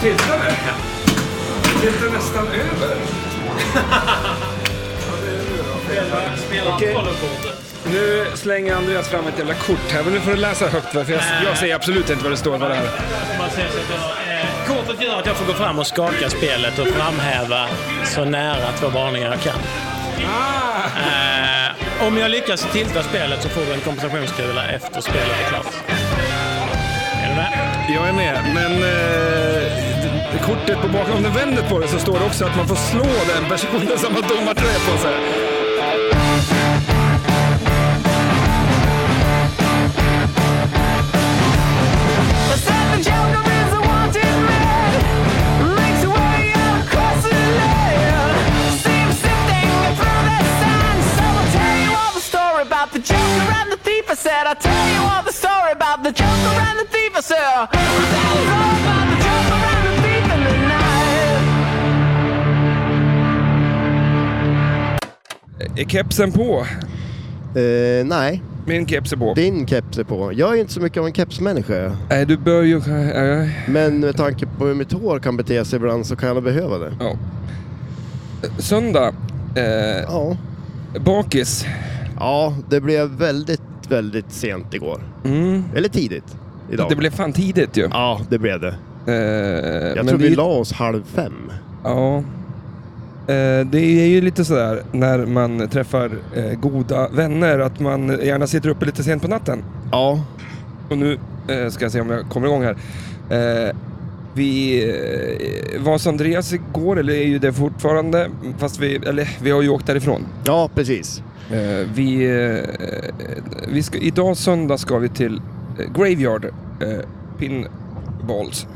Titta nu! Titta nästan över. Nu slänger Andreas fram ett jävla kort här, men nu får du läsa högt va? för jag, jag ser absolut inte vad det står på det här. Man ser så att jag, eh, kortet gör att jag får gå fram och skaka spelet och framhäva så nära två varningar jag kan. Eh, om jag lyckas tilta spelet så får du en kompensationskula efter spelet är klart. Är du med? Jag är med, men eh, kortet på bakom, om du vänder på det så står det också att man får slå den personen som har domartröja på sig. The seven children is a wanted man. Makes a way across the land. Seems sifting through the sun. So I'll tell you all the story about the joker and the thief. I said I'll tell you all the story about the joker and the thief. I said I'll tell you all about the joker and the thief in the night. Är kepsen på? Eh, nej, Min keps är på. din keps är på. Jag är inte så mycket av en kepsmänniska. Nej, du bör ju... eh, Men med tanke på hur mitt hår kan bete sig ibland så kan jag nog behöva det. ja. Söndag. Eh, Ja. bakis. Ja, det blev väldigt, väldigt sent igår. Eller tidigt. Idag. Mm. Det blev fan tidigt ju. Ja, det blev det. Eh, Jag men tror det är vi ju- la oss halv fem. Ja. Eh, Det är ju lite sådär när man träffar eh, goda vänner att man gärna sitter uppe lite sent på natten. Ja. Och nu eh, ska jag se om jag kommer igång här. Eh, Vi eh, Vas Andreas igår, eller är ju det fortfarande, fast vi, eller, vi har ju åkt därifrån. Ja, precis. Eh, vi, eh, vi ska, idag söndag ska vi till eh, Graveyard eh, Pinballs.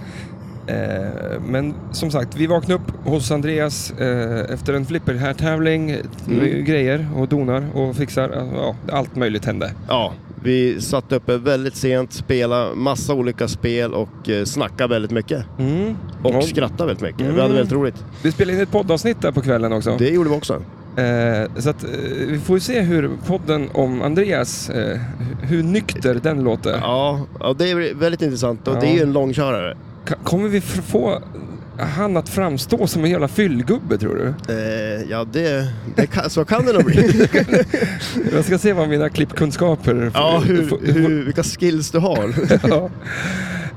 Eh, men som sagt, vi vaknade upp hos Andreas eh, efter en flipper här tävling Mm. grejer och donar och fixar. eh, Ja, allt möjligt hände. Ja, vi satt uppe väldigt sent, spelade massa olika spel och eh, snackade väldigt mycket. Och Mm. Ja. skrattade väldigt mycket. Mm. Vi hade väldigt roligt. Vi spelade in ett poddavsnitt där på kvällen också. Det gjorde vi också. Eh, så att, eh, vi får ju se hur podden om Andreas, eh, hur nykter den låter. Ja, ja det är väldigt intressant och Ja. det är ju en långkörare. Ka- Kommer vi f- få han att framstå som en jävla fyllgubbe tror du? Eh, ja, det, det kan, så kan det [LAUGHS] nog bli. Jag ska se vad mina klippkunskaper... ja, hur, hur, vilka skills [LAUGHS] du har. Ja.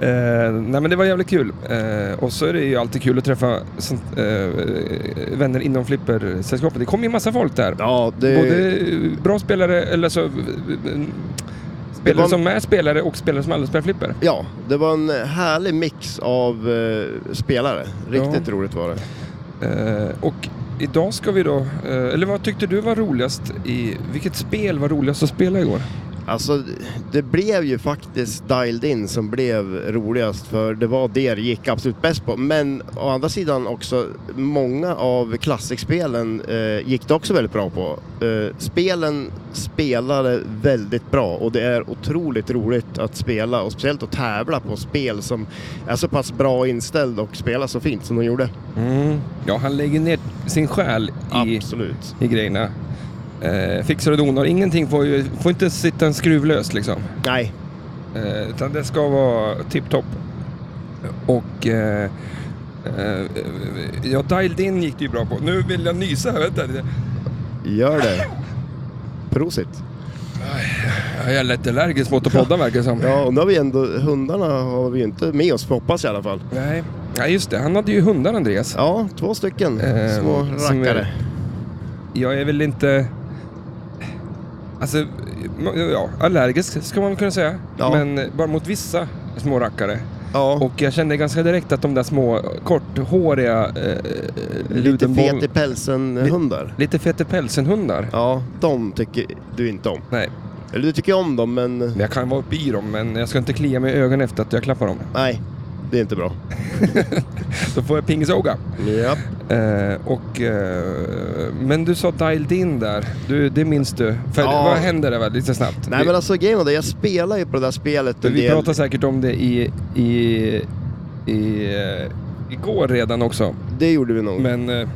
Eh, nej men det var jävligt kul. Eh, och så är det ju alltid kul att träffa sånt, eh, vänner inom flippersällskapet. Det kom ju massa folk där. Ja, det, Både eh, bra spelare, eller så... eh, Spelare var- som är spelare och spelare som aldrig spelar flipper. ja, det var en härlig mix av eh, spelare. Riktigt roligt var det. Eh, och idag ska vi då... Eh, eller vad tyckte du var roligast i... Vilket spel var roligast att spela igår? Alltså, det blev ju faktiskt Dialed In som blev roligast för det var det det gick absolut bäst på. Men å andra sidan också, många av klassikspelen eh, gick det också väldigt bra på. Eh, spelen spelade väldigt bra och det är otroligt roligt att spela och speciellt att tävla på spel som är så pass bra inställd och spelar så fint som de gjorde. Ja, han lägger ner sin själ i, Mm. Absolut. i grejerna. Eh, fixar och donar. Ingenting får ju... Får inte sitta en skruv lös liksom. Nej, Eh, utan det ska vara tipptopp. Och... Eh, eh, ja, dialed in gick det ju bra på. Nu vill jag nysa. här, Vänta lite. gör det. Prosit. Jag är lätt allergisk mot att podda verkar det som. Ja, och nu har vi ändå, hundarna har vi ju inte med oss, hoppas i alla fall. Nej. Nej, just det. Han hade ju hundar, Andreas. Ja, två stycken Eh, små som är- rackare. Jag är väl inte... Alltså, ja, allergisk ska man kunna säga. Ja. Men bara mot vissa små rackare. Ja, Och jag kände ganska direkt att de där små korthåriga... Eh, lite ludenboll- fet i pälsen-hundar. Lite fet i pälsen-hundar. Ja, de tycker du inte om. Nej, Eller du tycker om dem, men men jag kan vara uppe i dem, men jag ska inte klia mig i ögonen efter att jag klappar dem. nej, det är inte bra. Då får jag pingisoga. Ja. Eh, och, eh, men du sa dialed in där. Du, det minns du. För, Ja. Vad hände där? va? Lite snabbt. Nej, men alltså grejen var det, jag spelar ju på det där spelet en Vi del. pratade säkert om det i, i, i, eh, igår redan också. Det gjorde vi nog. Men eh,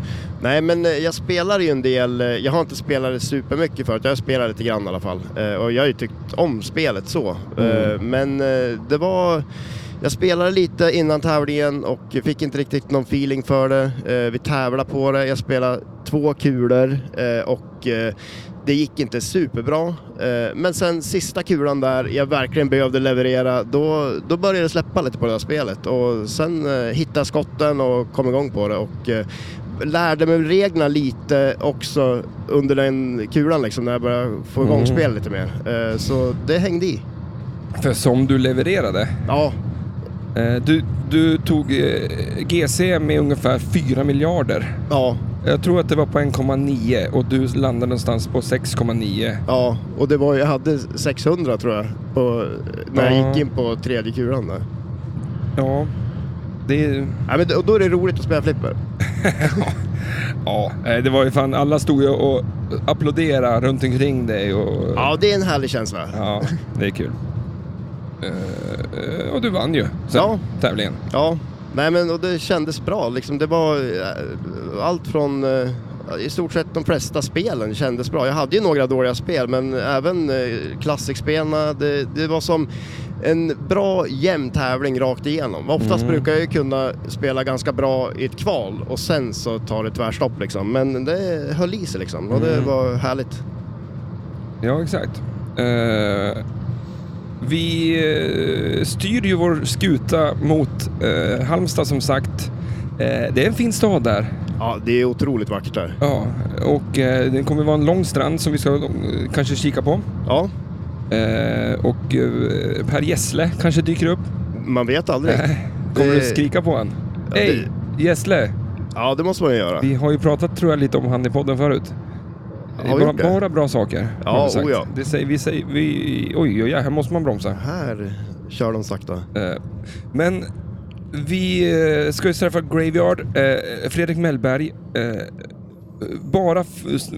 Nej, men eh, jag spelar ju en del. eh, Jag har inte spelat det supermycket förut. Jag spelar lite grann i alla fall. Eh, Och jag har ju tyckt om spelet så. Eh, Men eh, det var... Jag spelade lite innan tävlingen och fick inte riktigt någon feeling för det. Eh, Vi tävlade på det. Jag spelade två kulor eh, och eh, det gick inte superbra. Eh, Men sen sista kulan där jag verkligen behövde leverera, då, då började det släppa lite på det här spelet. Och sen eh, hittade jag skotten och kom igång på det. Och eh, lärde mig reglerna lite också under den kulan liksom, när jag började få igång Mm. spel lite mer. Eh, Så det hängde i. för som du levererade. Ja, Eh, du, du tog eh, GC med ungefär 4 miljarder. ja, Jag tror att det var på 1,9 och du landade någonstans på 6,9. ja. Och det var, jag hade 600 tror jag på, när Ja. jag gick in på tredje kulan där. Ja, det är... Ja, men, det- och då är det roligt att spela flipper. Ja, eh, det var ju fan... Alla stod ju och applåderade runt omkring dig och... Ja, det är en härlig känsla. Ja, det är kul. Eh, eh, och du vann ju sen, Ja. tävlingen. Ja, nej men och det kändes bra liksom. Det var eh, allt från eh, i stort sett de flesta spelen kändes bra. Jag hade ju några dåliga spel men även eh, klassikspelna. Det, det var som en bra jämn tävling rakt igenom. Oftast brukar jag ju kunna spela ganska bra i ett kval och sen så tar det tvärstopp liksom. Men det höll i sig liksom och det var härligt. Ja, exakt. Eh, vi eh, styr ju vår skuta mot eh, Halmstad som sagt. Eh, det är en fin stad där. Ja, det är otroligt vackert där. Ja, och eh, det kommer vara en lång strand som vi ska eh, kanske kika på. Ja, Eh, och eh, Per Gessle kanske dyker upp. man vet aldrig. Kommer Eh, Det- du skrika på han? Ja, Hej! Gässle! Ja, det måste man ju göra. Vi har ju pratat tror jag lite om han i podden förut. Det är vi bara, gjort det? bara bra saker. Ja, har vi sagt. oh ja. Det säger, vi säger, vi, oj, oj, oj, här måste man bromsa. Här kör de sakta. Eh, Men vi eh, ska ju träffa Graveyard, eh, Fredrik Mellberg. eh, Bara f- s-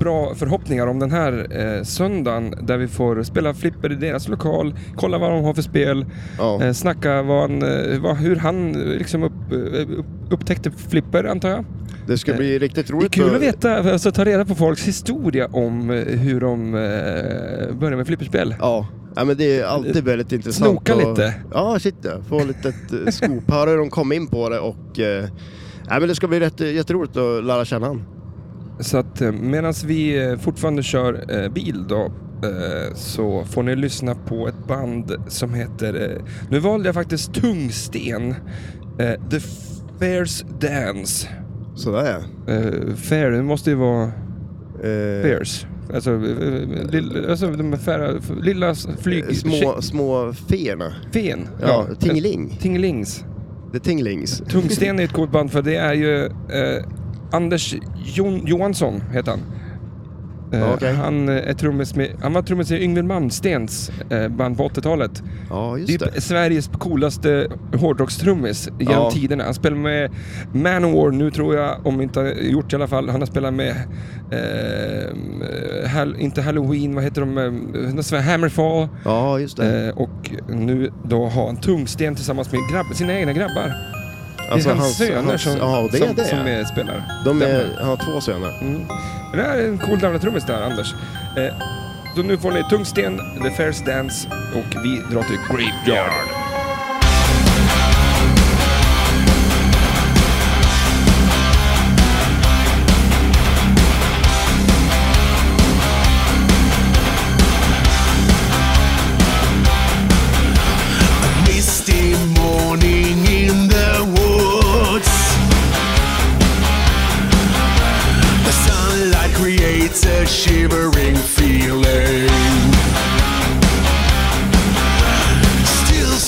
bra förhoppningar om den här eh, söndagen där vi får spela flipper i deras lokal, kolla vad de har för spel, Ja. eh, snacka vad han, eh, vad, hur han eh, liksom upp, eh, upp- upptäckte flipper antar jag. Det ska eh, bli riktigt Det är roligt. kul att- att veta, alltså, ta reda på folks historia om eh, hur de eh, började med flipperspel. Ja. ja, men det är alltid väldigt intressant. Eh, Snoka att- lite. Ja, shit ja. Få lite [LAUGHS] eh, scoop. Höra hur de kom in på det och... Eh, nej, men det ska bli rätt, eh, jätteroligt att lära känna han. Så att medan vi eh, fortfarande kör eh, bil då eh, så får ni lyssna på ett band som heter, eh, nu valde jag faktiskt Tungsten, eh, The Fairs Dance. Sådär ja. Eh, Fair, det måste ju vara Eh, Fairs. Alltså, eh, lill, alltså de här färra, lilla s- flyg... Eh, Små, små feerna. Fen. Ja, Tingeling. Tingelings. The Tinglings. Tungsten är ett coolt band för det är ju eh, Anders Jon- Johansson heter han. Eh, Okej. han, eh, är trummis med, han var trummis i Yngwie Malmsteens eh, band på 80-talet. Ja, Det är just ju det. Sveriges coolaste hårdrockstrummis genom Ja. tiderna. Han spelar med Manowar nu tror jag, om inte gjort i alla fall. Han har spelat med, eh, hall, inte Halloween, vad heter de, eh, sån här Hammerfall. Ja, just det. Eh, och nu då har han Tungsten tillsammans med grabb, sina egna grabbar. Alltså, det är hans, hans- söner hans- som, ja, det är som, det. som är, spelar. De stämmer. är, han har två söner. Mm. Det här är en cool gamla trummis där, Anders. Eh, så nu får ni Tungsten, The Fairs Dance och vi drar till Graveyard. misty morning in the woods. The sunlight creates a shivering feeling. Steals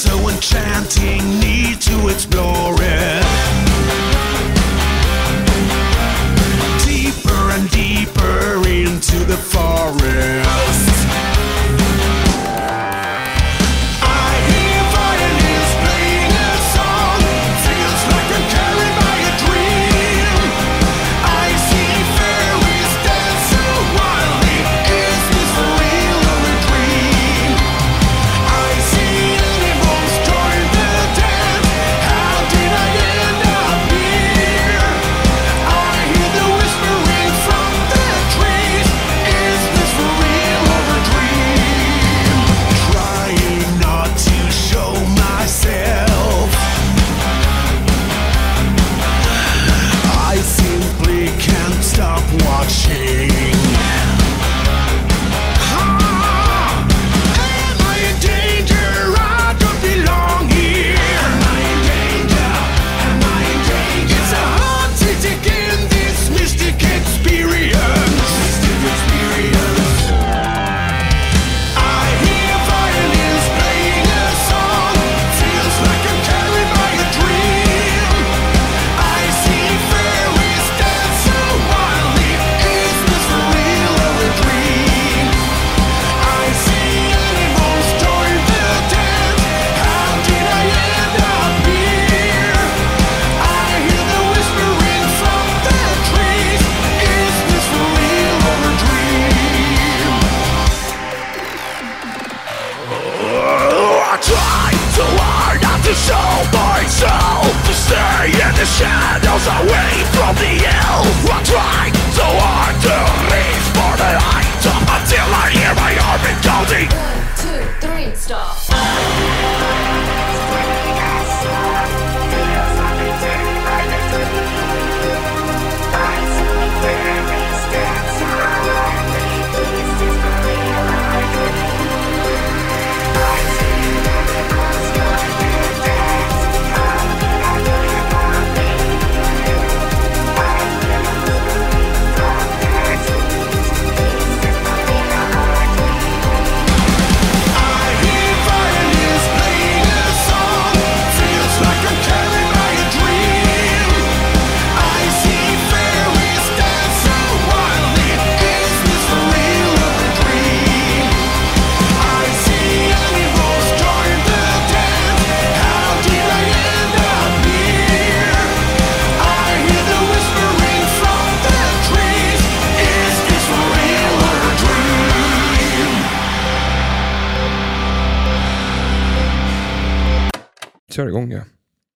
kör igång ja.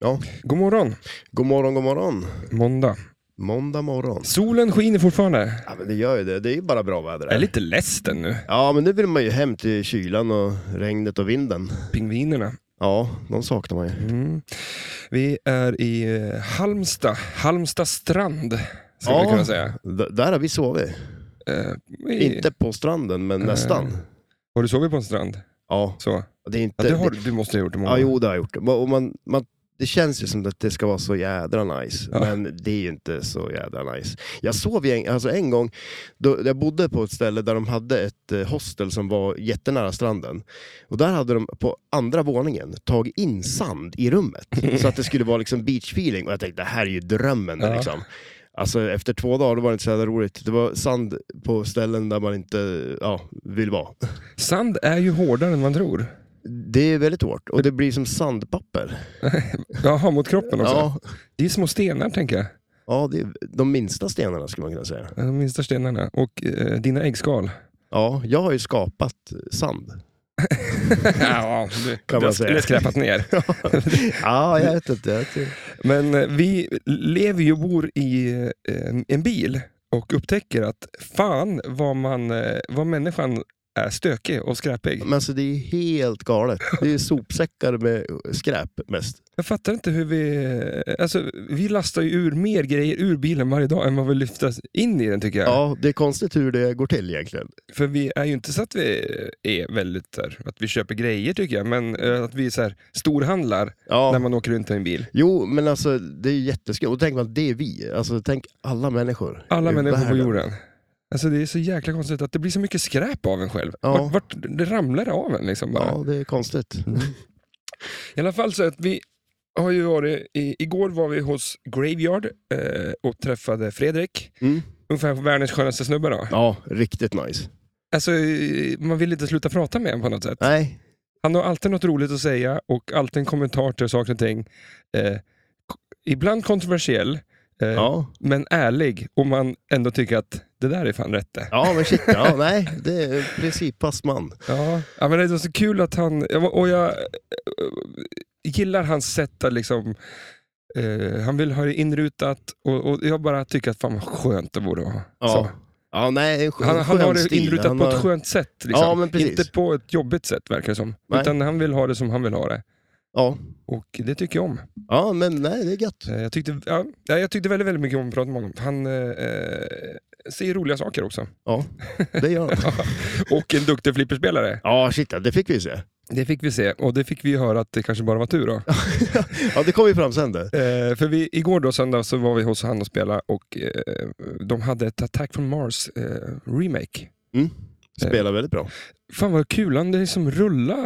Ja. God morgon, God morgon, god morgon. måndag. Måndag morgon. Solen skiner fortfarande. Ja, men det gör ju det. Det är ju bara bra väder. Jag är här. lite ledsen nu. Ja, men nu vill man ju hem till kylan och regnet och vinden. Pingvinerna. Ja, de saknar man ju. Mm. Vi är i eh, Halmstad, Halmstad strand. Skulle Ja. vi kunna säga. D- där har vi sovit. Eh, vi- Inte på stranden, men nästan. Har du sovit på en strand? Ja, Så. det är Ja, inte... det har, du måste ha gjort det många ja jo det har jag gjort. Och man, man, det känns ju som att det ska vara så jädra nice, Ja. men det är ju inte så jädra nice. Jag sov ju en, alltså en gång, då, jag bodde på ett ställe där de hade ett eh, hostel som var jättenära stranden. Och där hade de på andra våningen tagit in sand i rummet, [LAUGHS] så att det skulle vara liksom beachfeeling. Och jag tänkte, det här är ju drömmen. Ja. Liksom. Alltså efter två dagar då var det inte så jävla roligt. Det var sand på ställen där man inte ja, vill vara. Sand är ju hårdare än man tror. Det är väldigt hårt och det blir som sandpapper. Jaha, mot kroppen också. Ja, Det är små stenar, tänker jag. Ja, det är de minsta stenarna skulle man kunna säga. De minsta stenarna. Och eh, dina [LAUGHS] äggskal. Ja, jag har ju skapat [LAUGHS] sand. ja, du, Kan du man har- säga. eller skräpat [LAUGHS] ner. Ja, jag vet inte. Jag tror- Men eh, vi lever ju och bor i eh, en bil och upptäcker att fan vad, man, eh, vad människan är stökig och skräpig. Men alltså det är ju helt galet. Det är ju sopsäckar med skräp mest. Jag fattar inte hur vi... eh, Alltså, vi lastar ju ur mer grejer ur bilen varje dag än vad vi lyfter in i den tycker jag. Ja, det är konstigt hur det går till egentligen. För vi är ju inte så att vi eh, är väldigt så här, att vi köper grejer tycker jag, men eh, att vi så här, storhandlar när Ja. man åker runt i en bil. Jo, men alltså det är ju jätteskumt. Och tänk man, det är vi. Alltså tänk alla människor. Alla i människor på världen. jorden. Alltså det är så jäkla konstigt att det blir så mycket skräp av en själv. Ja. Vart, vart det ramlar det av en liksom bara. Mm. Ja, det är konstigt. I alla fall så att vi har ju varit, i, igår var vi hos Graveyard eh, och träffade Fredrik. Mm. Ungefär världens skönaste snubbe då. Ja, riktigt nice. Alltså eh, man vill inte sluta prata med honom på något sätt. Nej, Han har alltid något roligt att säga och alltid en kommentar till saker och ting. Eh, k- ibland kontroversiell, eh, ja. men ärlig. Och man ändå tycker att det där är fan rätt det. Ja, men shit. Ja, nej, det är en principfast man. Ja. Ja, men det var så kul att han... jag var- Och jag eh, gillar hans sätt att liksom... Eh, han vill ha det inrutat och, och jag bara tycker att fan vad skönt det borde vara. Ja. Så. Ja, nej, en skön, Han, han har skön det stil. inrutat Han på har- ett skönt sätt. Liksom. Ja, men precis. Inte på ett jobbigt sätt verkar det som. Nej. Utan han vill ha det som han vill ha det. Ja. Och det tycker jag om. ja, men nej, det är gött. Eh, Jag tyckte, ja, ja, jag tyckte väldigt, väldigt mycket om att prata med honom. Han eh, eh, säger roliga saker [LAUGHS] också. Ja, det gör han. [LAUGHS] Och en duktig flipperspelare. Ja, shit, ja, det fick vi ju se. Det fick vi se och det fick vi höra att det kanske bara var tur då. Ja, det kom ju fram sen det. Eh, för vi, igår då, söndag, så var vi hos han och spelade och eh, de hade ett Attack from Mars eh, remake. Mm. Eh, Spelar väldigt bra. Fan vad kul, han det liksom rulla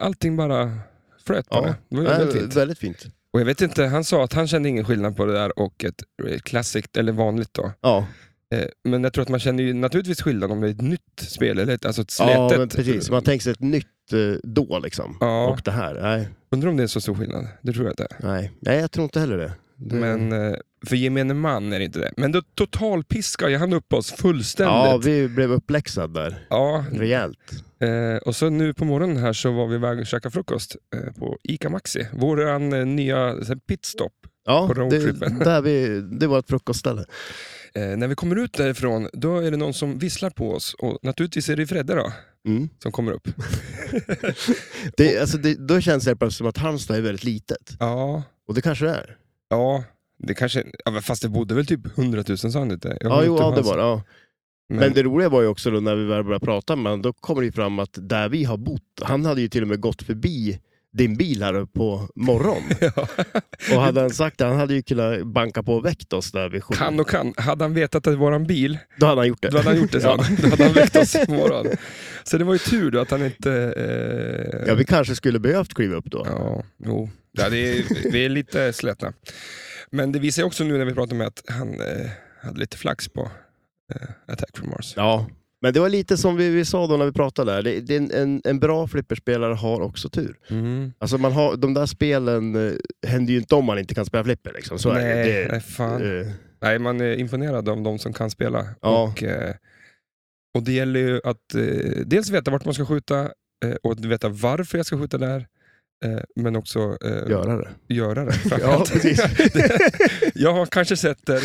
allting bara flöt Ja. bara. Det var Nej, jävligt fint. väldigt fint. Och jag vet inte, han sa att han kände ingen skillnad på det där och ett eh, classic, eller vanligt då. Ja, Eh, Men jag tror att man känner ju naturligtvis skillnad om det är ett nytt spel, eller ett, alltså ett ja slätet. men precis. Man tänker sig ett nytt eh, då liksom. Ja, Och det här, nej, undrar om det är så stor skillnad. Det tror jag inte. nej. Nej, jag tror inte heller det. det... Men eh, för gemene man är det inte det. Men då totalpiskar ju han upp oss Ja, fullständigt. vi blev uppläxade där. Ja, Rejält. eh, och så nu på morgonen här så var vi iväg och käkade frukost eh, på Ica Maxi. Våran eh, nya så här, pitstop. Ja, På det, roadtrippen. där vi, det var ett frukostställe. Eh, när vi kommer ut därifrån, då är det någon som visslar på oss. Och naturligtvis är det Fredde då, Mm. som kommer [LAUGHS] upp. Det, alltså, det, då känns det helt plötsligt som att Halmstad är väldigt litet. Ja, Och det kanske det är. ja. Det kanske, ja, men fast det bodde väl typ 100 000 sa han inte? Jag Ja, vet jo, inte ja, vad det han var sa. det. Ja. Men, Men det roliga var ju också då när vi väl började prata med honom, då kommer det ju fram att där vi har bott, han hade ju till och med gått förbi din bil här på morgon. [LAUGHS] Ja. Och hade han sagt det, han hade ju kunnat banka på och väckt oss där vid sju. Kan och kan. Hade han vetat att det var en bil, Då hade han gjort det. då hade han gjort det. [LAUGHS] Ja. Ja. Då hade han väckt oss på morgonen. Så det var ju tur då att han inte... Eh... Ja, vi kanske skulle behövt kliva upp då. ja, jo. Ja, det är, vi är lite slätna. Men det visar ju också nu när vi pratar med att han eh, hade lite flax på eh, Attack from Mars. Ja. Men det var lite som vi, vi sa då när vi pratade där, det, det är en, en, en bra flipperspelare har också tur. Mm. Alltså man har, de där spelen eh, händer ju inte om man inte kan spela flipper liksom. Så nej, är det. nej, fan. det eh, Nej, man är imponerad av de som kan spela. Ja. Och, eh, och det gäller ju att eh, dels veta vart man ska skjuta eh, och att veta varför jag ska skjuta där. eh, men också eh, Göra det. göra [LAUGHS] det. Ja, framförallt. precis. [LAUGHS] jag har kanske sett det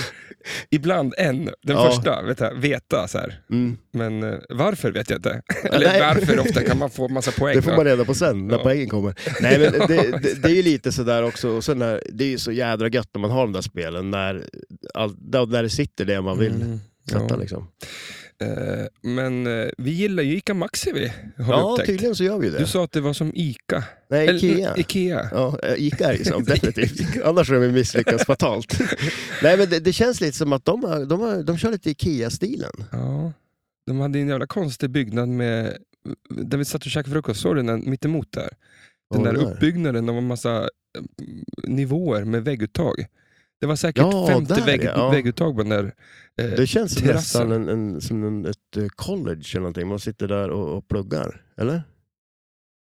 ibland en, den Ja. första, vet jag, veta så här. Mm. Men eh, varför vet jag inte. Eller nej. varför ofta kan man få massa poäng. Det får va? man reda på sen, när Ja. poängen kommer. Nej, [LAUGHS] men det, det, det är ju lite sådär också, och sen är, det är ju så jädra gött när man har de där spelen, när, all, där där det sitter det man vill Mm, sätta ja. liksom. Eh, Men eh, vi gillar ju Ica Maxi, vi, har vi Ja, upptäckt. tydligen så gör vi ju Du det. sa att det var som Ica. Nej, Eller, Ikea. nej, Ikea. Ja, eh, Ica är [LAUGHS] ju så, definitivt. Annars har de ju misslyckats fatalt. Nej, men det, det känns lite som att de, har, de, har, de kör lite Ikea-stilen. Ja. De hade en jävla konstig byggnad med, där vi satt och käkade frukost. Såg du den mittemot där? Den Vad där var det uppbyggnaden av en massa eh, nivåer med vägguttag. Det var säkert Ja, 50 där, vägg, ja. vägguttag på den där. eh, Det känns som terrassen. nästan en, en, som en, ett eh, college eller någonting. Man sitter där och, och pluggar, eller?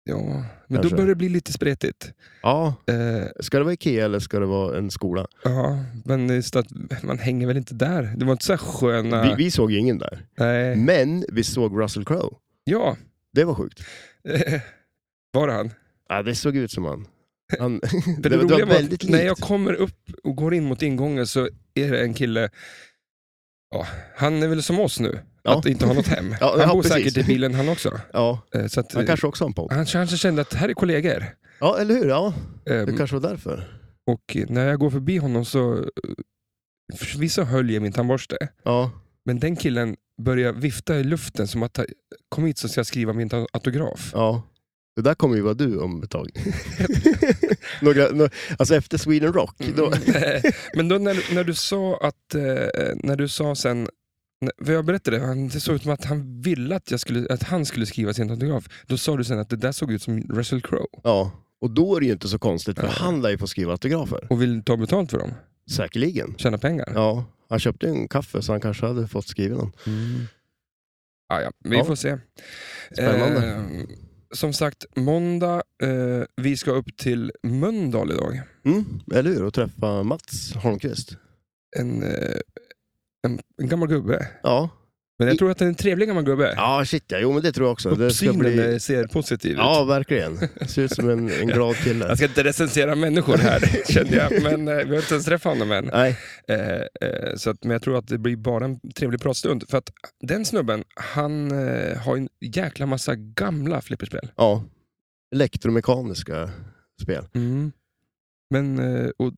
Ja, men Kanske. då börjar det bli lite spretigt. Ja. Eh, Ska det vara Ikea eller ska det vara en skola? ja, men just att man hänger väl inte där. Det var inte så här sköna... Vi, vi såg ju ingen där. Nej. Men vi såg Russell Crowe. Ja, [LAUGHS] Det var sjukt. eh, var det han? Ja, det såg ut som han. han För [LAUGHS] det, det var roliga var att väldigt likt. När jag kommer upp och går in mot ingången så är det en kille, ja, han är väl som oss nu, Ja. att inte ha något hem. [LAUGHS] Ja, han ja, bor precis. säkert i bilen han också. Ja, Eh, Så att, eh, han kanske också har en podd. han kanske kände att här är kollegor. Typ. Ja, eller hur? Ja, Ehm, det kanske var därför. Och när jag går förbi honom så, eh, förvisso höll jag min tandborste, Ja, men den killen börjar vifta i luften som att, kom hit så ska jag skriva min ta- autograf. ja. Det där kommer ju vara du om ett tag. [LAUGHS] Några, nå- alltså efter Sweden Rock. Då, [LAUGHS] Men då när, när du sa att, eh, när du sa sen, när- för jag berättade, han, det såg ut som att han ville att, jag skulle, att han skulle skriva sin autograf. Då sa du sen att det där såg ut som Russell Crowe ja. Och då är det ju inte så konstigt, för Nej. han lär ju få skriva autografer. och vill ta betalt för dem, Säkerligen. tjäna pengar. Ja, han köpte ju en kaffe så han kanske hade fått skriva någon. Ah, ja, vi Mm. Ja. får se. Spännande. Eh, som sagt, måndag, eh, vi ska upp till Mölndal idag. Mm, eller hur? Och träffa Mats Holmqvist. En, eh, en, en gammal gubbe. Ja, Men I- jag tror att det är en trevlig gammal gubbe. ja shit ja. Jo men det tror jag också. Det ska Uppsynen bli... eh, ser positiv ut. Ja, verkligen. Ser ut som en, en glad kille. Jag ska inte recensera människor [LAUGHS] här, kände jag. Men eh, vi har inte ens träffat honom än. Nej, Eh, eh, så att, men jag tror att det blir bara en trevlig pratstund. För att den snubben, han eh, har en jäkla massa gamla flipperspel. ja. Elektromekaniska spel. Men, eh, och,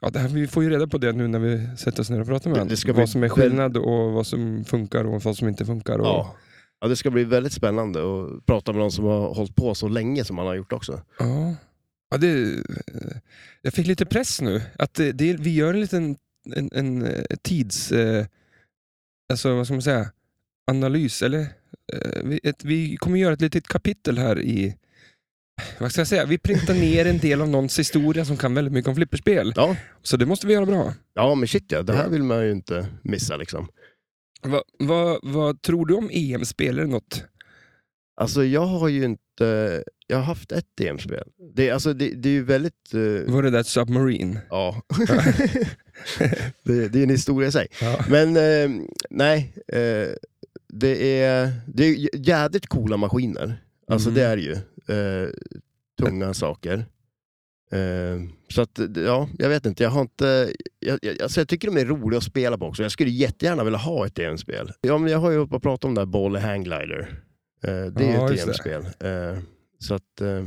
ja, det här, vi får ju reda på det nu när vi sätter oss ner och pratar med Det- honom. det ska Vad bli som är väl- skillnad och vad som funkar och vad som inte funkar. Och, Ja. ja, det ska bli väldigt spännande att prata med någon som har hållit på så länge som han har gjort också. Ja. Ja, det, eh, jag fick lite press nu. Att det, det, vi gör en liten en, en, eh, tids... Eh, alltså vad ska man säga? Analys, eller? Eh, vi, ett, vi kommer göra ett litet kapitel här i... Vad ska jag säga? Vi printar ner en del av någons historia som kan väldigt mycket om flipperspel. Ja, Så det måste vi göra bra. ja men shit ja. Det här vill man ju inte missa liksom. Va, va, vad tror du om EM-spel? Är det något? Alltså jag har ju inte... Jag har haft ett EM-spel. Det, alltså, det, det är ju väldigt... eh, Var det där Submarine? ja. [LAUGHS] det, det är en historia i sig. Ja. Men eh, nej, eh, det, är, det är jä- jädrigt coola maskiner. Alltså Mm. det är det ju. Eh, tunga saker. Eh, så att, ja, jag vet inte. Jag har inte... Jag, jag, alltså jag tycker de är roliga att spela på också. Jag skulle jättegärna vilja ha ett EM-spel. Ja, men jag har ju hållit på att prata om det här Ball and Hang Glider. Eh, det är Ja, ju ett just det. EM-spel. Eh, så att, eh,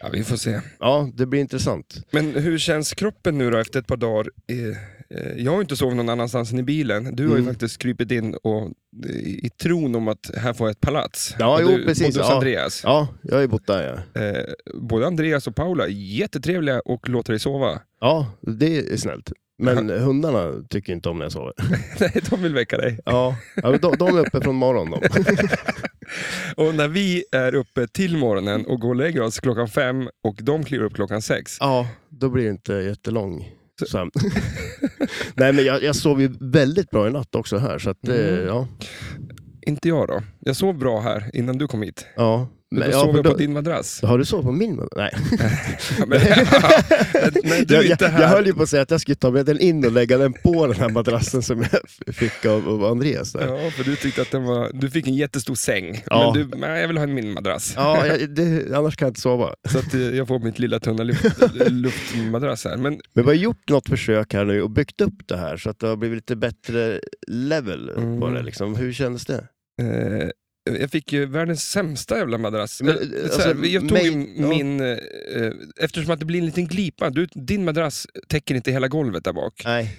ja, vi får se. ja, det blir intressant. Men hur känns kroppen nu då efter ett par dagar? Eh, eh, Jag har ju inte sovit någon annanstans än i bilen. Du har ju Mm. faktiskt krypit in och, eh, i, i tron om att här får jag ett palats. Ja, och jo, du, precis, Både hos ja. Andreas. Ja, jag har ju bott där ja. Eh, både Andreas och Paula är jättetrevliga och låter dig sova. [LAUGHS] Ja, det är snällt. Men hundarna tycker inte om när jag sover. Nej, de vill väcka dig. Ja, ja men de, de är uppe från morgon de. Och när vi är uppe till morgonen och går och lägger oss klockan fem och de kliver upp klockan sex. Ja, då blir det inte jättelång sömn. Nej, men jag, jag sov ju väldigt bra i natt också här, så att, eh, Mm. ja. Inte jag då. Jag sov bra här innan du kom hit. Ja. Då Men, ja, sov men jag på då, din [LAUGHS] madrass. har du sovit på min madrass? Nej. Ja, men, [LAUGHS] när [LAUGHS] du jag, är inte jag, här. jag höll ju på att säga att jag skulle ta med den in och lägga den på den här madrassen som jag fick av, av Andreas. Där. Ja, för du tyckte att den var... Du fick en jättestor säng. Ja. Men du, nej, jag vill ha min madrass. Ja, jag, det, annars kan jag inte sova. Så att eh, jag får mitt lilla tunna luft, luftmadrass här. Men Men vi har gjort något försök här nu och byggt upp det här så att det har blivit lite bättre level på Mm. det. Liksom. Hur kändes det? Eh, jag fick ju världens sämsta jävla madrass. Men, Eh, så alltså, här, jag tog ju mig- ja. min... eh, eh, eftersom att det blir en liten glipa. Du, din madrass täcker inte hela golvet där bak. Nej,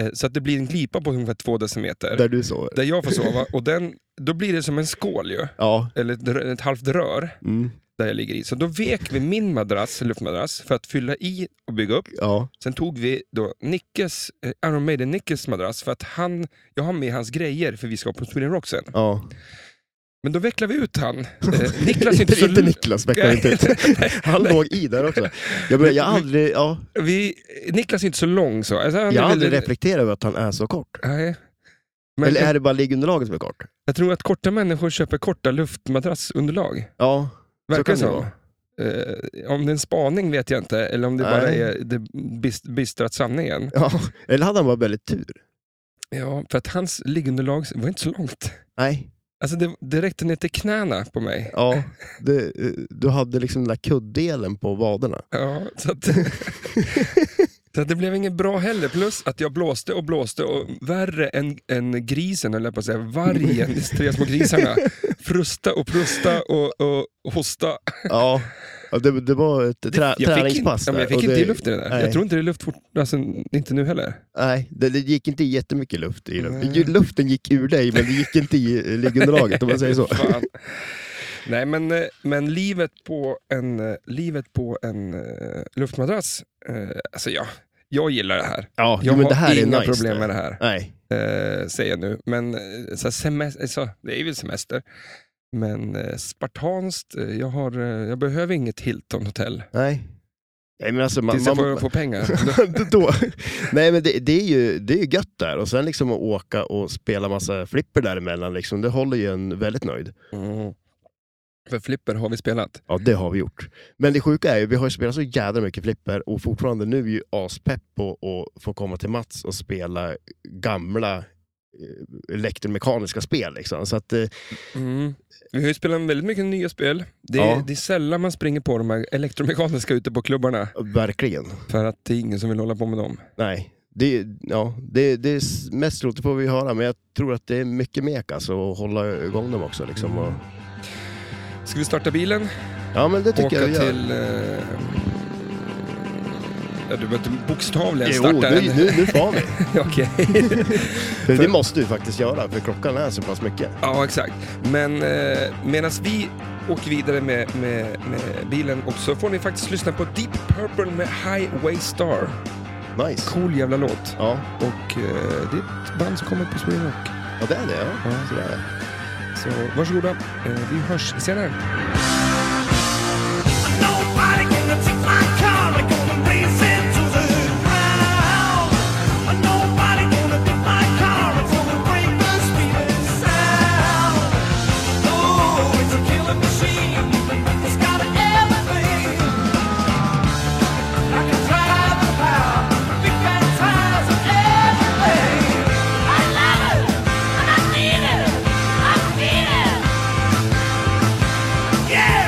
Eh, så att det blir en glipa på ungefär två decimeter. Där, där du sover. jag får sova. Och den, då blir det som en skål ju. Ja. Eller ett, rö- ett halvt rör Mm. där jag ligger i. Så då vek vi min madrass, luftmadrass, för att fylla i och bygga upp. ja. Sen tog vi då Nickes, eh, Iron Maiden Nickes madrass, för att han, jag har med hans grejer för vi ska på Sweden Rock sen. ja. Men då vecklar vi ut [LAUGHS] han. Eh, Niklas är inte inte, så... inte Niklas, vecklar inte ut. Han låg i där också. Jag, men, jag har aldrig, ja, Vi, Niklas är inte så lång så. Alltså, han jag har är väl- aldrig reflekterat över att han är så kort. Nej. Men Eller är jag, det bara liggunderlaget som är kort? jag tror att korta människor köper korta luftmadrassunderlag. Ja, så Verkar kan det så. vara. Eh, om det är en spaning vet jag inte, eller om det bara Nej. är det bist, bistrat sanningen. Ja. Eller hade han bara väldigt tur? Ja, för att hans liggunderlag var inte så långt. Nej, Alltså det, det räckte ner till knäna på mig. ja. Det, eh, du hade liksom den där kuddelen på vaderna. Ja, så [LAUGHS] att, så att det blev inget bra heller. Plus att jag blåste och blåste och värre än, än grisen, eller på att säga, [LAUGHS] vargen, de tre små grisarna. Frusta och prusta och, och hosta. Ja, ja det, det var ett trä, Jag fick, inte, träningspass ja, men jag där, fick och inte det, i luft i det där. nej. Jag tror inte det är luft fort, alltså, inte nu heller. Nej, det, det gick inte jättemycket luft i den. Nej. Luften gick ur dig, men det gick inte i eh, liggunderlaget om man säger så. [LAUGHS] Fan. Nej, men, eh, men livet på en, eh, livet på en eh, luftmadrass, eh, alltså ja, jag gillar det här. Ja, Jag men det har här inga är nice problem det. med det här. Nej, eh, säger jag nu. Men eh, så här, semester, så, det är väl semester. Men eh, spartanskt, eh, jag, har, eh, jag behöver inget Hilton-hotell nej. Nej, men alltså, man, tills jag man, [LAUGHS] får, får pengar. [LAUGHS] då, nej men det, det, är ju, det är ju gött där och sen liksom att åka och spela massa flipper däremellan, liksom, det håller ju en väldigt nöjd. Mm. För flipper har vi spelat. Ja, det har vi gjort. Men det sjuka är ju, vi har ju spelat så jädra mycket flipper och fortfarande nu är ju aspepp på att få komma till Mats och spela gamla eh, elektromekaniska spel. Liksom. Så att, eh, Mm. Vi har ju spelat väldigt mycket nya spel. Det är, Ja. det är sällan man springer på de här elektromekaniska ute på klubbarna. verkligen, För att det är ingen som vill hålla på med dem. nej. Det, ja, det, det är s- mest roligt, det får vi höra, men jag tror att det är mycket mek alltså, att hålla igång dem också. Liksom, och, Ska vi starta bilen? ja, men det tycker Åka jag vi gör. till... Eh... Ja, du behöver inte bokstavligen Jo, starta nu, den. nu, nu far [LAUGHS] vi. Okej. Det, det måste du faktiskt göra, för klockan är så pass mycket. Ja, exakt. Men eh, medan vi åker vidare med, med, med bilen och så får ni faktiskt lyssna på Deep Purple med Highway Star. Nice. Cool jävla låt. Ja, Och eh, det är ett band som kommer på Sweden Rock. ja det är det. Ja. Ja. Så det är det. Så varsågoda, eh, vi hörs senare. Nobody gonna take my car. I'm gonna race it to the ground. Nobody gonna take my car. It's gonna break the speed and sound. Oh, it's a killing machine. It's got everything. I can drive the power, big fat tires and everything. I love it, and I need it. I need it. Yeah.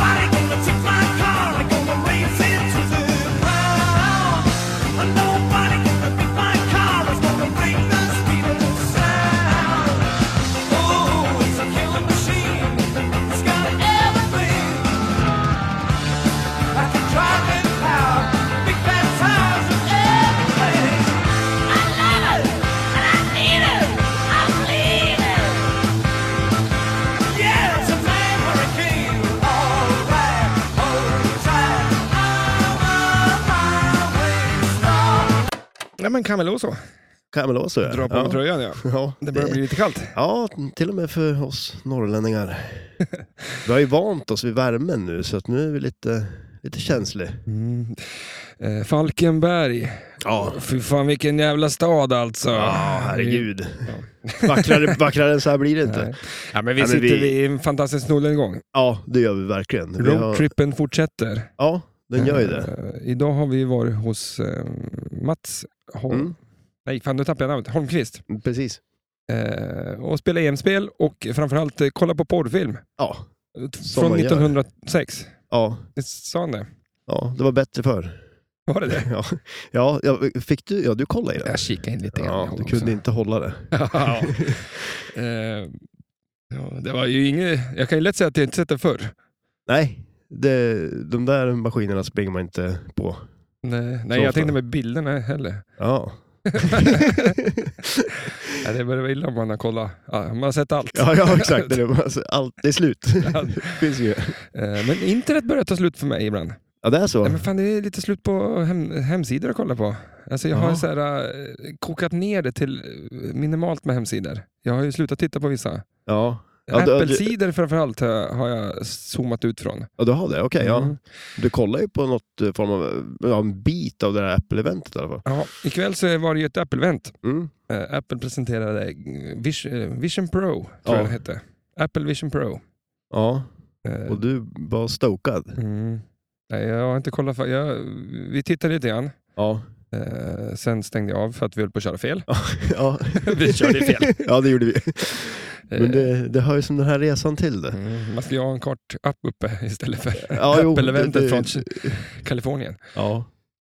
Oh, Ja, men Camelo så. Camelot så Dra på ja. med tröjan ja. Ja, Det börjar bli lite kallt. Ja, till och med för oss norrlänningar. [LAUGHS] Vi har ju vant oss vid värmen nu, så att nu är vi lite, Mm. lite känsliga. Eh, Falkenberg. Ja, Fy fan vilken jävla stad alltså. ja herregud. Vackrare, vackrare än så här blir det inte. Nej. Ja, men vi Nej, men sitter vi- vid en fantastisk nollängång. Ja, det gör vi verkligen. Vi har, Roadtrippen fortsätter. ja, den gör ju det. Eh, idag har vi varit hos eh, Mats Holm... Mm. Nej, fan nu tappade jag namnet. Holmqvist. Precis. Eh, och spela EM-spel och framförallt eh, kolla på porrfilm. Ja, Eh, Som Från man gör. 1906. ja, Visst Sa han det? ja, det var bättre förr. [LAUGHS] Var det det? Ja, ja, jag- fick du, ja du kollade i den. Jag kikade in lite grann. Ja, jag du också. kunde inte hålla det. [LAUGHS] ja. Eh, ja, det var ju inget... Jag kan ju lätt säga att jag inte sett det förr. Nej, det, de där maskinerna springer man inte på. Nej, nej Så jag tänkte ofta. med bilderna heller. Ja, [LAUGHS] Ja, det börjar vara illa om man har kollat. Ja, man har sett allt. ja, ja exakt. Det är, alltså, allt, det [LAUGHS] är slut. Finns ju. Eh, Men internet börjar ta slut för mig ibland. Ja, det är så. Nej, men fan, det är lite slut på hem, hemsidor att kolla på. Alltså, jag har Jaha. så här, eh, kokat ner det till eh, minimalt med hemsidor. Jag har ju slutat titta på vissa. Ja. Ja, du- Apple-sidor framförallt har jag- har jag zoomat ut från. Ja, du har det? Okej, ja. Mm. Du kollar ju på något eh, form av, ja, en bit av det där Apple-eventet i alla fall. Ja, ikväll så var det ju ett Apple-event. Mm. Eh, Apple presenterade eh, Vis- eh, Vision Pro, tror Ja. jag det hette. Apple Vision Pro. Ja, Eh, och du var stokad. mm. Nej, jag har inte kollat. För, jag, vi tittade lite grann. Ja. Eh, sen stängde jag av för att vi höll på att köra fel. [LAUGHS] ja. vi körde fel. [LAUGHS] ja, det gjorde vi. Eh, Men det, det hör ju som den här resan till det. Mm, man ska ju ha en kort app uppe istället för Ja, jo, det- Apple-eventet det- från Kalifornien. Ja.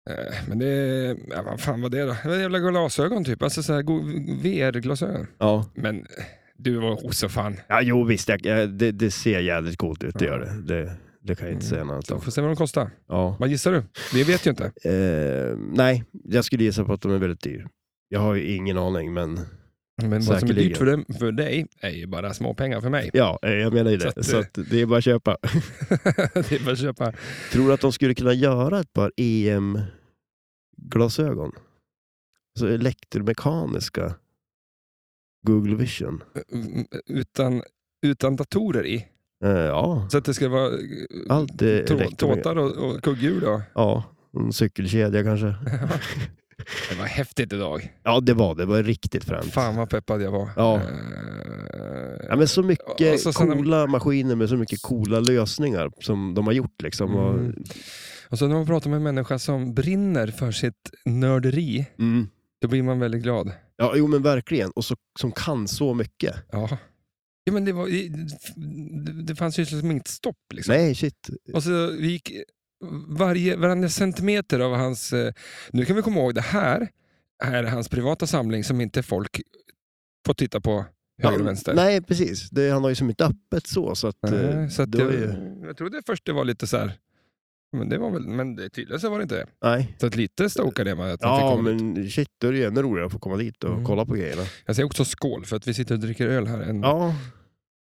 Eh, Men det, ja, vad fan var det då? Det var jävla glasögon typ, alltså så här go- VR-glasögon. Ja. Men du var så fan. ja, jo visst. Jag, jag- det, det ser jävligt coolt ut, det gör det. Det, det kan jag inte säga något annat Så om. får se vad de kostar. Ja. Vad gissar du? Vi vet ju inte. Eh, nej, jag skulle gissa på att de är väldigt dyr. Jag har ju ingen aning, men Men vad som är Säkerligen. dyrt för, dem, för dig är ju bara småpengar för mig. [LAUGHS] ja, eh, jag menar ju Så det. Så, att, att, eh, det är bara att köpa. [LAUGHS] det är bara att köpa. Tror du att de skulle kunna göra ett par E EM-glasögon? Alltså elektromekaniska Google Vision. Mm, Utan, utan datorer i. Eh, ja, Så att det ska vara eh, allt är tå- elektronik. tåtar och, och kugghjul. då. Ja, en cykelkedja kanske. [LAUGHS] Det var häftigt idag. Ja, det var det. Det var riktigt fränt. Fan vad peppad jag var. Ja. Eh, Ja, men så Och mycket så sen- coola maskiner med så mycket coola lösningar som de har gjort. Liksom. Och, Mm. Och så när man pratar med en människa som brinner för sitt nörderi, mm. då blir man väldigt glad. Ja, jo men verkligen. Och så, som kan så mycket. Ja. Ja, men det, var, det- det fanns ju liksom inget stopp. Liksom. Nej, shit. Och så vi gick varje, varje centimeter av hans... eh, Nu kan vi komma ihåg, det här är hans privata samling som inte folk får titta på höger och Ja, vänster. Nej, precis. Det, han har ju som inte öppet så. så, att, eh, Nej, så att det jag, var ju- jag trodde först det var lite så här... Men, det var väl, men det, tydligen så var det inte det. nej. Så att lite stokade jag med att han fick Ja, komma dit. men shit, då är det ju ännu roligare att få komma dit och Mm. kolla på grejerna. Jag säger också skål för att vi sitter och dricker öl här en Ja,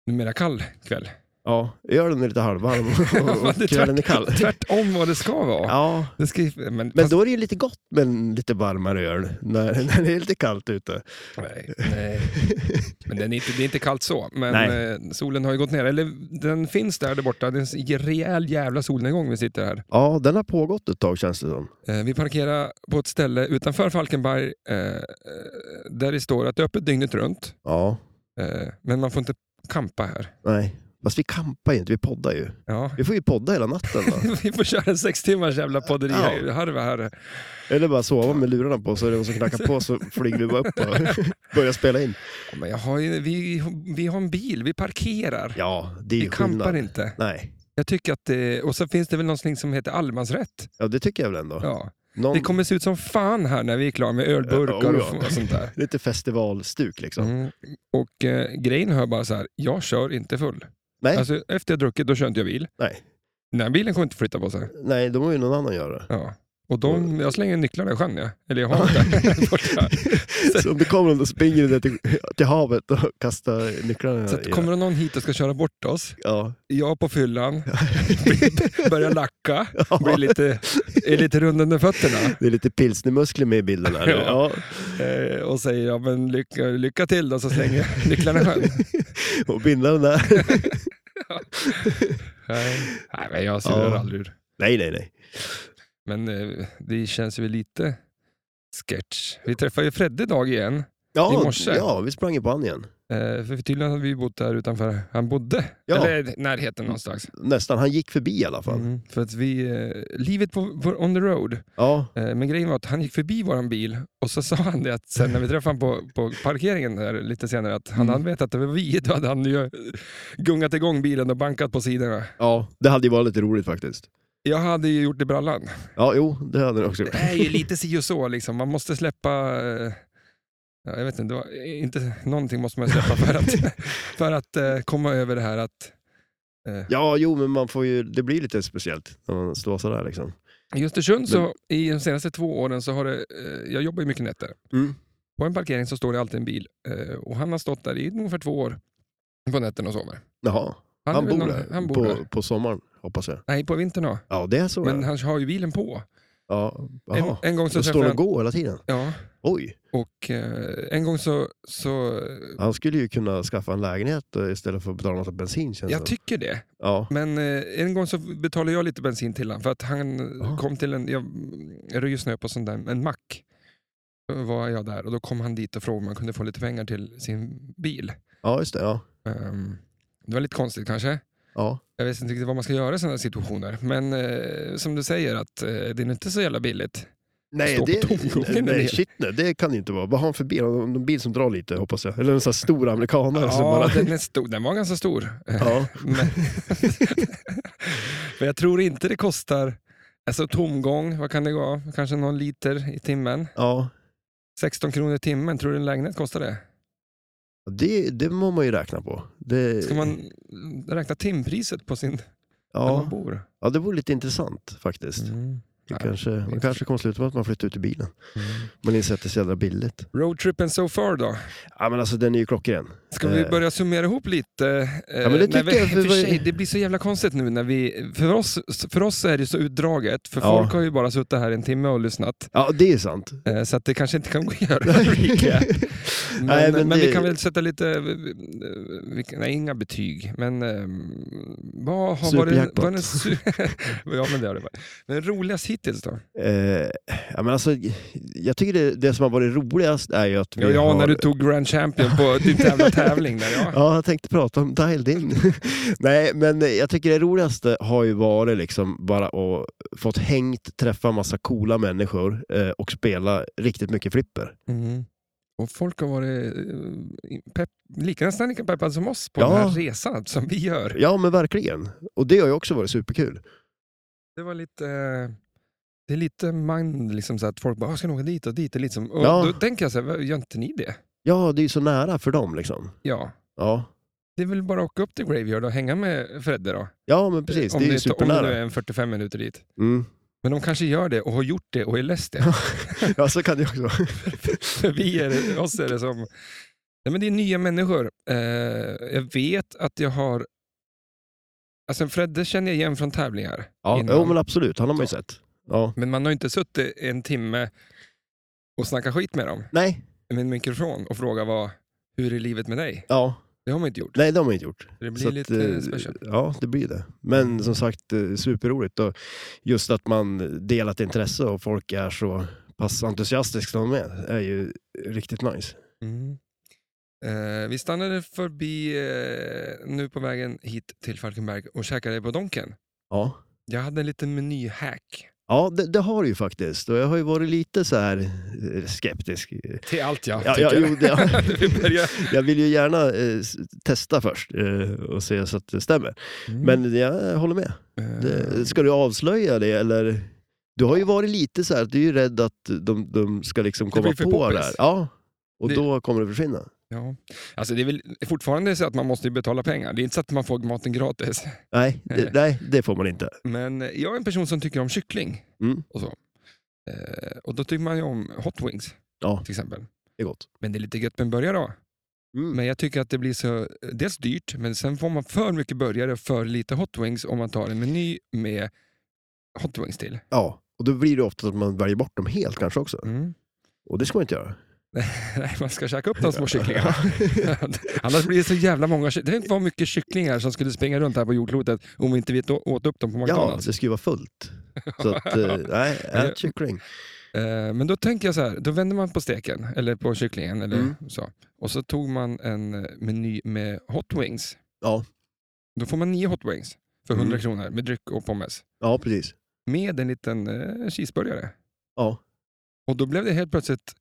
numera kall kväll. ja. ölen är [LAUGHS] lite halvvarm och, och Det är kvällen är kall. Tvärtom vad det ska vara. Ja, Det ska, ju- men, men fast- då är det ju lite gott med en lite varmare öl när, [LAUGHS] när det är lite kallt ute. nej, nej. men den är inte, det är inte kallt så. Men Nej. eh, solen har ju gått ner. Eller den finns där, där borta. Det är en rejäl jävla solnedgång vi sitter här. [LAUGHS] Ja, den har pågått ett tag känns det som. Eh, vi parkerar på ett ställe utanför Falkenberg eh, eh, där det står att det är öppet dygnet runt. Ja, Eh, men man får inte kampa här. nej. Fast vi kampar ju inte, vi poddar ju. Ja. [LAUGHS] Vi får ju podda hela natten [LAUGHS] då. Vi får köra en sex timmars jävla podderi-harva här. Eller bara sova med lurarna på så är det någon som knackar på så flyger vi bara upp och [LAUGHS] börjar spela in. Ja, Men jag har ju, vi, vi har en bil, vi parkerar. Ja, det är vi ju kampar skillnad. inte. Nej, Jag tycker att det, och så finns det väl någonting som heter allemansrätt. ja det tycker jag väl ändå. Ja. Någon, Det kommer se ut som fan här när vi är klara med ölburkar Ja, och, oh ja. f- och sånt [LAUGHS] där. Lite festivalstuk liksom. Mm. Och eh, grejen hör bara så här, jag kör inte full. Nej. Alltså, efter jag druckit, då kör inte jag bil. Nej. Den här bilen kommer inte flytta på sig. Nej, då må ju någon annan göra det. Ja. Och Mm. de, jag slänger nycklarna i sjön, ja. eller jag har inte. [LAUGHS] [LAUGHS] Borta. Så om det kommer någon, då springer du ner till, till havet och kastar nycklarna. Så i- att kommer det någon hit och ska köra bort oss, ja. [LAUGHS] jag på fyllan, [LAUGHS] börjar lacka, Ja. blir lite är lite rund under fötterna Det är lite pilsnermuskler med i bilden här. [LAUGHS] Ja. ja. eh, och säger ja, men lycka, lycka till då, så slänger [LAUGHS] jag nycklarna i sjön. [LAUGHS] Och bindlarna. Nej, Nej, men jag ser Ja. aldrig ur. nej, nej, nej. Men eh, det känns ju lite sketch. Vi träffade ju Fredde idag igen. Ja, I morse. ja, vi sprang ju på han igen. Eh, för tydligen hade vi bott där utanför han bodde. Ja. Eller i närheten någonstans. Nästan, han gick förbi i alla fall. Mm. För att vi, eh, livet på, på on the road. Ja, Eh, men grejen var att han gick förbi våran bil och så sa han det att sen när vi träffade honom på, på parkeringen där lite senare att han hade vetat att det var vi. Då hade han ju gungat igång bilen och bankat på sidorna. ja, det hade ju varit lite roligt faktiskt. Jag hade ju gjort det i brallan. Ja, jo, det hade han också gjort. Det är [LAUGHS] ju lite si och så liksom. Man måste släppa... eh, Ja, jag vet inte, det var, eh, inte, någonting måste man släppa för [LAUGHS] att, för att eh, komma över det här att Ja, jo, men man får ju, det blir lite speciellt när man står sådär liksom. I Östersund så, i de senaste två åren så har det, eh, jag jobbar ju mycket nätter. Mm. På en parkering så står det alltid en bil eh, och han har stått där i ungefär två år på nätterna och sover. Jaha, han, är väl bor någon- där Han bor på, där. på sommaren, hoppas jag. Nej, på vintern ja. Ja, det är så. Men ja. han har ju bilen på. ja, En, jaha. en gång så Så står träffade han jag... och går hela tiden? Ja, Oj, och eh, en gång så... så han skulle ju kunna skaffa en lägenhet eh, istället för att betala en massa bensin känns jag det. tycker det. Ja, Men eh, en gång så betalade jag lite bensin till honom för att han Ja. kom till en, jag röjer snö på sån där, en mack. Då var jag där och då kom han dit och frågade om han kunde få lite pengar till sin bil. ja just det. Ja. Ehm, det var lite konstigt kanske. Ja. Jag vet inte riktigt vad man ska göra i sådana situationer. Men eh, som du säger, att eh, det är nog inte så jävla billigt. Nej, Stå på det, tomgången nej, en hel- nej, shit, nej, det kan det inte vara. Vad har han för bil? En en bil som drar lite hoppas jag. Eller en sån här stor amerikanare [LAUGHS] som bara... den, är stor, den var ganska stor. Eh, Ja, Men, [LAUGHS] men jag tror inte det kostar, alltså tomgång, vad kan det gå? Kanske någon liter i timmen. ja. 16 kronor i timmen, tror du en lägenhet kostar det? Det, det må man ju räkna på. Det, Ska man räkna timpriset på sin, där man Eh. Mm. ja. Mm. bor? ja, det vore lite intressant faktiskt. Det Nej. kanske, man inte. kanske kommer sluta med att man flyttar ut i bilen. Mm. Man inser att det är så jävla billigt. Roadtrippen so far då? Ja, men alltså den är ju klockren. Ska vi Eh. börja summera ihop lite? Ja, men det tycker vi, jag, för för vad- sig, det blir så jävla konstigt nu när vi... För oss, för oss är det så utdraget, för Ja. folk har ju bara suttit här en timme och lyssnat. Ja, det är sant. [LAUGHS] eh, Så att det kanske inte kan gå att göra en recap. Men, [LAUGHS] Nej, men, men vi det- kan väl sätta lite... eh, vi kan- nej, inga betyg, men... eh, Vad har varit... Superjackpot. Vad är den su- [LAUGHS] ja, men det har det varit. Men roligast hittills då? Eh, ja, men alltså, jag tycker det, det som har varit roligast är ju att vi Ja, ja har... när du tog Grand Champion [LAUGHS] på din jävla tävling där. Ja. Ja, jag tänkte prata om dialed in. [LAUGHS] Nej, men jag tycker det roligaste har ju varit liksom bara att fått hängt, träffa massa coola människor eh, och spela riktigt mycket flipper. Mm. Och folk har varit eh, pepp, lika, nästan lika peppade som oss på Ja. den här resan som vi gör. Ja, men verkligen. Och det har ju också varit superkul. Det var lite... eh, Det är lite mind, liksom, så att folk bara, "Ah, ska ni åka dit och dit? Och liksom. och Ja. Då tänker jag så här, "Va, gör inte ni det? Ja, det är ju så nära för dem liksom. Ja. Ja, Det är väl bara att åka upp till Graveyard och hänga med Fredde då. ja men precis. om det är ju Om det nu är supernära. en 45 minuter dit. Mm. Men de kanske gör det och har gjort det och är less det. Ja, så kan det också vara. För [LAUGHS] vi är, oss är det som... Nej, men det är nya människor. Eh, jag vet att jag har... Alltså Fredde känner jag igen från tävlingar. Ja, innan. jo, men absolut. Han har man ju sett. Ja. Men man har ju inte suttit en timme och snackat skit med dem Nej, med en mikrofon och frågat vad, hur är livet med dig? ja. Det har man inte gjort. Nej, det har man inte gjort. Det blir Så att, lite eh, special. Mm. Ja, det blir det. Men som sagt, eh, superroligt. Och just att man delat intresse och folk är så pass entusiastiska som de är, är ju riktigt nice. Mm. Eh, vi stannade förbi eh, nu på vägen hit till Falkenberg och käkade på Donken. Ja, Jag hade en liten menyhack. ja det, det har du ju faktiskt. Och jag har ju varit lite så här eh, skeptisk. Till allt jag Ja, ja, tycker. jo, [LAUGHS] det, ja. vi börjar. Jag vill ju gärna eh, s- testa först eh, och se så att det stämmer. Mm. Men jag håller med. Eh, Det, ska du avslöja det eller? Du har ju varit lite så här, att du är ju rädd att de, de ska liksom komma blir för på poppis. det här. Ja, och Det- då kommer det försvinna. Ja. Alltså det är väl fortfarande så att man måste ju betala pengar. Det är inte så att man får maten gratis. [LAUGHS] Nej, det, nej, det får man inte. Men eh, jag är en person som tycker om kyckling. Mm. Och, så. Eh, och då tycker man ju om hot wings Ja, till exempel. det är gott. Men det är lite gött med en burgare då. Mm. Men jag tycker att det blir så, eh, dels dyrt, men sen får man för mycket burgare och för lite hot wings om man tar en meny med hot wings till. Ja, och Och då blir det ofta att man väljer bort dem helt kanske också. Mm. [LAUGHS] Och det ska man inte göra. Nej, man ska käka upp de små kycklingarna. [LAUGHS] Annars blir det så jävla många kycklingar. Tänk vad mycket kycklingar som skulle springa runt här på jordklotet om vi inte vet- åt upp dem på [LAUGHS] Ja, McDonalds. det ska ju [LAUGHS] vara fullt. Så att, eh, nej, ät kyckling. Eh, Men då tänker jag så här, då vänder man på steken, eller på kycklingen, eller Mm. så. Och så tog man en eh, meny med hot wings. Ja. Då får man nio hot wings för 100 Mm. kronor med dryck och pommes. Ja, precis. Med en liten eh, cheeseburgare. Ja. Och då blev det helt plötsligt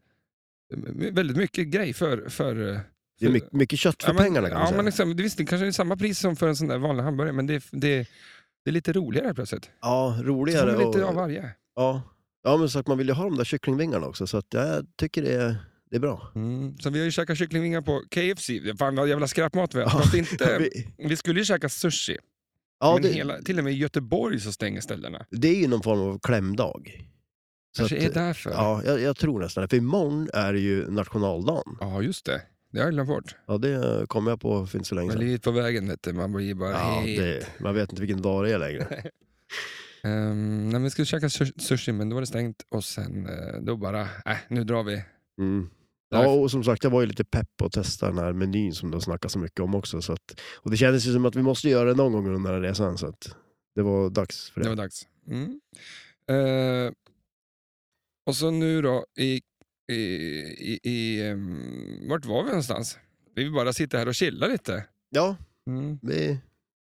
eh, väldigt mycket grej för... för eh, Det är my- mycket kött för men- pengarna kan man ja, säga. men liksom, det- Visst, det kanske är samma pris som för en sån där vanlig hamburgare, men det, det, det är lite roligare plötsligt. Ja, Så får roligare. man lite av Och, varje. ja. ja, men så att man vill ju ha de där kycklingvingarna också, så att jag tycker det är, det är bra. Mm. Så vi har ju käkat kycklingvingar på KFC. Fan vad jävla skräpmat vi har. Ja, Fast inte, [LAUGHS] Vi- vi skulle ju käka sushi, Ja, Eh, men det, hela, till och med i Göteborg så stänger ställena. det är ju någon form av klämdag. Så Kanske att, är därför. Ja. Ja, jag, jag tror nästan det. För imorgon är det ju nationaldagen. just det. Det har jag glömt bort. Ja, det kom jag på för inte så länge Man sedan. ligger på vägen, vet du. man blir bara Ja, helt... det, man vet inte vilken dag det [LAUGHS] är längre. Ehm, nej, men vi skulle käka su- sushi, men då var det stängt och sen eh, då bara, äh, nu drar vi. Mm. Därför- Ja, och som sagt, jag var ju lite pepp på att testa den här menyn som du har snackat så mycket om också. Så att, och det kändes ju som att vi måste göra det någon gång under den här resan, så att det var dags för Det var det. dags. Mm. Eh, och så nu då, i, i, i, i ehm, vart var vi någonstans? Vi bara sitter här och chillar lite. Ja, Mm. vi...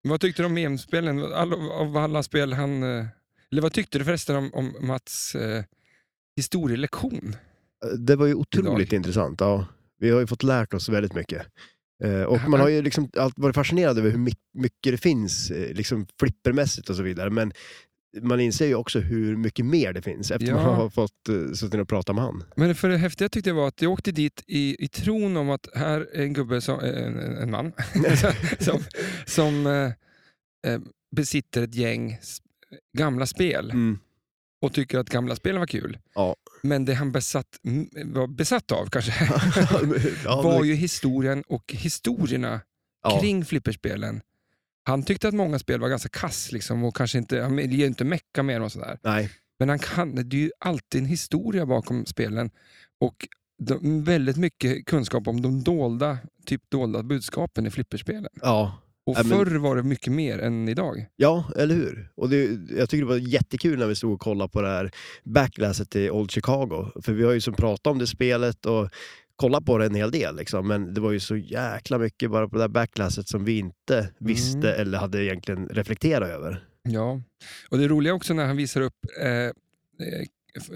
Vad tyckte du om EM-spelen? All, av alla spel han... eh, Eller vad tyckte du förresten om, om Mats eh, historielektion? Det var ju otroligt Idag. intressant. Ja. Vi har ju fått lärt oss väldigt mycket. Eh, och Här- man har ju liksom allt varit fascinerad över hur my- mycket det finns, eh, liksom flippermässigt och så vidare. Men man inser ju också hur mycket mer det finns efter Ja. man har fått eh, suttit och pratat [LAUGHS] med han. Men för det häftiga tyckte jag var att jag åkte dit i, i tron om att här är en gubbe, som, eh, en, en en man, [LAUGHS] som, som eh, eh, besitter ett gäng s- gamla spel. Mm. och tycker att gamla spelen var kul. Ja. Men det han besatt, m- var besatt av kanske [LAUGHS] ja, men- var ju historien och historierna ja. kring flipperspelen. Han tyckte att många spel var ganska kass liksom, och kanske inte, han ville ju inte mecka med dem och sådär. Nej, Men han kan, det är ju alltid en historia bakom spelen och de, väldigt mycket kunskap om de dolda, typ dolda budskapen i flipperspelen. ja. Och Ja, men- förr var det mycket mer än idag. Ja, eller hur? Och det, jag tycker det var jättekul när vi stod och kollade på det här backlasset i Old Chicago. För vi har ju som pratat om det spelet och kollat på det en hel del. Liksom. Men det var ju så jäkla mycket bara på det där backlasset som vi Mm. inte visste eller hade egentligen reflekterat över. Ja, och det roliga också när han visar upp eh, eh,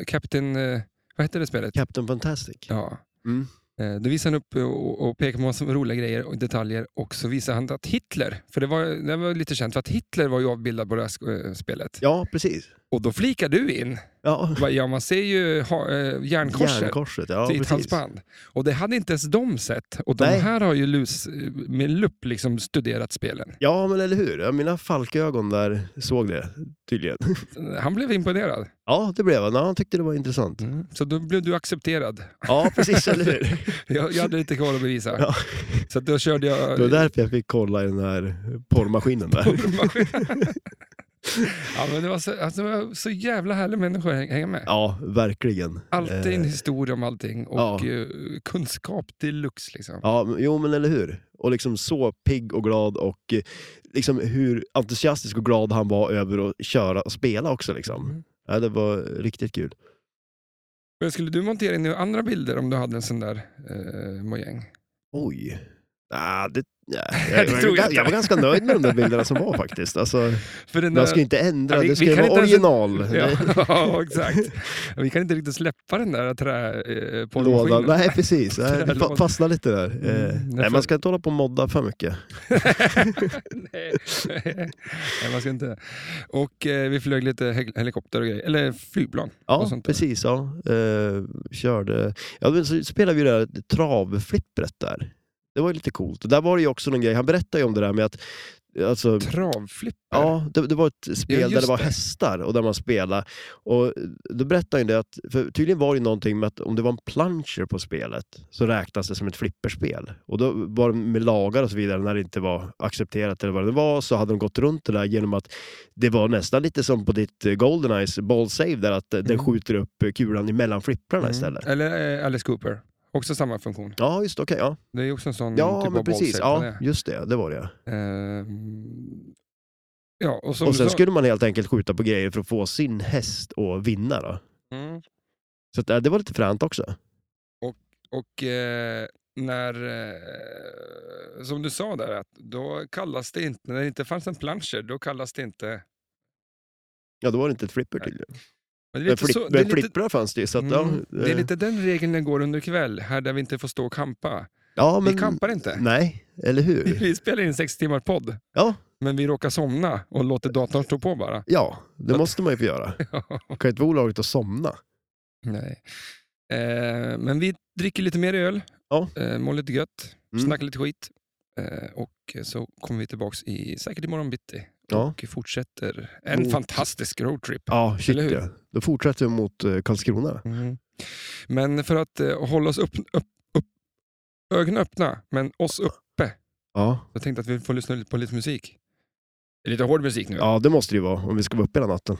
Captain... Eh, vad heter det spelet? Captain Fantastic. Ja. Mm. Eh, då visar han upp eh, och, och pekar på massa roliga grejer och detaljer och så visar han att Hitler, för det var, det var lite känt, för att Hitler var ju avbildad på det här sk- eh, spelet. Ja, precis. Och då flikar du in. Ja. Va, Ja, man ser ju ha, eh, järnkorset. Järnkorset, ja i ett precis. halsband. Och det hade inte ens de sett. Och de Nej. här har ju lus, eh, med lupp liksom studerat spelen. Ja, men eller hur? Ja, mina falkögon där såg det tydligen. [LAUGHS] Han blev imponerad. Ja, det blev han. Ja, han tyckte det var intressant. Så då blev du accepterad. Ja, precis, eller hur? [LAUGHS] Jag, jag hade lite kvar att bevisa. Ja. Så att då körde jag... Det var därför jag fick kolla i den här porrmaskinen där. [LAUGHS] ja, men det, var så, alltså, det var så jävla härliga människor att hänga med. [LAUGHS] Ja, verkligen. Alltid en Eh, historia om allting och ja. eh, kunskap deluxe. Liksom. Ja, men- jo men eller hur. Och liksom så pigg och glad och eh, liksom hur entusiastisk och glad han var över att köra och spela också. Liksom. Mm. Ja, det var riktigt kul. Men Skulle du montera in några andra bilder om du hade en sån där eh, mojäng? Oj. Ah, det, ja, Det jag, tror [LAUGHS] jag jag, jag, inte. var ganska nöjd med de där bilderna som var [LAUGHS] faktiskt. Alltså, För den man ska ju inte ändra, Ja, vi- det ska vi ju kan vara inte ens- original. [LAUGHS] Ja, Nej, ja, exakt. Vi kan inte riktigt släppa den där trä, eh, Lådan. porrmaskinen. Nej, precis. Nej, Trälådan. det fa- fastnar lite där. Eh, Mm, nej, därför- man ska inte hålla på och modda för mycket. Nej, [LAUGHS] nej, man ska inte. Och eh, vi flög lite hel- helikopter och grejer, eller flygplan. och Ja, sånt där. precis. Ja. Eh, körde. Ja, men så spelade vi det här travflippret där. Det var ju lite coolt. Och där var det ju också någon grej, han berättade ju om det där med att Alltså, Travflipper? Ja, det, det var ett spel Ja, just där det var det. hästar och där man spelade. Och då berättade han ju det att, för tydligen var det någonting med att om det var en plancher på spelet så räknas det som ett flipperspel. Och då var det med lagar och så vidare, när det inte var accepterat eller vad det var, så hade de gått runt det där genom att det var nästan lite som på ditt eh, Goldeneyes ball save där, att eh, den Mm. skjuter upp eh, kulan mellan flipprarna istället. Eller eh, Alice Cooper. Också samma funktion. Ja, just det, okej. ja, Det är också en sån ja Mm, typ men av precis. ballsave, Ja, just det, det var det. det är. Ehm, Ja, och, som Och du sen sa- skulle man helt enkelt skjuta på grejer för att få sin häst att vinna då. Mm. Så att, eh, det var lite fränt också. Och eh, när, eh, som du sa där, att då kallas det inte, när det inte fanns en planscher, då kallas det inte... Ja, då var det inte ett flipper Nej. tydligen. Men det är Men, lite flipp, så- det är men lite- flipprar fanns det ju. Så att, Mm, ja, det är eh, lite den regeln den går under kväll, här där vi inte får stå och kampa. ja, vi men, kampar inte. Nej, eller hur? [LAUGHS] Vi spelar in sex timmar podd, Ja, men vi råkar somna och låter datorn stå på bara. ja det Så- måste man ju [LAUGHS] få göra. Kan ju inte vara olagligt att somna. Nej. Eh, men vi dricker lite mer öl, Ja. eh, mår lite gött, Mm. snackar lite skit. Eh, och så kommer vi tillbaka i, säkert imorgon bitti Ja. och fortsätter en Mot- fantastisk roadtrip. Ja, shit Eller hur? ja. Då fortsätter vi mot eh, Karlskrona. Mm. Men för att eh, hålla oss upp, upp, upp, ögonen öppna, men oss uppe, Ja. jag tänkte att vi får lyssna lite på lite musik. Det är Lite hård musik nu. ja, det måste det ju vara om vi ska vara uppe hela natten.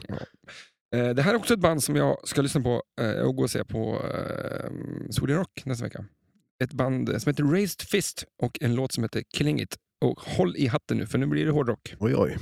Eh, Det här är också ett band som jag ska lyssna på eh, och gå och se på eh, Sweden Rock nästa vecka. Ett band som heter Raised Fist och en låt som heter Killing It. Och håll i hatten nu, för nu blir det hårdrock. Oj, oj.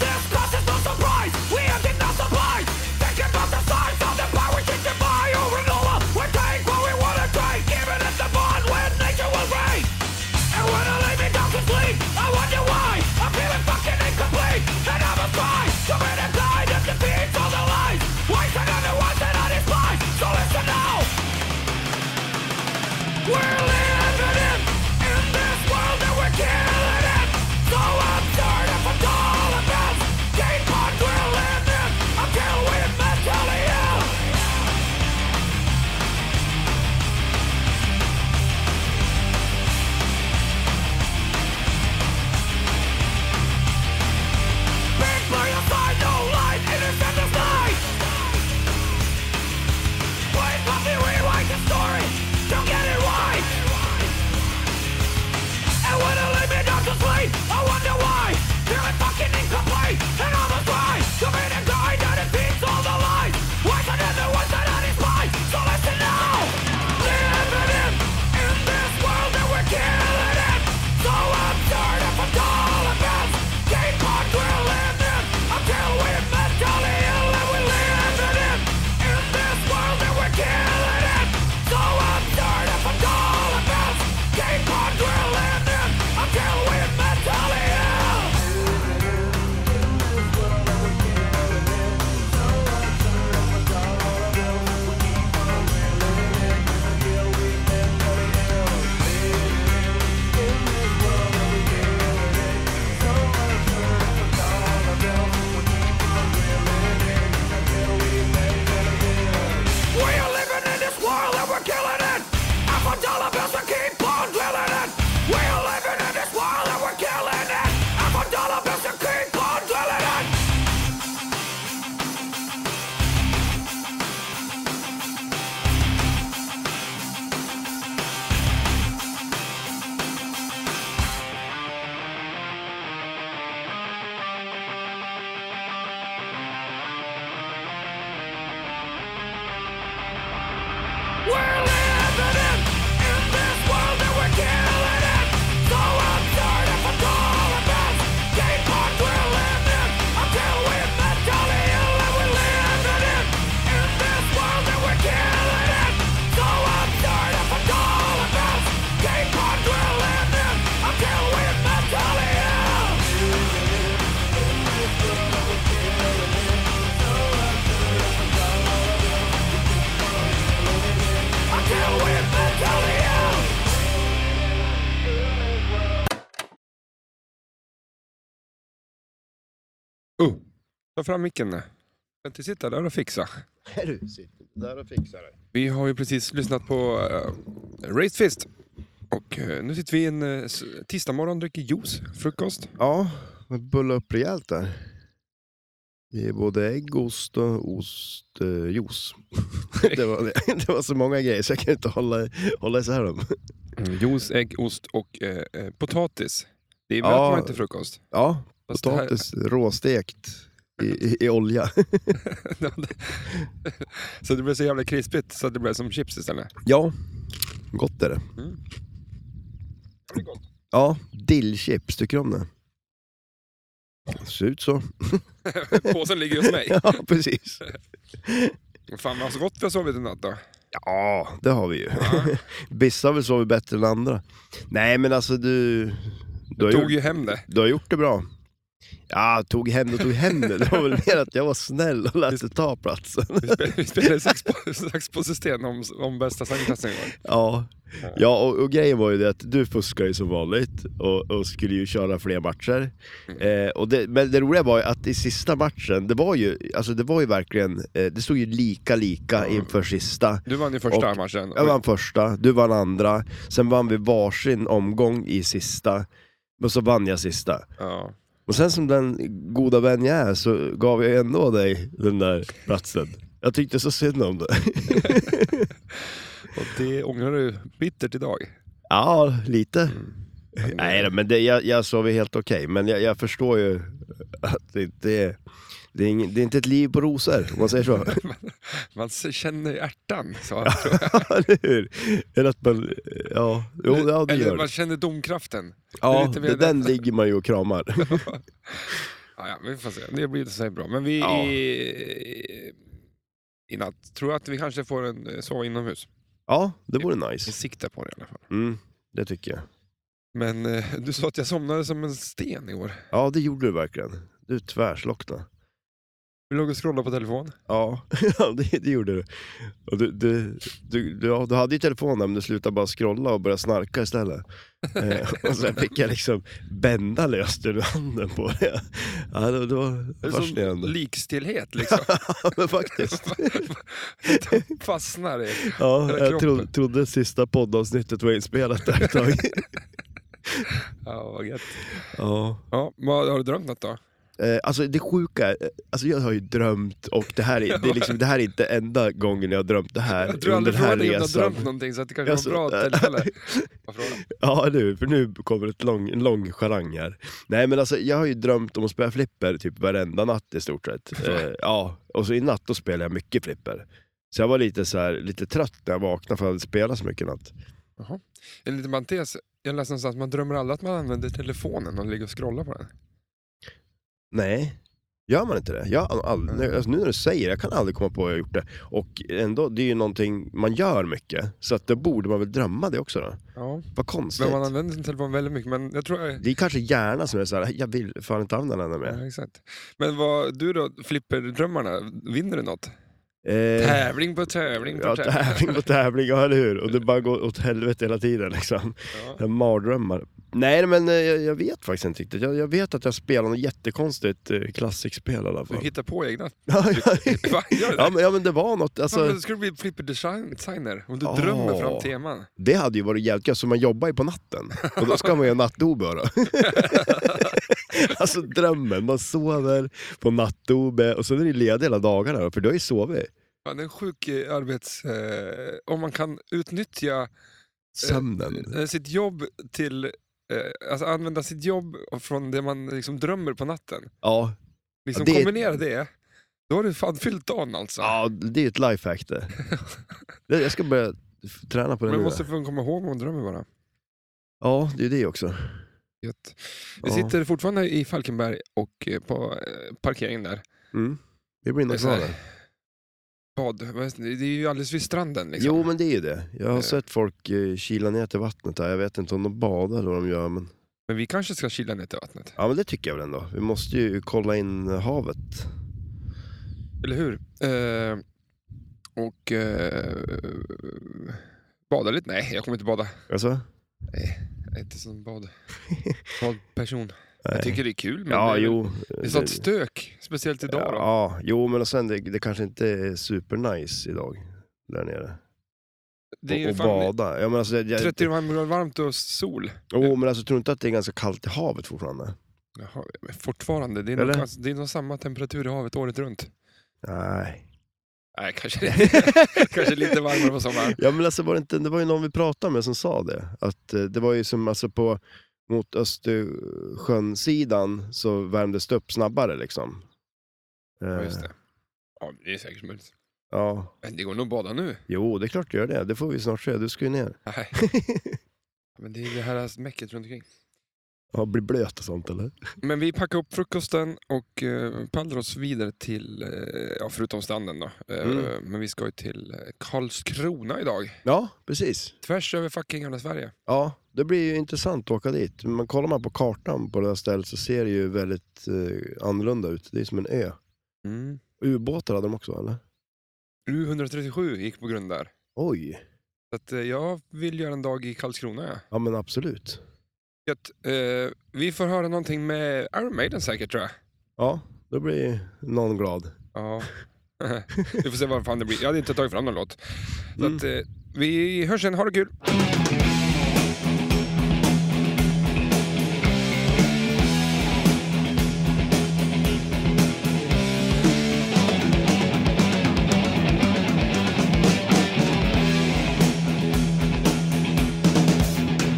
This cost is no surprise, we ended no surprise Thinking about the size of the pie we can buy over We're taking what we wanna take, even if the boy Oh. Ta fram micken. nu. Kan inte sitta där och fixa. Du sitter där och fixar det. Vi har ju precis lyssnat på uh, Raised Fist. Och eh, nu sitter vi en uh, tisdag morgon dricker juice, frukost. Ja, men bulla upp rejält där. Det är både ägg, ost och ostjuice. [LAUGHS] det, var, det var [LAUGHS] så många grejer så jag kan inte hålla, hålla isär dem. Mm, Juice, ägg, ost och eh, eh, potatis. Det är Ja. möter man inte frukost. Ja, Fast det här- potatis råstekt i, i, i olja. [LAUGHS] [LAUGHS] så det blev så jävla krispigt så att det blev som chips istället. Ja, gott är det. Det är gott. Ja, dillchips, tycker du om det? Det ser ut så. [LAUGHS] Påsen ligger hos mig. Ja, precis. Fan vad så gott vi har sovit i natt då. Ja, det har vi ju. [LAUGHS] Bissa har väl sovit bättre än andra. Nej, men alltså du... Du har, Tog gjort, ju hem det. du har gjort det bra. Ja, tog hem och tog hem det. Det var väl mer att jag var snäll och lät det ta platsen. Vi spelade, vi spelade sax, på, sax på system om, om bästa sångklassen igår. Ja, ja och, och grejen var ju det att du fuskar ju som vanligt och, och skulle ju köra fler matcher. Eh, och det, men det roliga var ju att i sista matchen, det var ju, alltså det var ju verkligen, eh, det stod ju lika lika inför sista. Du vann ju första Och- matchen. Jag vann första, du vann andra, sen vann vi varsin omgång i sista, och så vann jag sista. Ja. Och sen som den goda vän jag är så gav jag ändå dig den där platsen. Jag tyckte så synd om det. Och det ångrar du bittert idag. [LAUGHS] Ja, lite. Mm. Nej då, men det, jag, jag sov ju helt okej, men jag, jag förstår ju att det inte är, det är, ing, det är inte ett liv på rosor, om man säger så. [LAUGHS] Man s- känner i ärtan. Så. Eller hur? Eller att man, ja, jo, ja det Eller gör man det. känner domkraften. Ja, lite mer det, den därför. ligger man ju och kramar. [LAUGHS] Ja, ja, vi får se. Det blir inte så här bra. Men vi Ja. i, i natt tror jag att vi kanske får en eh, sova inomhus. Ja, det vore Vi nice. siktar på det i alla fall. Mm, det tycker jag. Men eh, du sa att jag somnade som en sten igår. Ja, det gjorde du verkligen. Du tvärslocknade. Vi låg och scrollade på telefon. Ja, [LAUGHS] ja, det, det gjorde du. Och du, du, du, du, ja, du hade ju telefonen men du slutade bara scrolla och började [LAUGHS] snarka istället. Eh, och sen fick jag liksom bända löst ur handen på det. Ja, det, det Det var är fascinerande. som likstelhet liksom. [LAUGHS] Ja, men faktiskt. [LAUGHS] De fastnar i. Ja, Hela jag tro, kroppen. trodde sista poddavsnittet var inspelat där [LAUGHS] ett tag. Ja, vad gött. Ja. Ja, vad, har du drömt något då? Eh, alltså det sjuka, är- alltså jag har ju drömt och det här är, det [LAUGHS] är, liksom, det här är inte enda gången jag har drömt det här Jag tror aldrig under den här frågat dig om resan. du har drömt någonting så att det kanske Alltså, var bra tillfälle. [LAUGHS] Vad frågar du? Ja, nu, för nu kommer ett lång, en lång charang här. Nej, men alltså jag har ju drömt om att spela flipper typ varenda natt i [LAUGHS] stort sett. Eh, ja, och så i natt då spelade jag mycket flipper. Så jag var lite, så här, lite trött när jag vaknade för jag hade spelat så mycket i natt. En liten parentes. Jag läste någonstans att man drömmer aldrig att man använder telefonen och ligger och scrollar på den. Nej, gör man inte det? Jag, har aldrig, nu- alltså, nu när du säger det, jag kan aldrig komma på att jag har gjort det. Och ändå, det är ju någonting man gör mycket, så att då borde man väl drömma det också då. Ja, Vad konstigt. men man använder sin telefon väldigt mycket. Men jag tror... Det är kanske hjärnan som är såhär, jag vill fan inte använda den mer. Ja, exakt. Men vad, du då, flipperdrömmarna, vinner du något? Eh, Tävling på tävling på Ja, tävling. tävling på tävling, ja, eller hur? Och det bara går åt helvete hela tiden liksom. Ja. Ja. Mardrömmar. Nej men eh, jag, jag vet faktiskt inte riktigt. Jag, jag vet att jag spelar något jättekonstigt eh, klassikspel i alla Du fall. hittar på egna. Ja, ja. [LAUGHS] Va, gör du det? ja, men, ja men det var något, Fan, alltså, men du skulle bli flipperdesigner om du Åh. drömmer fram teman. det hade ju varit jävligt gött, så man jobbar ju på natten. Och då ska man ju ha [LAUGHS] nattobe då. alltså drömmen, man sover på nattobe och sen är det ledig hela dagarna då, för du har ju sovit. Fan, det är en sjuk eh, arbets... Eh, om man kan utnyttja Sömnen. eh, sitt jobb till... Eh, alltså använda sitt jobb från det man liksom drömmer på natten. Ja, Liksom Ja, det är- kombinera det. Då har du fan fyllt dagen alltså. ja det är ett [LAUGHS] lifehack det. Det- Jag ska börja f- träna på det Men nu. man då. måste få komma ihåg vad man drömmer bara. Ja, det är det också. Gött. Vi Ja. sitter fortfarande i Falkenberg och eh, på eh, parkeringen där. Mm. Vi blir nog Det är så här- kvar där. Bad. vad- Det är ju alldeles vid stranden liksom. Jo, men det är ju det. Jag har Eh. sett folk eh, kila ner till vattnet där. Jag vet inte om de badar eller vad de gör, men... Men vi kanske ska kila ner till vattnet. Ja, men det tycker jag väl ändå. Vi måste ju kolla in havet. Eller hur? Eh, och eh, bada lite? Nej, jag kommer inte bada. Alltså? [LAUGHS] Jag är inte sån bad. badperson. Jag tycker det är kul, men Ja, det, är, jo. det är sånt stök. Speciellt idag då. Ja, jo, men och sen det, det kanske inte är supernice idag där nere. det är och, ju och fan bada. Ja, men alltså, jag, 30 grader varmt och sol. Jo, men alltså tror du inte att det är ganska kallt i havet fortfarande? Jaha, men fortfarande, det är, nog, Eller? kans- det är nog samma temperatur i havet året runt. Nej. Nej, [LAUGHS] kanske, [LAUGHS] kanske lite varmare på sommaren. Ja, men alltså var det, inte, det var ju någon vi pratade med som sa det. Att eh, det var ju som alltså på mot Östersjönsidan så värmdes det upp snabbare liksom. Ja, Eh, just det. Ja, det är säkert möjligt. Ja, Men det går nog att bada nu. jo det är klart du gör det. Det får vi snart se. Du ska [LAUGHS] ju ner. Nej. Men det är det här mäcket runt omkring. Ja, bli blöt och sånt eller? Men vi packar upp frukosten och eh, pallar oss vidare till, eh, ja, förutom stranden då. Eh, Mm. Men vi ska ju till eh, Karlskrona idag. Ja, precis. Tvärs över fucking hela Sverige. Ja, det blir ju intressant att åka dit. Men kollar man på kartan på det här stället så ser det ju väldigt eh, annorlunda ut. Det är som en ö. Ubåtar hade de också eller? U137 gick på grund där. Oj, Så att, eh, jag vill göra en dag i Karlskrona. Ja. ja men absolut. Gött. Eh, vi får höra någonting med Iron Maiden säkert tror jag. Ja, då blir någon glad. Ja. [LAUGHS] vi får se vad fan det blir. Jag hade inte tagit fram någon låt. Så Mm. att, eh, vi hörs sen, ha det kul! In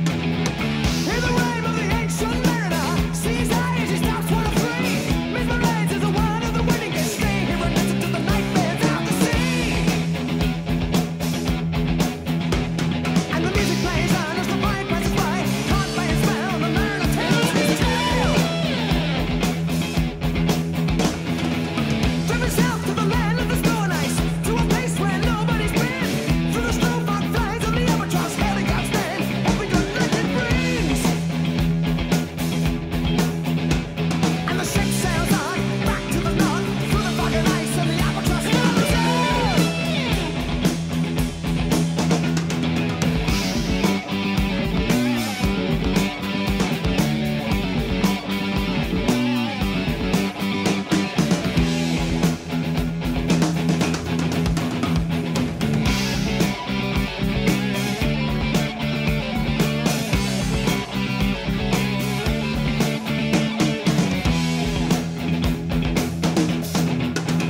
the wave of the ancient mariner, sees high as she stops for a free. Mesmerized as the wind of the winning gets free. He reminisces to the night bands out to sea. And the music plays on as the bride passes by, caught by a spell, the mariner tells his tale. Driven south to the land of the snow and ice, to a place where nobody's been. Through the snowfall flies on the albatross, hailing God's land, hoping good legend brings. And the ship sails on, back to the north, through the fog and ice, and the albatross follows on.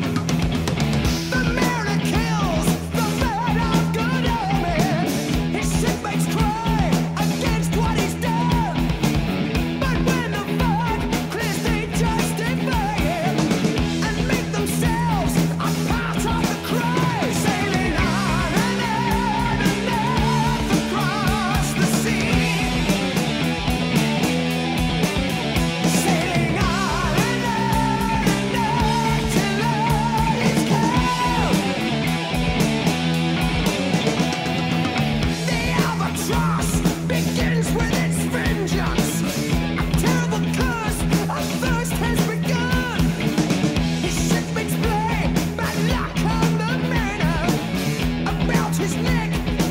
The mirror kills the man of good omens. His shipmates cry against what he's done. But when the fog clears, they justify it and make themselves a part of the crime. Sailing on and on and on across the sea. Sailing on and on and on till all is gone. The albatross begins with its vengeance. A terrible curse of thirst has begun. His shipmates play bad luck on the mariner. About his neck,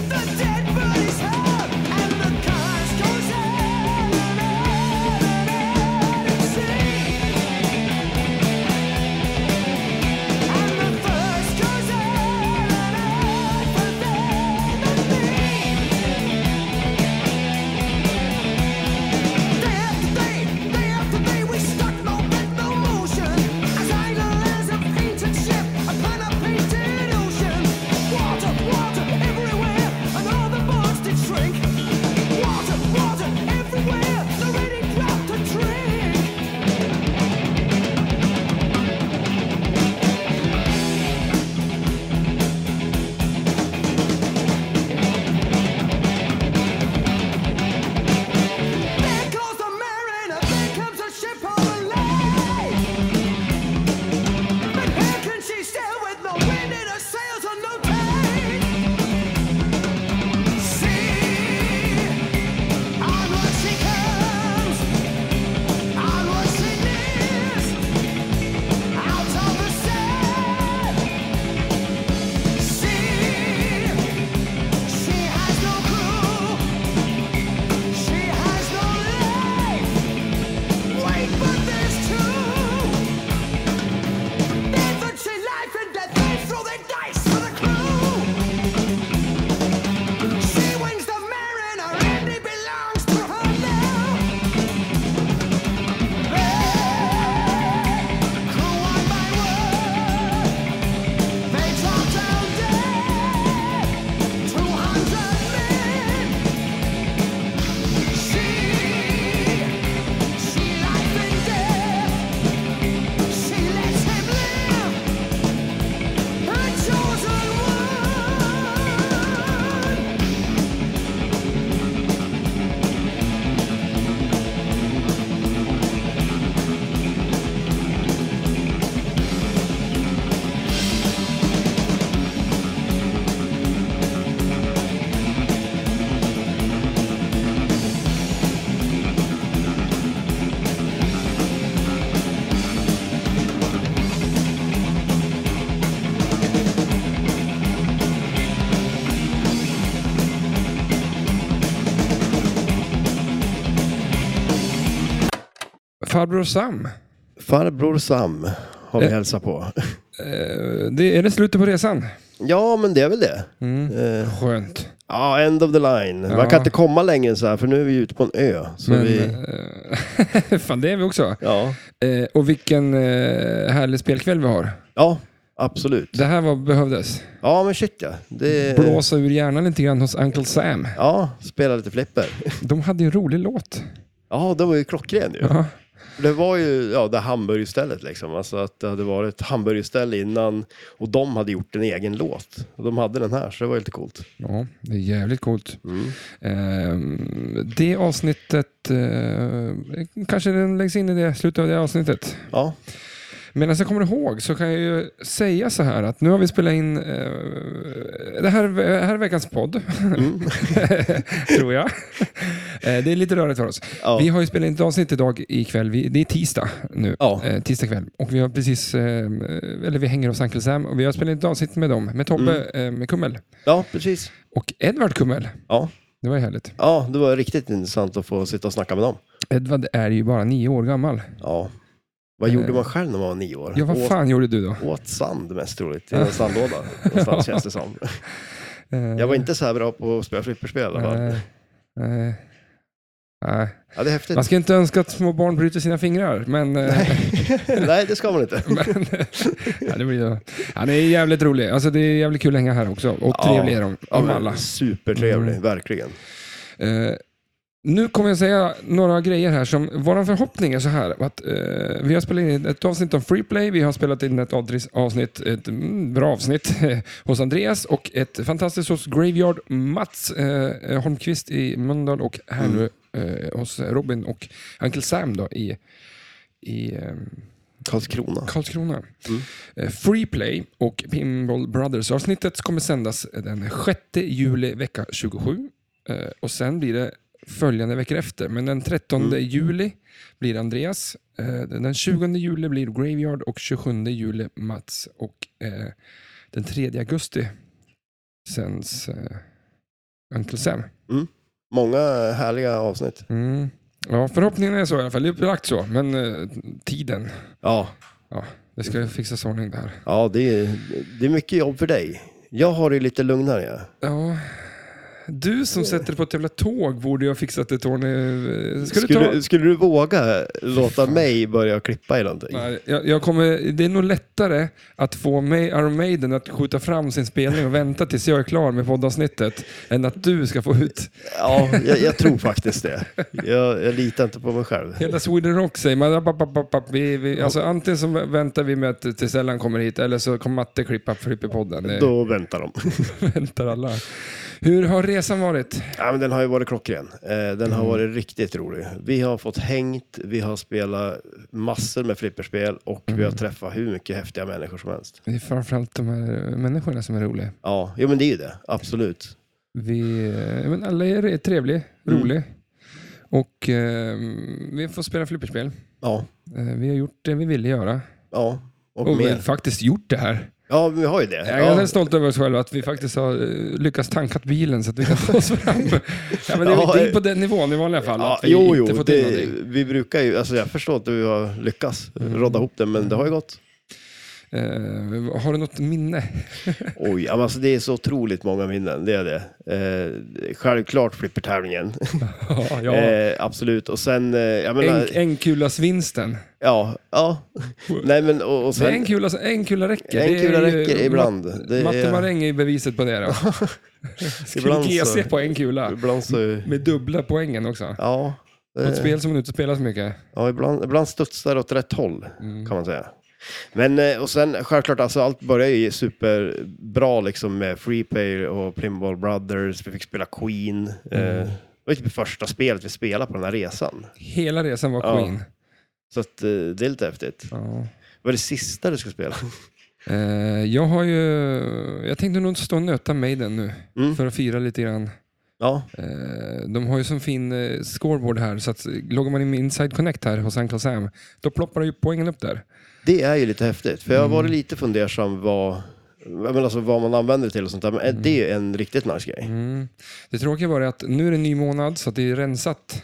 the dead bodies hung, and the curse goes on and on and on at sea. And the curse goes on and on for them and me. Day after day, day after day, we stuck no bend, no motion. As idle as a painted ship upon a painted ocean. Water, water everywhere, and all the boards did shrink. Water, water everywhere, the rainy dropped a drink. There goes the mariner, there comes a ship overlaid. But how can she sail with no wind in her sails and no tide? See, onward she comes, onward she nears, out of the sea. See, she has no crew. She has no life. Way Farbror Sam. Farbror Sam har vi Eh. hälsat på. Eh, det, är det slutet på resan? [LAUGHS] Ja, men det är väl det. Mm. Eh, Skönt. Ja, end of the line. Man Ja. kan inte komma längre än så här, för nu är vi ute på en ö. Så Men, vi... eh, [LAUGHS] fan, det är vi också. Ja. Eh, och vilken eh, härlig spelkväll vi har. ja, absolut. Det här var behövdes. Ja, men shit ja. Det... Blåsa ur hjärnan lite grann hos Uncle Sam. Ja, spela lite flipper. [LAUGHS] De hade ju en rolig låt. Ja, den var ju klockren ju. Ja. Det var ju ja, det hamburgerstället liksom. Alltså att det hade varit ett hamburgerställe innan och de hade gjort en egen låt. Och de hade den här, så det var ju lite coolt. Ja, det är jävligt coolt. Mm. Ehm, det avsnittet, eh, kanske den läggs in i det slutet av det avsnittet. Ja, Medan jag kommer ihåg så kan jag ju säga så här att nu har vi spelat in, eh, det, här, det här är veckans podd, Mm. [LAUGHS] tror jag. Eh, det är lite rörigt för oss. ja. Vi har ju spelat in ett avsnitt idag ikväll, vi, det är tisdag nu. Ja. Eh, tisdag kväll. Och vi har precis, eh, eller vi hänger hos Uncle Sam och vi har spelat in ett avsnitt med dem, med Tobbe Mm. eh, med Kummel ja precis. och Edvard Kummel. Ja. Det var ju härligt. Ja, det var riktigt intressant att få sitta och snacka med dem. Edvard är ju bara nio år gammal. Ja. Vad gjorde man själv när man Eh. var nio år? Ja, vad Åt- fan gjorde du då? Åt sand mest troligt, i en sandlåda. Någonstans känns det som. Eh, Jag var inte så här bra på att spela flipperspel i alla fall. nej, nej, Eh, nej. Ja, det är häftigt. Man ska inte önska att små barn bryter sina fingrar, men... eh, Nej, det ska man inte. [LAUGHS] men ja, det blir ju... Han är jävligt rolig. Alltså, det är jävligt kul att hänga här också. Och Ja. trevlig är de, Ja, de men alla. Mm. Supertrevlig, verkligen. Eh, nu kommer jag säga några grejer här som, våran förhoppning är så här, att eh, vi har spelat in ett avsnitt om Freeplay, vi har spelat in ett avdris- avsnitt, ett mm, bra avsnitt [LAUGHS] hos Andreas och ett fantastiskt hos Graveyard Mats eh, Holmqvist i Mölndal och här nu eh, hos Robin och Uncle Sam då i, i ehm, Karlskrona. Karlskrona. Eh, Freeplay och Pinball Brothers-avsnittet kommer sändas den 6 juli vecka 27. Eh, Och sen blir det följande veckor efter. Men den 13 juli blir Andreas. eh, Den 20 juli blir Graveyard och 27 juli Mats. Och eh, den 3 augusti sänds eh, Uncle Sam. Många Eh, härliga avsnitt. Mm. Ja, förhoppningen är så i alla fall. Det är upplagt så, men eh, tiden. Ja, Det ska ju fixas ordning där. ja det, är, det är mycket jobb för dig. Jag har det lite lugnare. ja. Ja. Du som sätter dig på ett jävla tåg borde ju ha fixat ett år nu. Ska du Skulle, ta... skulle du våga låta mig börja klippa i någonting? Nej, jag, jag kommer, det är nog lättare att få mig, Iron Maiden att skjuta fram sin spelning och vänta tills jag är klar med poddavsnittet än att du ska få ut. Ja, jag, jag tror faktiskt det. Jag, jag litar inte på mig själv. Hela Sweden Rock säger man, app, app, app, app, vi, vi, alltså antingen så väntar vi med att tills Ellen kommer hit eller så kommer Matte klippa Flipperpodden. Det Då väntar de. [LAUGHS] väntar alla. Hur har resan varit? Ja, men den har ju varit klockren. Eh, Den Mm. har varit riktigt rolig. Vi har fått hängt, vi har spelat massor med flipperspel och vi Mm. har träffat hur mycket häftiga människor som helst. Det är framförallt de här människorna som är roliga. Ja, jo, men det är ju det. Absolut. Vi, eh, men alla är trevliga, Mm. roliga. Och eh, vi får spela flipperspel. Ja, Eh, vi har gjort det vi ville göra. ja. Och, Och, vi har mer. faktiskt gjort det här. Ja, vi har ju det. Oh, Jag är Ja. väldigt stolt över oss själva att vi faktiskt har eh, lyckats tankat bilen så att vi kan ta oss [LAUGHS] fram. ja, men det, Ja, är det är eh, på den nivån i vanliga fall. Ja, att vi jo, inte jo, fått in det, någonting. Mm. vi brukar ju, alltså jag förstår inte hur vi har lyckats rodda ihop det, men det har [LAUGHS] ju gått. Eh, har du något minne? Oj, ja, men alltså det är så otroligt många minnen, det är det. Eh, självklart flippertävlingen, ja, ja. [LAUGHS] eh, absolut. Och sen, eh, jag menar, En, enkulasvinsten. ja, [LAUGHS] ja. Nej men och, och Det är sen, en kula, en kula räcker. En Det är kula ju- räcker ibland. Mat- Det är- Matte Maräng är ju beviset på det. [LAUGHS] Då. Skriv Ibland GC så- på en kula. ibland så, Med dubbla poängen också. ja. Och ett eh, spel som man inte spelar så mycket. Ja, ibland, ibland studsar det åt rätt håll, Mm. kan man säga. Men eh, och sen självklart, alltså, allt började ju superbra liksom, med Freepay och Pinball Brothers. Vi fick spela Queen. Mm. Eh, det var typ första spelet vi spelade på den här resan. Hela resan var Ja. Queen. Så att, eh, det är lite häftigt. Ja. Vad är det sista du ska spela? [LAUGHS] Eh, jag har ju... Jag tänkte nog stå och nöta Maiden nu. Mm. För att fira lite grann. Ja, Eh, de har ju sån fin eh, scoreboard här. Så att, eh, loggar man in med Inside Connect här hos Uncle Sam. Då ploppar ju poängen upp där. det är ju lite häftigt. För jag har Mm. varit lite fundersam vad, jag menar, alltså, vad man använder det till och sånt där. Men är det en riktigt nice grej? Mm. Det tråkiga var det att nu är det en ny månad så att det är rensat.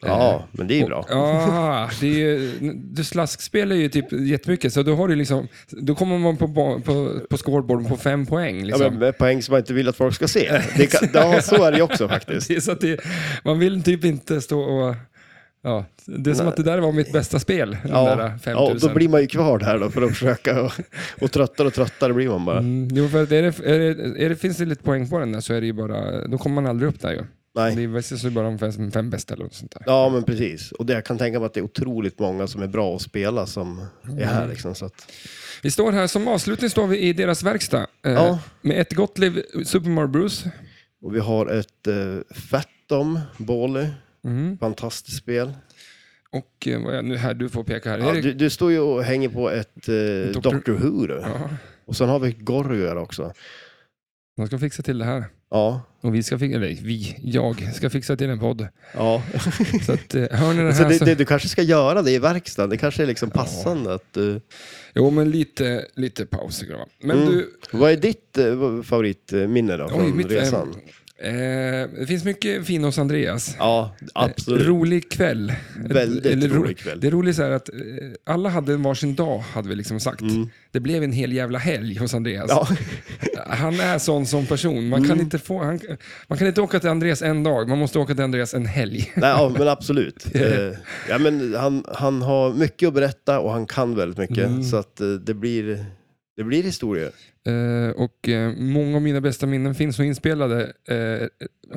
Ja, men det är ju bra. Ja, det är ju, du slaskspel är ju typ jättemycket, så då har du liksom, då kommer man på, ba- på, på scoreboarden på fem poäng. Ja, Liksom. men med poäng som man inte vill att folk ska se. [LAUGHS] Det kan, ja, så är det ju också faktiskt. Det är så att det, man vill typ inte stå och... Ja, det är som att det där var mitt bästa spel, de där Ja, 5000. ja, och då blir man ju kvar där då för att försöka och, och tröttare och tröttare blir man bara. Mm, jo, för att är det, är det, är det, finns det lite poäng på den där så är det ju bara, då kommer man aldrig upp där ju. Det Nej. är precis så bara de fem, fem bästa eller något sånt där. Ja, men precis. Och det, jag kan tänka mig att det är otroligt många som är bra att spela som är Mm. här liksom. Så att, Vi står här, som avslutning står vi i deras verkstad. Eh, Ja. Med ett gott liv, Super Mario Bros. och vi har ett eh, Fatom Bally. Mm. Fantastiskt spel. Och eh, vad är, nu här, du får peka här. Ja, är det, du, du står ju och hänger på ett eh, Doctor- Doctor Who. Du. ja, Och sen har vi Gorgor också. de ska fixa till det här. Ja, Och vi ska fixa, eller vi, jag ska fixa till en podd. ja. Så att, eh, hör ni det här [LAUGHS] Så det, så... [LAUGHS] det, du kanske ska göra det i verkstaden. Det kanske är liksom passande att du... Jo, men lite, lite paus. tycker jag. Men Mm. du, Vad är ditt eh, favoritminne då från Oj, mitt, eh, resan? eh, det finns mycket fin hos Andreas. Ja, absolut. Rolig kväll. Väldigt Eller ro- rolig kväll. Det roliga är så här att eh, alla hade varsin dag, hade vi liksom sagt. Det blev en hel jävla helg hos Andreas. Mm. Ja, [LAUGHS] [LAUGHS] Mm. Han är sån som person. Man, kan inte få, han, man kan inte åka till Andreas en dag, man måste åka till Andreas en helg. [LAUGHS] nej, ja, men absolut. Eh, ja, men han, han har mycket att berätta och han kan väldigt mycket. Mm. Så att eh, det blir, det blir historier. Eh, och eh, många av mina bästa minnen finns nog inspelade eh,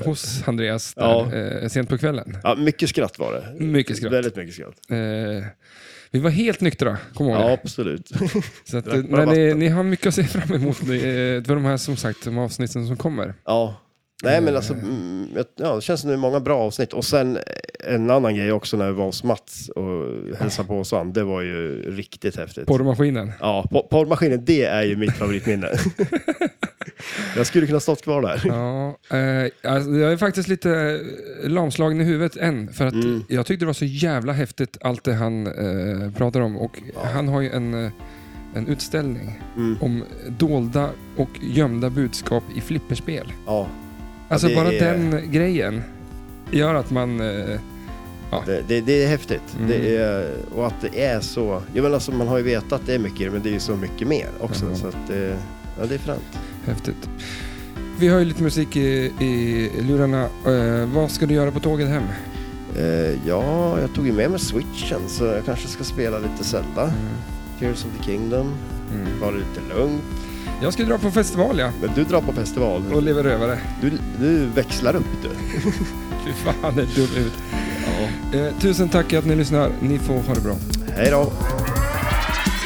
hos Andreas där, Ja. eh, sent på kvällen. Ja, mycket skratt var det. Mycket skratt. Väldigt mycket skratt. Eh, vi var helt nyktra, kom ihåg Ja, det. absolut. Så att, drack eh, bara nej, ni, vatten. ni har mycket att se fram emot eh, för de här som sagt, de avsnitten som kommer. Ja. Nej, men alltså, mm, jag- ja, det känns som det är många bra avsnitt. Och sen eh, en annan grej också när vi var hos Mats och hälsade på hos han. Det var ju riktigt häftigt. Porrmaskinen. Ja, po- porrmaskinen, det är ju mitt favoritminne. jag skulle kunna stått kvar där. Ja, eh, alltså, jag är faktiskt lite eh, lamslagen i huvudet än, för att Mm. jag tyckte det var så jävla häftigt allt det han eh, pratar om. Och han har ju en, eh, en utställning Mm. om dolda och gömda budskap i flipperspel. Ja, Alltså det bara är- den grejen gör att man... Eh, det, det, det är häftigt. Det är, och att det är så. Jag menar, alltså, man har ju vetat att det är mycket i det, men det är ju så mycket mer också. Ja. Så att, eh, ja, det är fränt. Häftigt. Vi har ju lite musik i, i lurarna. Eh, vad ska du göra på tåget hem? Eh, ja, jag tog ju med mig switchen så jag kanske ska spela lite Zelda. Tears of the Kingdom. Mm. Var det lite lugnt. Jag ska dra på festival ja, Men du drar på festival. och leva rövare. Du, du växlar upp du. Fy fan, det är dum ut. Eh, tusen tack att ni lyssnar. Ni får ha det bra. Hej då.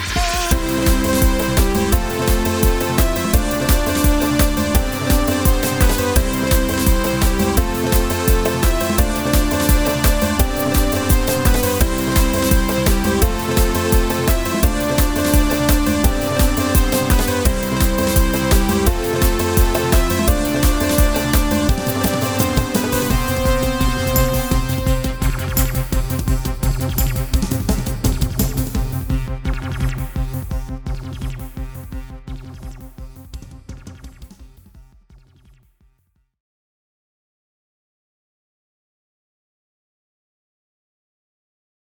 Thank